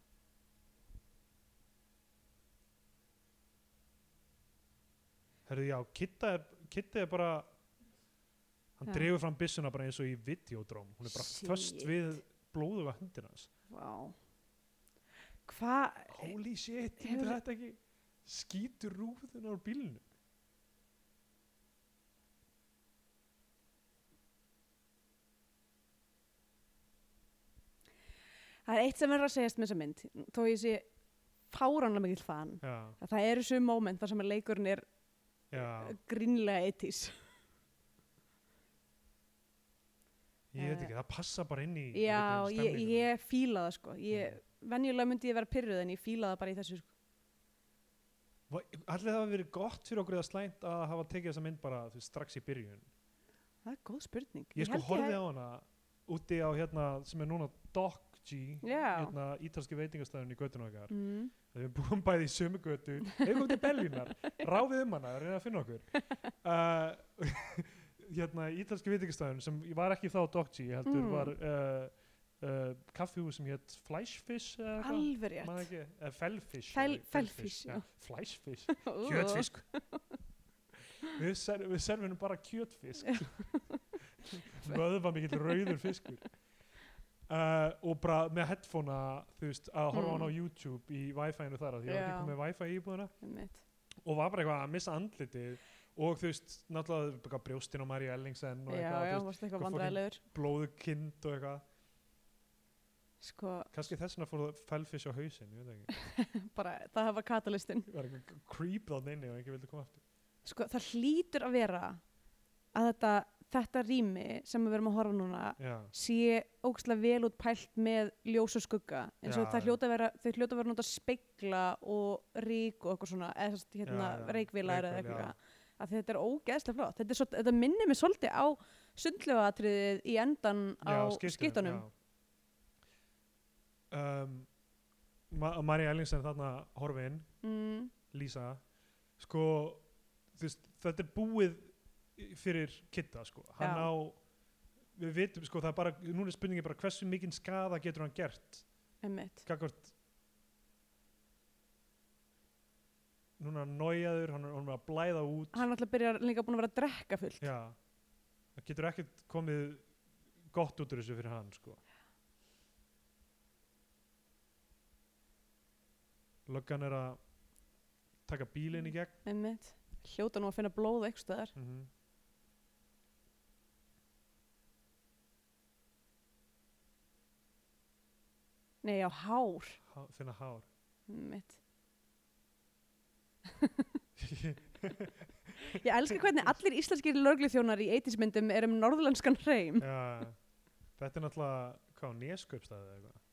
Speaker 2: Herðu, já, Kitta er, Kitta er bara hann
Speaker 1: Já.
Speaker 2: dregur fram byssuna bara eins og í videodróm hún er bara
Speaker 1: Shit.
Speaker 2: föst við blóðuga hundin hans
Speaker 1: Vá. Hvað?
Speaker 2: holy shit,
Speaker 1: Eh, Hefur-
Speaker 2: hefur þetta ekki skýtur rúðuna úr bílinu
Speaker 1: Það er eitt sem er að segjast með þessa mynd, þó ég sé fáránlega mikill fan.
Speaker 2: já,
Speaker 1: Að það eru sum moment þar sem að leikurinn er
Speaker 2: já,
Speaker 1: grínlega etís.
Speaker 2: ég veit
Speaker 1: Eh,
Speaker 2: ekki það passa bara inn í Mm.
Speaker 1: Já,
Speaker 2: einhvern
Speaker 1: ég,
Speaker 2: veginn stemninguna.
Speaker 1: ég fíla það sko. Ég, venjulega myndi ég vera pyrruð en ég fíla það bara í þessu sko.
Speaker 2: Va- allir það hafi verið gott fyrir okkur eða slæmt að hafa tekið þessa mynd bara þú veist, strax í byrjun
Speaker 1: Það er góð spurning.
Speaker 2: ég sko
Speaker 1: held
Speaker 2: horfið á hana úti á hérna sem er núna Doc G
Speaker 1: Já.
Speaker 2: hérna ítalski veitingastæðun í göttun okkar
Speaker 1: Mm.
Speaker 2: þegar við búum bæði í sömu götu við komum til Berlínar, ráfið um hana reyna að finna okkur uh, hérna ítalski veitingastæðun sem ég var ekki þá Doc G heldur
Speaker 1: Mm.
Speaker 2: var uh, uh, kaffihús sem hétt Fleischfish eða eitthvað
Speaker 1: Alveg
Speaker 2: man
Speaker 1: rétt.
Speaker 2: ekki, eða Fellfish
Speaker 1: Fel-
Speaker 2: eða
Speaker 1: Fellfish, já.
Speaker 2: Fleischfish
Speaker 1: Ú.
Speaker 2: Kjötfisk Við, ser, við serfinum bara kjötfisk Vöðva mikill rauður fiskur uh, Og bara með headphonea Þú veist, að horfa á hann á
Speaker 1: Mm.
Speaker 2: YouTube Í Wi-Fi-inu þar af Því að ég var
Speaker 1: Já.
Speaker 2: ekki komið Wi-Fi í íbúðina
Speaker 1: Einmitt.
Speaker 2: Og var bara eitthvað að missa andlitið Og þú veist, náttúrulega bara brjóstin á Maríu Ellingsen Og
Speaker 1: Já, já,
Speaker 2: eitthvað, þú veist,
Speaker 1: varst eitthvað
Speaker 2: hvað fucking-
Speaker 1: vandræðilegur.
Speaker 2: blóðu kind og eitthvað
Speaker 1: Sko,
Speaker 2: Kannski þess vegna fór það felfish á hausinn Ég veit ekki,
Speaker 1: bara, það hafa katalystin.
Speaker 2: það var eitthvað creep þá neini Og ekki vildi koma aftur
Speaker 1: Sko, það hlýtur að vera að þetta, þetta rými sem við verum að horfa núna
Speaker 2: Já,
Speaker 1: sé ógstlega vel út pælt með ljós og skugga eins og
Speaker 2: Já,
Speaker 1: það
Speaker 2: já.
Speaker 1: hljóta að vera, þau hljóta að vera nota speikla og rík og eitthvað svona eða sérst, hérna,
Speaker 2: Já, já,
Speaker 1: reikvilar eða
Speaker 2: reykvél, já.
Speaker 1: eitthvað að þetta er ógeðslega flott þetta, er svo, þetta minnir mig svolítið á sundlefaðatriðið í endan á skittunum
Speaker 2: já. um, Ma Marja Ellingsen þarna horfin,
Speaker 1: mm,
Speaker 2: Lísa sko þú veist, þetta er búið í- fyrir kitta sko, hann
Speaker 1: Já.
Speaker 2: á við vitum sko, það er bara, núna er spurningin bara hversu mikinn skaða getur hann gert
Speaker 1: einmitt
Speaker 2: gagvart núna er hann nájaður, hann er hann er að blæða út
Speaker 1: hann alltaf byrjar líka búin að vera að drekka fullt
Speaker 2: já, það getur ekkert komið gott út úr þessu fyrir hann sko löggan er að taka bílinn í gegn
Speaker 1: einmitt, hljóta nú að finna blóð eitthvað stöðar
Speaker 2: mm
Speaker 1: nei, á hár,
Speaker 2: Há, finna hár
Speaker 1: einmitt ég elska hvernig allir íslenskir lögluþjónar í eitismyndum eru með norðurlenskan hreim
Speaker 2: já, þetta er náttúrulega hvað, neskaupstæði eða eitthvað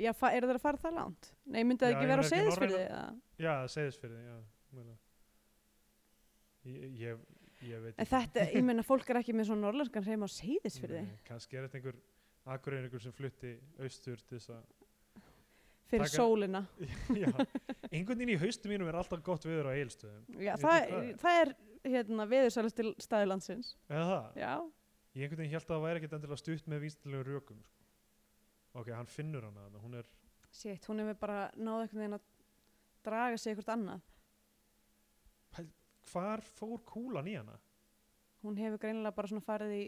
Speaker 1: Já, fa- eru þeir að fara það langt? Nei, myndi það
Speaker 2: Já,
Speaker 1: ekki
Speaker 2: ég
Speaker 1: vera á
Speaker 2: meina ekki
Speaker 1: seyðisfyrði? eða?
Speaker 2: já, segðisfyrði, já mögulega. ég, ég, ég veit
Speaker 1: En þetta, ég meina, fólk er ekki með svona norðlenskan hreim á seyðisfyrði
Speaker 2: Nei, kannski er þetta einhver akureyringur sem flutti austur til þess að
Speaker 1: fyrir
Speaker 2: Taka-
Speaker 1: sólina.
Speaker 2: Já, einhvern veginn í haustum mínum er alltaf gott viður á eilstöðum.
Speaker 1: Já,
Speaker 2: Veitu
Speaker 1: það,
Speaker 2: hvað?
Speaker 1: það er, hérna, veðursalist til staðilandsins.
Speaker 2: Eða það?
Speaker 1: Já,
Speaker 2: Ég einhvern veginn held að það væri ekkert endilega stutt með vísindilegu rökum. Sko. Ok, hann finnur hana, þannig að hún er,
Speaker 1: sétt, hún hefur bara náð einhvern veginn að draga sig eitthvað annað.
Speaker 2: hvar fór kúlan í hana?
Speaker 1: Hún hefur greinilega bara svona farið í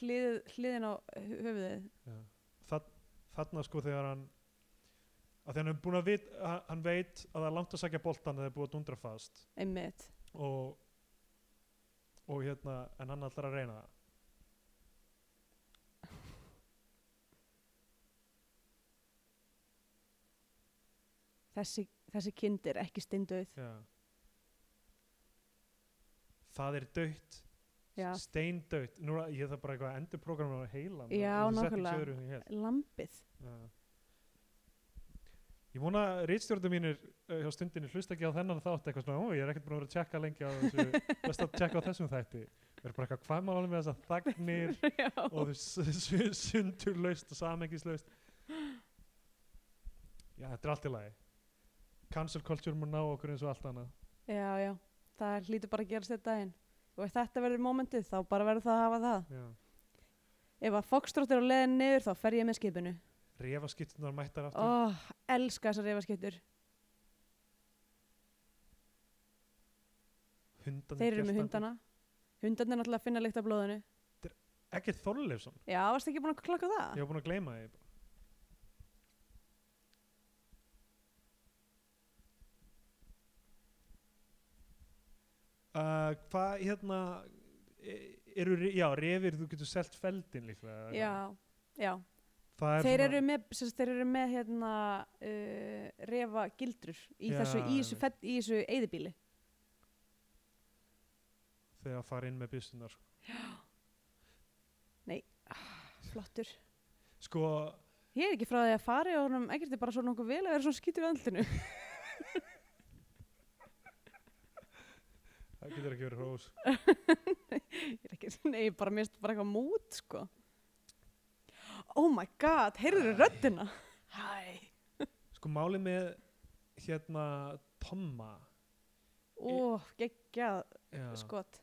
Speaker 1: hlið, hliðin á hu- höfuðið.
Speaker 2: Já. Það, þarna sko þegar hann, að þegar hann er búin að vit, að, hann veit að það er langt að sækja boltan eða búið að dundra fast
Speaker 1: Einmitt.
Speaker 2: og, og hérna, en hann ætlar að reyna það.
Speaker 1: Þessi, þessi kind er ekki stindauð.
Speaker 2: Já. Það er dött
Speaker 1: Já,
Speaker 2: steindautt nú er ég þarf bara eitthvað að endur prógramma á heilan
Speaker 1: Já, nákvæmlega.
Speaker 2: nákvæmlega
Speaker 1: lambið.
Speaker 2: ég vona að rítstjórnum mínir uh, hjá stundinni hlust ekki á þennan þátt eitthvað svona, ó ég er ekkert búin að vera að tjekka lengi á þessu best að tjekka á þessum þætti við erum bara eitthvað hvað maður alveg með þess að þagnir
Speaker 1: Já.
Speaker 2: og þessu sundurlaust og samengislaust já þetta er allt í lagi cancel culture mun ná okkur eins og allt annað
Speaker 1: Já, já, það hlýtur bara að gerast þetta daginn. Og ef þetta verður mómentið, þá bara verður það að hafa það.
Speaker 2: já.
Speaker 1: Ef að Foxtrot er á leiðin niður, þá fer ég með skipinu.
Speaker 2: refaskittunar mættar aftur
Speaker 1: Ó, elska þessar reyfaskiptur.
Speaker 2: hundarnir
Speaker 1: Þeir eru með
Speaker 2: geltandi.
Speaker 1: hundana. Hundarnir náttúrulega finna lykt af blóðinu.
Speaker 2: Ekkert Þorleifsson
Speaker 1: Já, varst ekki búin að klokka það?
Speaker 2: Ég var búin að gleyma því bara. Uh, hvað hérna e- eru, re- já, refir þú getur selt feldin líklega eða
Speaker 1: Já,
Speaker 2: eitthvað.
Speaker 1: já.
Speaker 2: Það er
Speaker 1: Þeir
Speaker 2: svona-
Speaker 1: eru með, sem sagt, þeir eru með hérna uh, refa gildur í
Speaker 2: Já,
Speaker 1: þessu, í þessu,
Speaker 2: einmitt.
Speaker 1: fett, í þessu eyðibíli.
Speaker 2: þegar að fara inn með byssunar sko.
Speaker 1: Flottur.
Speaker 2: sko,
Speaker 1: Ég er ekki frá því að fari og honum ekkert er bara svo nokkuð vel að vera svona skýtur í andlinu.
Speaker 2: það getur ekki verið hrós
Speaker 1: Ég er ekki, nei, ég bara mist bara eitthvað mút, sko. Oh my god, heyrður röddina? Hæ.
Speaker 2: sko málið með hérna Tomma
Speaker 1: Ó, geggjað
Speaker 2: já,
Speaker 1: skot.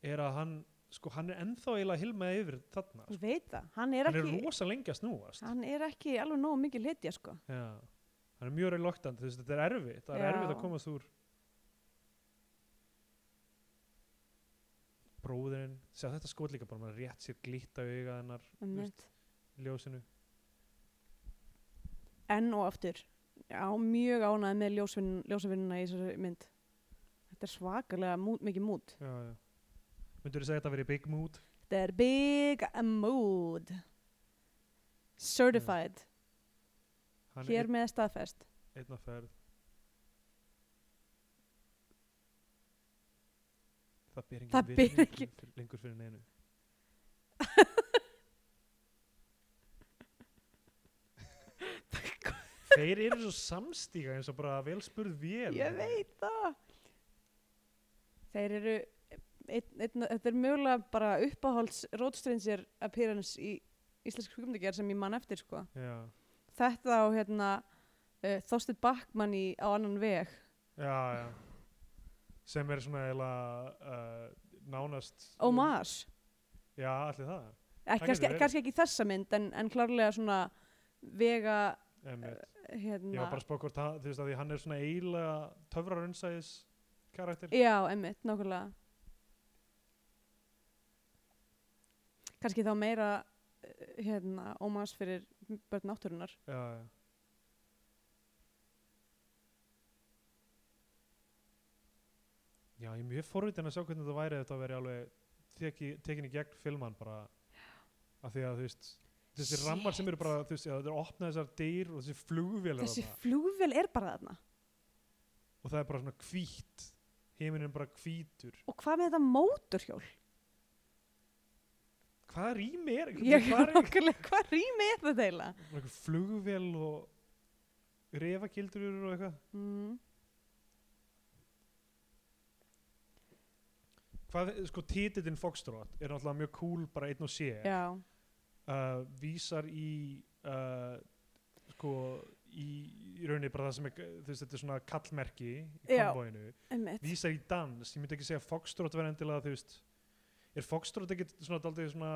Speaker 2: er að hann sko hann er ennþá eiginlega hilmaði yfir þarna
Speaker 1: Ég
Speaker 2: sko.
Speaker 1: veit það. Hann er
Speaker 2: hann er
Speaker 1: ekki,
Speaker 2: rosa lengi að snúast
Speaker 1: hann er ekki alveg nógu mikið hetja, sko.
Speaker 2: já, hann er mjög reloktandi þú veist þetta er erfitt, það er
Speaker 1: Já.
Speaker 2: erfitt að komast úr bróðurinn sjá þetta skot líka bara, maður rétt sér glýtt á auga hennar
Speaker 1: Einmitt.
Speaker 2: í ljósinu
Speaker 1: enn og aftur já, mjög ánægð með ljósvinn- ljósavinnuna í þessari mynd þetta er svakalega mút, mikið mút
Speaker 2: já, já. myndur þú segja þetta verið big mood
Speaker 1: þetta er big mood certified
Speaker 2: hann
Speaker 1: hér
Speaker 2: er
Speaker 1: með staðfest
Speaker 2: einn, einn að ferð það ber engin
Speaker 1: Það ber
Speaker 2: virðingu
Speaker 1: engin-
Speaker 2: fyrir- lengur fyrir neinu Þeir eru svo samstíga eins og bara vel spurð vél.
Speaker 1: ég veit það þeir eru ein, ein, þetta er mögulega bara uppáhalds rótstrinsir appearance í íslensk skummdegjar sem ég man eftir sko
Speaker 2: Já,
Speaker 1: þetta á hérna uh, Þorstin Backmann í á annan veg
Speaker 2: Mm. já, já. Sem er svona eiginlega uh, nánast...
Speaker 1: Ómas
Speaker 2: Já, allir það.
Speaker 1: Eh,
Speaker 2: Það
Speaker 1: kannski,
Speaker 2: getur verið.
Speaker 1: kannski ekki þessa mynd en, en klárlega svona vega
Speaker 2: Einmitt. Ég var
Speaker 1: hérna,
Speaker 2: bara að spá hvort það, þú veist að því hann er svona eiginlega töfrarunnsæðis karakter.
Speaker 1: já, emmitt, nákvæmlega kannski þá meira eh, hérna, ómas fyrir börn náttúrunar
Speaker 2: Já, já. Já, ég er mjög forvitin að sjá hvernig þetta væri ef þetta væri alveg teki, tekin í gegn filman bara af því að þú veist þessi rammar sem eru bara, þú veist, já, þetta er opnað þessar dyr og þessi flugvél
Speaker 1: þessi flugvél er bara þarna
Speaker 2: og það er bara svona hvít heiminn er bara hvítur
Speaker 1: og hvað með þetta móturhjól
Speaker 2: hvað rými er,
Speaker 1: ég,
Speaker 2: hvað er
Speaker 1: nákvæmlega, hvað rými er þetta eiginlega
Speaker 2: Bara einhver flugvél og refagildur og eitthvað
Speaker 1: mm.
Speaker 2: hvað, sko, titillin Foxtrot er náttúrulega mjög cool bara einn og sé
Speaker 1: já,
Speaker 2: uh, vísar í uh, sko í, í rauninni bara það sem er, þú veist, þetta er svona kallmerki í
Speaker 1: Já.
Speaker 2: konvóinu
Speaker 1: emmitt
Speaker 2: vísar í dans, ég myndi ekki segja Foxtrot verið endilega, þú veist er Foxtrot ekki svona daldið svona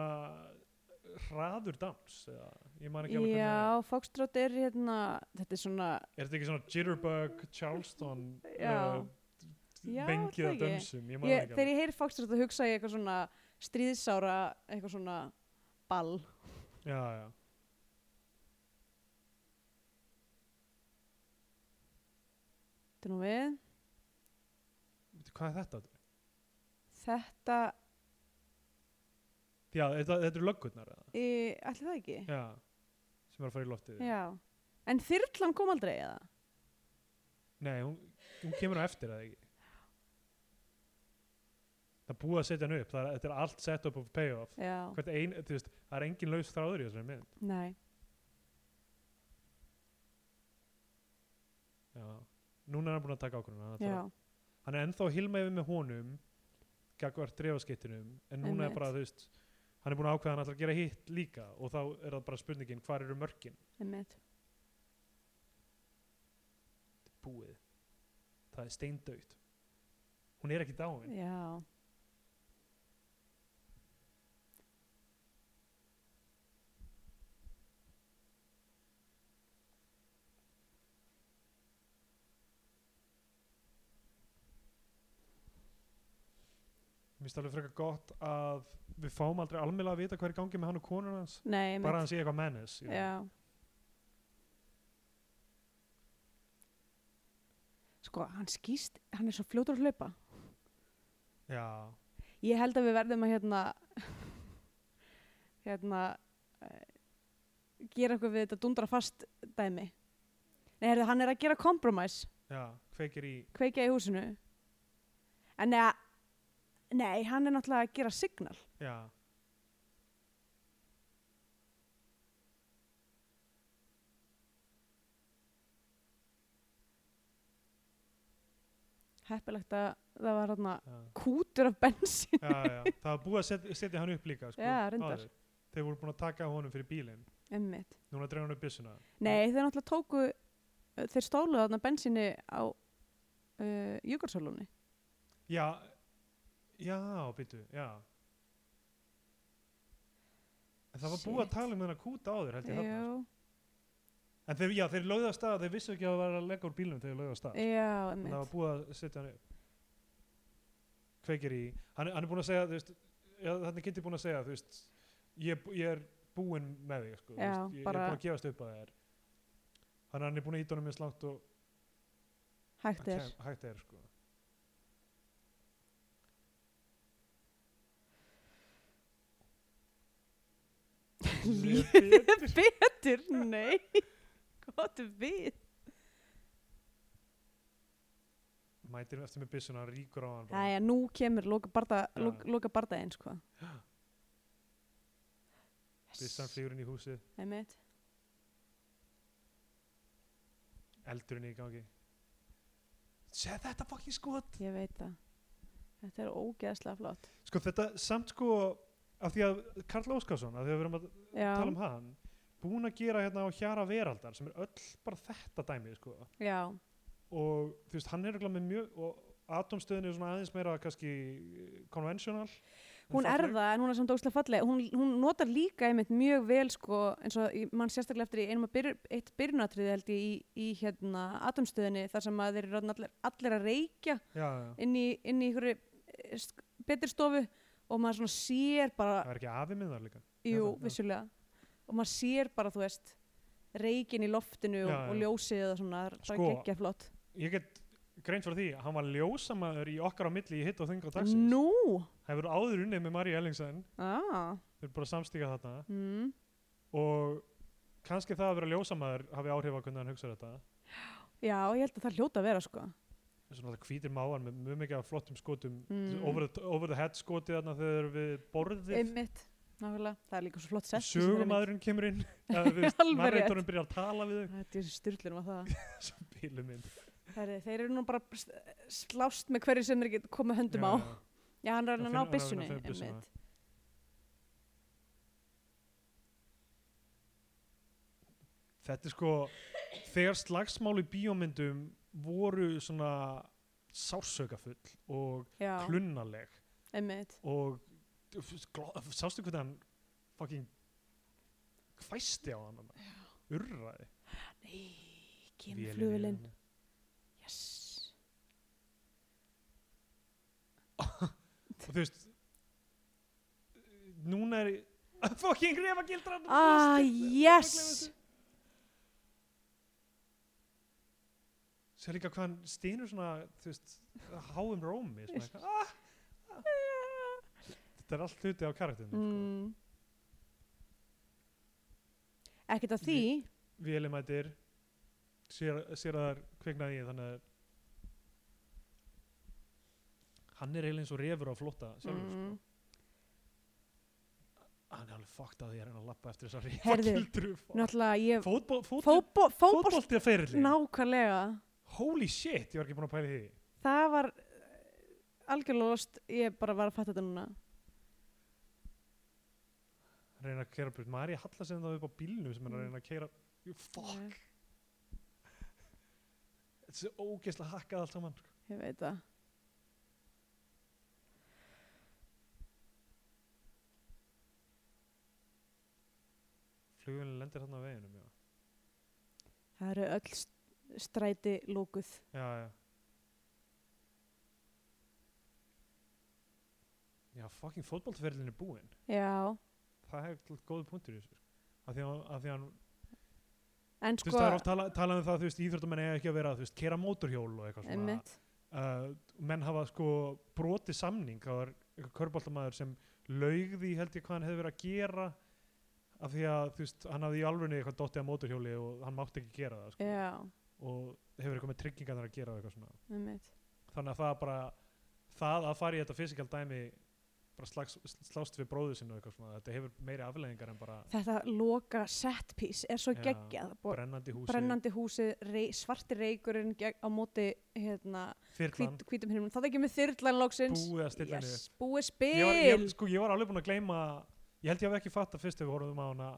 Speaker 2: hraður dans eða, ég man ekki alveg hvernig
Speaker 1: já, Foxtrot er hérna þetta er svona
Speaker 2: er þetta ekki svona jitterbug, Charleston
Speaker 1: Já. Já,
Speaker 2: bengið
Speaker 1: það
Speaker 2: að
Speaker 1: ekki.
Speaker 2: dönsum ég man
Speaker 1: ég,
Speaker 2: ekki
Speaker 1: þegar
Speaker 2: alveg
Speaker 1: ég heyri Foxtrot þá hugsa ég eitthvað svona stríðsára, eitthvað svona ball.
Speaker 2: já, já.
Speaker 1: Þetta er nú við.
Speaker 2: Veitu, hvað er þetta?
Speaker 1: Þetta,
Speaker 2: Já, þetta, þetta eru löggurnar eða?
Speaker 1: e, allir það ekki?
Speaker 2: já, sem er að fara í loftið
Speaker 1: Já. En þyrlan kom aldrei eða?
Speaker 2: Nei, hún, hún kemur á eftir eða ekki Það er búið að setja hann upp það er, Þetta er allt set up of payoff
Speaker 1: Já.
Speaker 2: Hvert ein, þú veist, Það er engin laus þráður í þessari mynd
Speaker 1: Nei.
Speaker 2: Já. Núna er hann búin að taka ákvörðuna hann, ætlar
Speaker 1: Já.
Speaker 2: að- hann er ennþá hilma yfir með honum Gagvart drefaskittinum En núna
Speaker 1: Einmitt.
Speaker 2: er bara, þú veist Hann er búin að ákveða að hann ætlar að gera hitt líka Og þá er það bara spurningin, hvar eru mörkin
Speaker 1: Einmitt.
Speaker 2: Búið Það er steindaut Hún er ekki dáin
Speaker 1: Já.
Speaker 2: Mér finnst alveg frekar gott að við fáum aldrei almennlega að vita hvað er í gangi með hann og konun hans
Speaker 1: Nei,
Speaker 2: bara
Speaker 1: einmitt.
Speaker 2: hann sé eitthvað mennis
Speaker 1: Já. Sko, hann skýst, hann er svo fljótur að hlaupa.
Speaker 2: já,
Speaker 1: Ég held að við verðum að hérna, hérna, eh, gera eitthvað við þetta dundra fast dæmi. Nei, heyrðu, hann er að gera kompromise,
Speaker 2: já, kveikir í
Speaker 1: kveikja í húsinu. En neða, nei, hann er náttúrulega að gera signal.
Speaker 2: já,
Speaker 1: Heppilegt að það var hérna
Speaker 2: já,
Speaker 1: kútur af bensin.
Speaker 2: já, já. það var búið að setja, setja hann upp líka sko,
Speaker 1: Já, reyndar.
Speaker 2: áður. þeir voru búin að taka honum fyrir bílinn
Speaker 1: Einmitt.
Speaker 2: núna dregur hann upp byssuna
Speaker 1: Nei, þeir náttúrulega tóku, eh, þeir stóluðu þarna bensinni á uh, Jökulsálunni.
Speaker 2: já, já, býtu, já En það var búið að
Speaker 1: Shit.
Speaker 2: tala um þennan kút áður held ég þarna sko.
Speaker 1: Já,
Speaker 2: En þeir, já, þeir lögðu að stað, þeir vissu ekki að það var að leggja úr bílnum þegar þeir lögðu að stað.
Speaker 1: já,
Speaker 2: En það var
Speaker 1: emmitt.
Speaker 2: búið að setja hann upp. Kveikir í, hann, er- hann er búinn að segja, þú veist, já, þannig getur búinn að segja, þú veist, ég, er bú- ég er búinn með þig, sko, þú
Speaker 1: Já,
Speaker 2: veist, ég,
Speaker 1: bara-
Speaker 2: ég er búinn að gefast upp að þér. Þannig að hann er búinn að íta honum eins langt og
Speaker 1: Hægt er.
Speaker 2: kem- hægt er, sko. Lífið
Speaker 1: Lífið betur, nei. Gott við.
Speaker 2: Mætir eftir með byssuna, ríkur á hann bara.
Speaker 1: Æja, nú kemur loka, barda,
Speaker 2: Já.
Speaker 1: loka, loka bardaðinn, sko.
Speaker 2: Byssan flýgur inn í húsið,
Speaker 1: Emmitt.
Speaker 2: eldurinn í gangi. Sér þetta fucking skot!
Speaker 1: Ég veit það. Þetta er ógeðslega flott.
Speaker 2: Sko þetta samt sko af því að Karl Óskarsson, af því að við erum að
Speaker 1: Já,
Speaker 2: tala um hann búin að gera hérna á Hjara Veraldar sem er öll bara þetta dæmi sko
Speaker 1: já,
Speaker 2: og þú veist hann er örugglega með mjög og atomstöðin er svona aðeins meira kannski eh, conventional
Speaker 1: hún er það en hún er samt óslega falleg hún, hún notar líka einmitt mjög vel sko, eins og í- man sérstaklega eftir í einum að byrj, eitt byrjunatriði held ég í, í hérna atomstöðinni þar sem að þeir eru orðnir allir, allir að reykja
Speaker 2: Já, já,
Speaker 1: inn í, inn í einhverju eh, sk- betri stofu og maður svona sér bara,
Speaker 2: það er ekki afi minn þar líka
Speaker 1: jú,
Speaker 2: já.
Speaker 1: vissulega og maður sér bara, þú veist reykin í loftinu og,
Speaker 2: Já,
Speaker 1: og
Speaker 2: já.
Speaker 1: ljósið og svona, það er bara
Speaker 2: Sko,
Speaker 1: geggja flott
Speaker 2: Ég get greint frá því, hann var ljósamaður í okkar á milli í hitt og þunga dagsins
Speaker 1: Nú,
Speaker 2: Það hefur áður unnið með Marí Ellingsen
Speaker 1: ah,
Speaker 2: þeir eru bara að samstíga þarna
Speaker 1: mm,
Speaker 2: og kannski það að vera ljósamaður hafi áhrif á hvernig hann hugsa þetta
Speaker 1: já, ég held að það hljóta að vera sko
Speaker 2: svona það hvítir máan með mjög mikið af flottum skotum
Speaker 1: Mm.
Speaker 2: over, the, over the head skotið þarna þegar þeir eru við borðið
Speaker 1: einmitt, nákvæmlega, það er líka svo flott sett
Speaker 2: sögumadurinn kemur inn eða við
Speaker 1: Alveg rétt.
Speaker 2: narratorinn byrjar að tala við þau
Speaker 1: Þetta er styrlunum að það.
Speaker 2: svo bílum minn
Speaker 1: Herri, þeir eru nú bara s- slást með hverju sem er ekki komið höndum á. Já, hann er að ná
Speaker 2: Hann finnur- hann er að
Speaker 1: byssunni.
Speaker 2: finna byssuna.
Speaker 1: einmitt.
Speaker 2: þetta er sko þegar slagsmál í bíómyndum voru svona sásaukafull og
Speaker 1: Já,
Speaker 2: klunnaleg
Speaker 1: einmitt.
Speaker 2: og gló- sástu hvernig hann fucking hvæsti á hann þarna? urraði
Speaker 1: Nei, kemur
Speaker 2: Vélin í
Speaker 1: flugulinn.
Speaker 2: honum.
Speaker 1: Yes.
Speaker 2: og þú veist núna er fucking refagildran
Speaker 1: Ah, yes!
Speaker 2: sér líka hvað hann stynur svona þú veist, háum rómi svona, eitthvað. ah, þetta er allt hluti á karakterinu mm.
Speaker 1: Mm. Ekkert að því,
Speaker 2: sko. vélimætir sér, sér að það er kviknaði í þannig að hann er eiginlega eins og refur á flotta sjálfur
Speaker 1: Mm.
Speaker 2: sko hann er alveg fucked að því að reyna að lappa eftir þessar
Speaker 1: Heyrðu,
Speaker 2: refagildru
Speaker 1: náttúrulega ég...
Speaker 2: fótbolt
Speaker 1: Fótbo, fótbo,
Speaker 2: fótbolt er ferillin
Speaker 1: nákvæmlega.
Speaker 2: holy shit, ég var ekki búin að pæla í því
Speaker 1: Það var eh, algjörlega lost, ég bara var að fatta þetta núna.
Speaker 2: reyna að kera burt, maður er ég hallar sem það upp á bílnum sem er að
Speaker 1: Mm.
Speaker 2: reyna að kera fuck, þetta er svo ógeðslega hakkað allt saman sko.
Speaker 1: Ég veit það.
Speaker 2: flugvélin lendir þarna á veginum já,
Speaker 1: Það eru öll st- stræti lókuð.
Speaker 2: já, já já, fucking fótboltferðin er búinn
Speaker 1: já,
Speaker 2: það er til góð punktur í þessu sko. af því að, af því að
Speaker 1: en
Speaker 2: þú
Speaker 1: sko
Speaker 2: veist, það er oft tala, talað um það, þú veist, íþróttamenn eiga ekki að vera, þú veist, kera mótorhjól og eitthvað svona
Speaker 1: einmitt.
Speaker 2: uh, menn hafa sko brotið samning, það var eitthvað körbóltamaður sem laugði, held ég, hvað hann hefði verið að gera af því að, þú veist, hann hafði í alvörni eitthvað dottið að mótorhjóli og hann mátti ekki gera það, sko,
Speaker 1: já,
Speaker 2: og hefur eitthvað með tryggingarnar að gera og eitthvað svona,
Speaker 1: einmitt
Speaker 2: þannig að það bara það að fara í þetta fysikal dæmi bara slags, slást við bróðu sinni og eitthvað svona, þetta hefur meiri afleggingar en bara
Speaker 1: þetta loka set piece er svo
Speaker 2: Já,
Speaker 1: geggjað Bú-
Speaker 2: brennandi húsi,
Speaker 1: brennandi húsið, rey, svarti reykurinn gegn, á móti hérna,
Speaker 2: þyrlan,
Speaker 1: hvít, hvítum hinn það er ekki með þyrlan loksins
Speaker 2: búið að stilla niður
Speaker 1: yes, búið spil
Speaker 2: ég var, ég, sko, ég var alveg búinn að gleyma ég held ég hafi ekki fatt að fyrst ef við horfum á hana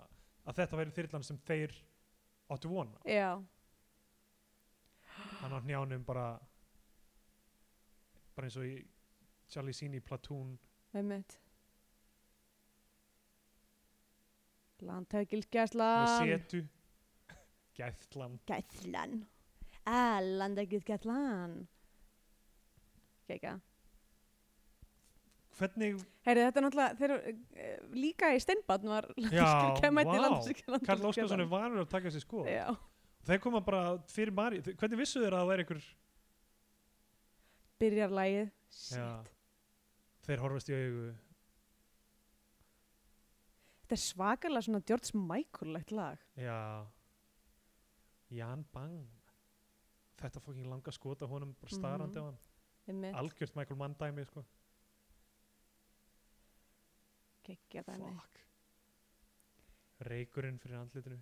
Speaker 2: að þetta væri þyrlan sem þeir áttu vona,
Speaker 1: já,
Speaker 2: hann á njánum bara bara eins og í Charlie Sini Platoon
Speaker 1: einmitt
Speaker 2: með
Speaker 1: landhækilgæslan
Speaker 2: setu gæðlan
Speaker 1: gæslan að landhækilgæslan geggjað
Speaker 2: hvernig,
Speaker 1: Heyri, þetta er náttúrulega, þeir, uh, líka í steinbarn var
Speaker 2: Já,
Speaker 1: kemætti
Speaker 2: vá.
Speaker 1: landskjörn.
Speaker 2: Karl Óskarsson er vanur að taka sér sko
Speaker 1: Já,
Speaker 2: þeir koma bara fyrir Mari hvernig vissu þeir að það væri ykkur
Speaker 1: byrjar lagið. Shit.
Speaker 2: Já. þeir horfast í augu
Speaker 1: Þetta er svakalega svona George Michael-legt lag.
Speaker 2: já Jan Bang þetta fókin langa skota honum bara starandi
Speaker 1: Mhm.
Speaker 2: á hann
Speaker 1: Einmitt,
Speaker 2: algjört Michael Mann dæmi sko.
Speaker 1: geggja dæmi.
Speaker 2: Fuck. reykurinn fyrir andlitinu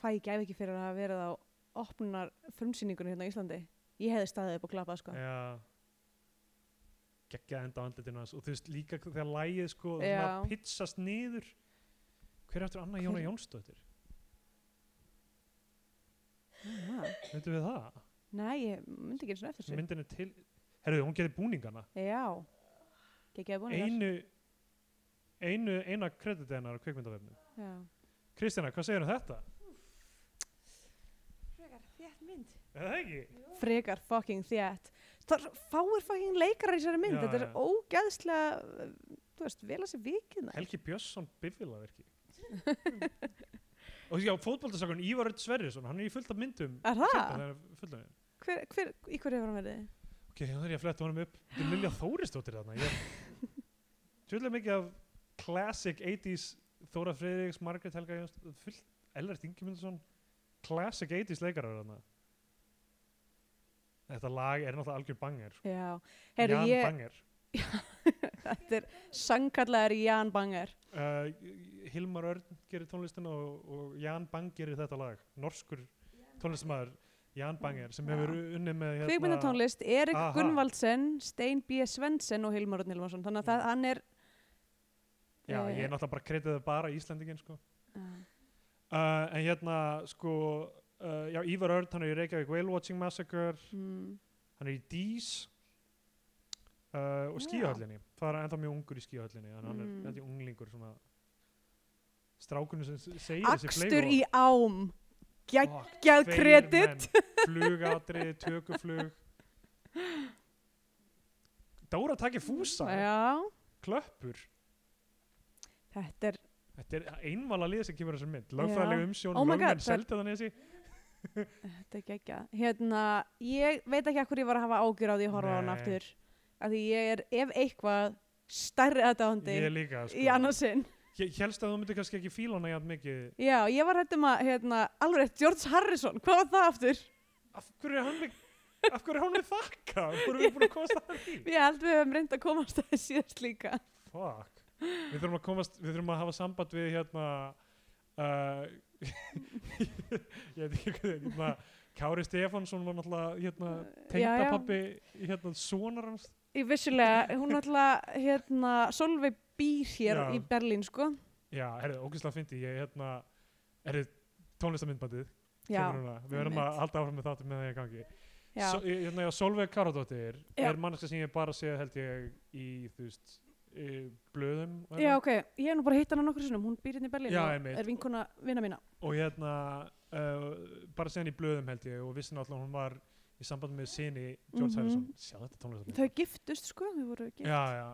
Speaker 1: Hvað ég gæfi ekki fyrir að hafa verið á opnunar frumsýningunni hérna á Íslandi. Ég hefði staðið upp og klappað, sko.
Speaker 2: já geggja enda á andlitinu hans og þú veist líka þegar lægið sko
Speaker 1: Já.
Speaker 2: svona pitsast niður hver er eftir Anna Jóna
Speaker 1: Hver-
Speaker 2: Jónsdóttir
Speaker 1: Já.
Speaker 2: veitum við það?
Speaker 1: Nei, ég myndi ekki eins og eftir þessu.
Speaker 2: myndin er til herruðu hún getur búningana
Speaker 1: Já, geggjaði búin
Speaker 2: einu einu eina krediti hennar á kvikmyndavefnum
Speaker 1: Já.
Speaker 2: Kristjana hvað segir um þetta?
Speaker 3: Frekar, þétt mynd.
Speaker 2: Er það ekki?
Speaker 1: Frekar fucking þétt. Það er- fáir fucking leikarar í þessari mynd.
Speaker 2: Já,
Speaker 1: Þetta er
Speaker 2: já.
Speaker 1: ógæðslega, uh, þú veist, vel að sé vikið nær.
Speaker 2: Helgi Björnsson bifilaverki og já, fótboltasakun Ívar Öld Sverrisson, hann er í fullt af myndum
Speaker 1: Er það?
Speaker 2: seinna þegar hann er fullt af þeim.
Speaker 1: hver, hver, í hverju hefur hann verið?
Speaker 2: ok, þá þarf ég að fletta honum upp þetta er Lilja Þórisdóttir þarna ég tjóðlega mikið af classic 80s Þóra Friðriks, Margrét Helga Jóns fullt, Ellert Ingemundsson classic 80s leikarar þarna þetta lag er náttúrulega algjör banger sko.
Speaker 1: Já, heyrðu
Speaker 2: Jan
Speaker 1: ég,
Speaker 2: Banger
Speaker 1: þetta er sangkallaður Jan Banger.
Speaker 2: uh, Hilmar Örn gerir tónlistina og, og Jan Bang gerir þetta lag norskur tónlistamæður Jan Banger sem
Speaker 1: Já.
Speaker 2: hefur unnið með hérna,
Speaker 1: Kvikmyndatónlist, Erik
Speaker 2: Aha.
Speaker 1: Gunnvaldsen, Stein B. Svensson og Hilmar Odn Hilmarsson, þannig að það, hann er... eh,
Speaker 2: já, ég er náttúrulega bara kreitaði bara Íslandingin sko.
Speaker 1: ah,
Speaker 2: uh, en hérna sko uh, já, Ívar Örn, hann er í Reykjavík Whale Watching Massacre,
Speaker 1: Mm,
Speaker 2: hann er í Dís uh, og
Speaker 1: Já.
Speaker 2: skíahöllinni það er ennþá mjög ungur í skíahöllinni þannig að hann er
Speaker 1: Mm.
Speaker 2: þetta er unglingur svona strákunum sem s- segir
Speaker 1: akstur
Speaker 2: fleygum
Speaker 1: í ám,
Speaker 2: Fuck.
Speaker 1: geggjað
Speaker 2: Tveir
Speaker 1: kredit.
Speaker 2: menn, flugatrið, tökuflug Dóra takir fúsa
Speaker 1: Já,
Speaker 2: klöppur
Speaker 1: þetta er,
Speaker 2: þetta er einvala lið sem kemur þessar mynd lögfræðileg umsjón,
Speaker 1: Oh my
Speaker 2: lögmenn
Speaker 1: God, það-
Speaker 2: seldi þannig
Speaker 1: þetta er geggjað. Hérna, ég veit ekki að hverju ég var að hafa ágjur á því að horfa á hann
Speaker 2: Nei.
Speaker 1: aftur, af því ég er, ef eitthvað, stærri aðdáðandi
Speaker 2: ég líka
Speaker 1: í
Speaker 2: sko.
Speaker 1: annarsinn. ég
Speaker 2: ég helst að þú myndir kannski ekki fíla hana jafn mikið
Speaker 1: Já, ég var hættum að, hérna, alveg rétt, George Harrison, hvað var það aftur?
Speaker 2: af hverju er hann með af hverju er hann með þakka af hverju er við búin að komast að því
Speaker 1: Ég held við hefum reynd að komast að síðast líka.
Speaker 2: Fuck. við þurfum að komast við þurfum að hafa samband við hérna uh, ég veit ekki hvað er hérna Kári Stefánsson var náttúrulega hérna,
Speaker 1: Já, Uh, já.
Speaker 2: tengdapappi hérna, sonar hans
Speaker 1: Ég vissulega, hún náttúrulega, hérna, Solveig býr hér
Speaker 2: Já.
Speaker 1: í Berlín, sko.
Speaker 2: já, herrið, ógæslega fyndi ég hérna, herrið, tónlistamindbandið
Speaker 1: Já,
Speaker 2: kemur núna. við verðum að
Speaker 1: einmitt.
Speaker 2: halda áfram með þáttum með það í gangi
Speaker 1: já,
Speaker 2: Svo- ég- hérna, já, Solveig Karadóttir
Speaker 1: Já.
Speaker 2: er manneska sem ég bara sé held ég í þú veist í blöðum og
Speaker 1: já,
Speaker 2: hérna.
Speaker 1: ok, ég hef nú bara hitt hana nokkur sinnum, hún býr hérna í Berlín
Speaker 2: Já,
Speaker 1: og
Speaker 2: einmitt.
Speaker 1: er vinkona vina mína.
Speaker 2: og hérna uh, bara séðan í blöðum held ég og vissi náttúrulega hún var í samband með sinni George
Speaker 1: Mhm.
Speaker 2: Harrison, sjá þetta tónlistamindband
Speaker 1: Þau giftust, sko, þau voru gift.
Speaker 2: já, já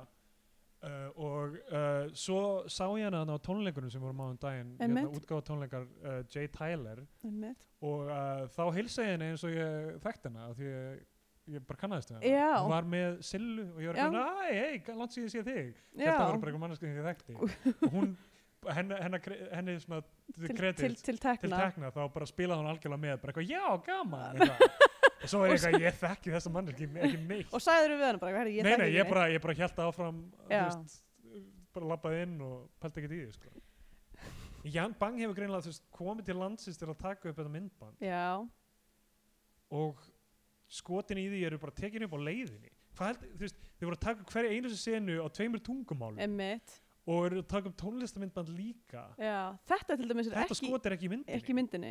Speaker 2: Uh, og uh, svo sá ég hana þarna á tónleikunum sem vorum á um daginn
Speaker 1: Einmitt.
Speaker 2: útgáfa tónleikar uh, Jay Tyler
Speaker 1: Einmitt.
Speaker 2: og uh, þá hilsa ég henni eins og ég þekkt hana af því ég, ég bara kannaðist við hana
Speaker 1: Já.
Speaker 2: hún var með Sillu og ég var
Speaker 1: Já.
Speaker 2: ekki að hei, hei, langt síðan sé þig
Speaker 1: Já.
Speaker 2: þetta var Hérna bara eitthvað manneskið sem ég þekkti og hún, henni, henni, henni svona
Speaker 1: til,
Speaker 2: kredit
Speaker 1: til, til
Speaker 2: til
Speaker 1: tekna
Speaker 2: tekna þá bara spilaði hún algjörlega með bara eitthvað, já, gaman eitthvað. og svo er ég eitthvað, ég þekki þessa manneski ekki neitt
Speaker 1: og sagður við hana bara, herri, ég
Speaker 2: nei,
Speaker 1: þekki
Speaker 2: nei,
Speaker 1: ekki
Speaker 2: ég
Speaker 1: neitt.
Speaker 2: bara, ég bara held áfram þú
Speaker 1: Já.
Speaker 2: veist, bara labbaði inn og pælti ekkert í því sko. Jan Bang hefur greinlega veist, komið til landsins til að taka upp þetta myndband
Speaker 1: já,
Speaker 2: og skotin í því eru bara tekin upp á leiðinni Hvað held, þú veist, þau voru að taka upp hverja einu senu á tveimur tungumálum
Speaker 1: emmitt
Speaker 2: og eru að taka upp tónlistamindband líka
Speaker 1: já. þetta til dæmis er
Speaker 2: þetta
Speaker 1: ekki,
Speaker 2: skot er ekki í myndinni
Speaker 1: ekki í myndinni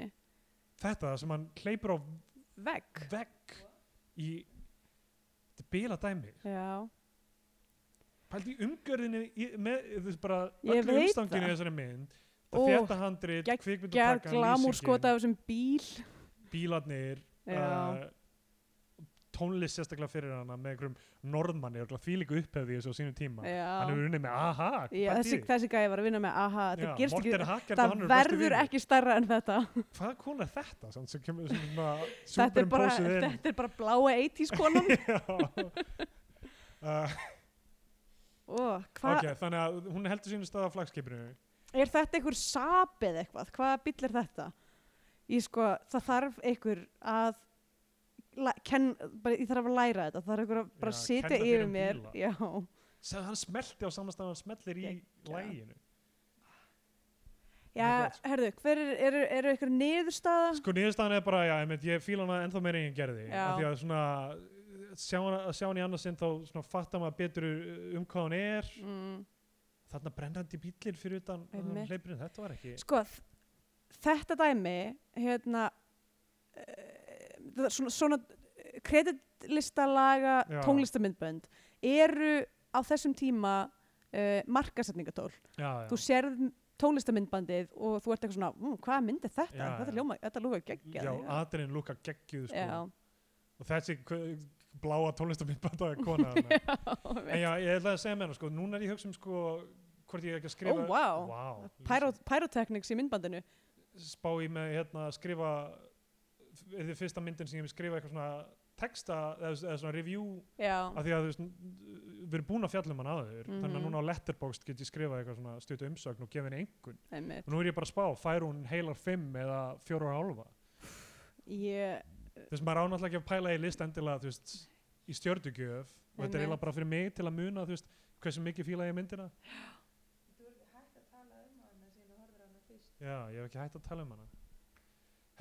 Speaker 2: þetta sem hann hleypur á
Speaker 1: vegg
Speaker 2: vegg í þetta bila dæmi
Speaker 1: já,
Speaker 2: pældi í umgjörðinni í, með þú veist bara
Speaker 1: Ég
Speaker 2: öllu
Speaker 1: veit
Speaker 2: umstanginu í
Speaker 1: það.
Speaker 2: þessari mynd
Speaker 1: Ó,
Speaker 2: það þetta handrit,
Speaker 1: gegg- gerð
Speaker 2: kvikmyndutaka
Speaker 1: glamúr skota af þessum bíl
Speaker 2: bílarnir
Speaker 1: já,
Speaker 2: uh, tónlist sérstaklega fyrir hana með einhverjum norðmanni og því líka upphefði þessu á sínum tíma um, hann
Speaker 1: já.
Speaker 2: hefur unnið með aha
Speaker 1: já þessi, þessi gæði var að vinna með aha, þetta gerst ekki
Speaker 2: Hackert,
Speaker 1: það verður ekki stærra en þetta
Speaker 2: hvað kona er þetta samt sem kemur sem svona
Speaker 1: þetta er, bara,
Speaker 2: superimposið inn?
Speaker 1: þetta er bara bláa 80s konan
Speaker 2: Já. uh,
Speaker 1: Ó, hva,
Speaker 2: ok, þannig að hún heldur sínu stað af flagskipinu
Speaker 1: er þetta einhver sap eða eitthvað, hvaða bíll er þetta ég sko, það þarf einhver að la- ken, bara, ég þarf að læra þetta, það þarf einhver að bara
Speaker 2: Já,
Speaker 1: sitja
Speaker 2: kenna þér
Speaker 1: yfir
Speaker 2: um
Speaker 1: mér
Speaker 2: bíla.
Speaker 1: já,
Speaker 2: sem hann smelti á samastað hann smellir í
Speaker 1: Geggjað.
Speaker 2: læginu
Speaker 1: já
Speaker 2: God.
Speaker 1: herðu, hver er, eru er einhver niðurstaða
Speaker 2: sko niðurstaðan er bara, já, einmitt, ég fíla hana ennþá meira en ég gerði
Speaker 1: Já.
Speaker 2: af því að svona sjá hana, að sjá hana í annarsinn þá svona fattar maður betur um hvað hann er
Speaker 1: mm.
Speaker 2: þarna brennandi bíllinn fyrir utan
Speaker 1: Einmitt.
Speaker 2: hleypurinn, þetta var ekki
Speaker 1: sko, þ- þetta dæmi hérna uh, það er svona, svona eh, kreditlistalaga
Speaker 2: Já.
Speaker 1: tónlistamindbönd eru á þessum tíma uh, markasetningatól
Speaker 2: já,
Speaker 1: þú
Speaker 2: já.
Speaker 1: sérð tónlistamindbandið og þú ert eitthvað svona, mmm, hvaða mynd er þetta?
Speaker 2: Já,
Speaker 1: þetta
Speaker 2: já.
Speaker 1: ljóma, þetta lúfa geggjað.
Speaker 2: já, aðurinn lúka geggjuð sko.
Speaker 1: já,
Speaker 2: og þessi k- bláa tónlistamindbanda kona þarna. en já, ég ætlaði að segja með hana sko, núna er ég að hugsa um sko hvort ég ekki að skrifa
Speaker 1: Ó, vá.
Speaker 2: Vá.
Speaker 1: Pyro, pyrotechnics í myndbandinu
Speaker 2: spá í með hérna að skrifa eða því fyrsta myndin sem ég hef skrifa eitthvað svona texta eða, eða svona review
Speaker 1: já,
Speaker 2: af því að þú veist, við erum búin að fjalla um hann aður þannig
Speaker 1: Mhm.
Speaker 2: að núna á Letterboxd get ég skrifað eitthvað svona stutt umsögn og gefa henni einhvern
Speaker 1: einmitt
Speaker 2: og nú er ég bara að spá, fær hún heilar 5 eða 4 og hálfa
Speaker 1: ég,
Speaker 2: þú veist, maður ánáttúrulega ekki að pæla í list endilega þú veist, í stjördugjöf og þetta er
Speaker 1: Einmitt.
Speaker 2: eiginlega bara fyrir mig til að muna þú veist, hversu mikið fíla ég myndina
Speaker 3: Þú er hægt að tala um hana sem þú horfir á hana fyrst.
Speaker 2: já, ég hef ekki hægt að tala um hana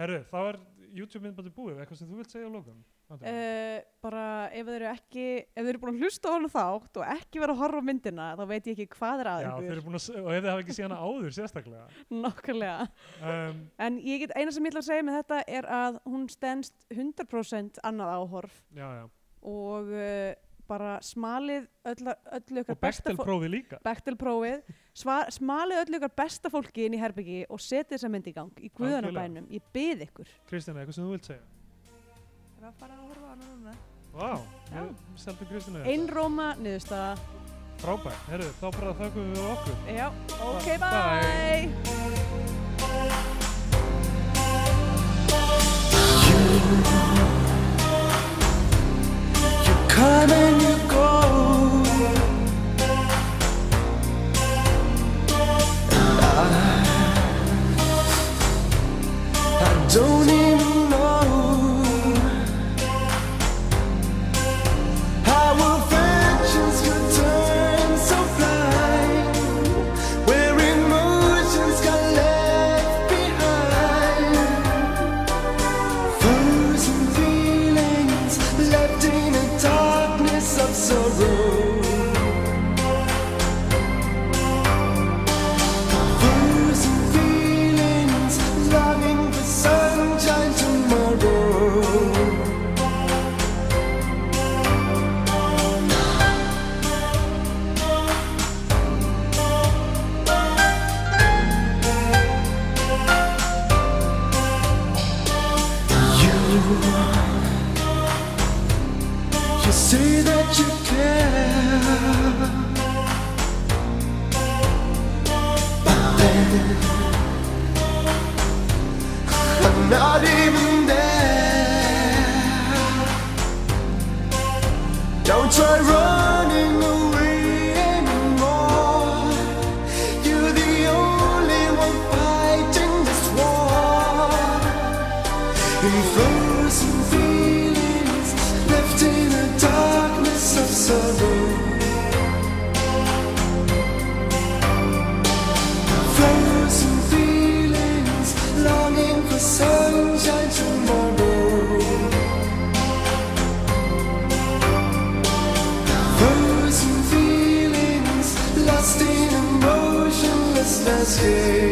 Speaker 2: herru, þá er YouTube myndbandi búið eitthvað sem þú vilt segja á lókum uh,
Speaker 1: uh, bara ef þeir eru ekki ef þeir eru búin að hlusta á hann þátt og ekki vera að horfa á myndina þá veit ég ekki hvað er að
Speaker 2: Já, þeir
Speaker 1: ykkur
Speaker 2: eru búin að, s- og ef þið hafa ekki séð hana áður sérstaklega
Speaker 1: nokkulega
Speaker 2: um,
Speaker 1: en ég get, eina sem ég ætla að segja með þetta er að hún stendst 100% annað áhorf
Speaker 2: já, já.
Speaker 1: og uh, bara smalið öll, öllu
Speaker 2: og
Speaker 1: ykkar besta
Speaker 2: Bechtel
Speaker 1: fó-
Speaker 2: prófið líka
Speaker 1: Bechtel-prófið sva- smalið öllu ykkar besta fólki inn í herbyggi og setið þessa mynd í gang í guðanabænum, ég byrð ykkur
Speaker 2: Kristina, eitthvað sem þú vilt segja
Speaker 3: Það var bara að horfa á hana núna.
Speaker 2: Vá,
Speaker 1: Já.
Speaker 2: við seldum Kristina þetta
Speaker 1: einróma niðurstaða
Speaker 2: Frábært, herru, þá bara þakkum við okkur
Speaker 1: já, ok,
Speaker 2: Bye.
Speaker 1: bye.
Speaker 4: You come and you go. And I, I don't even know how affections could turn so blind, where emotions got left behind. Frozen feelings left in the darkness I'm not even there. Don't try running away anymore. You're the only one fighting this war. In frozen feelings, left in the darkness of sorrow. Frozen feelings, longing for sunshine tomorrow. Frozen feelings, lost in emotionless landscape.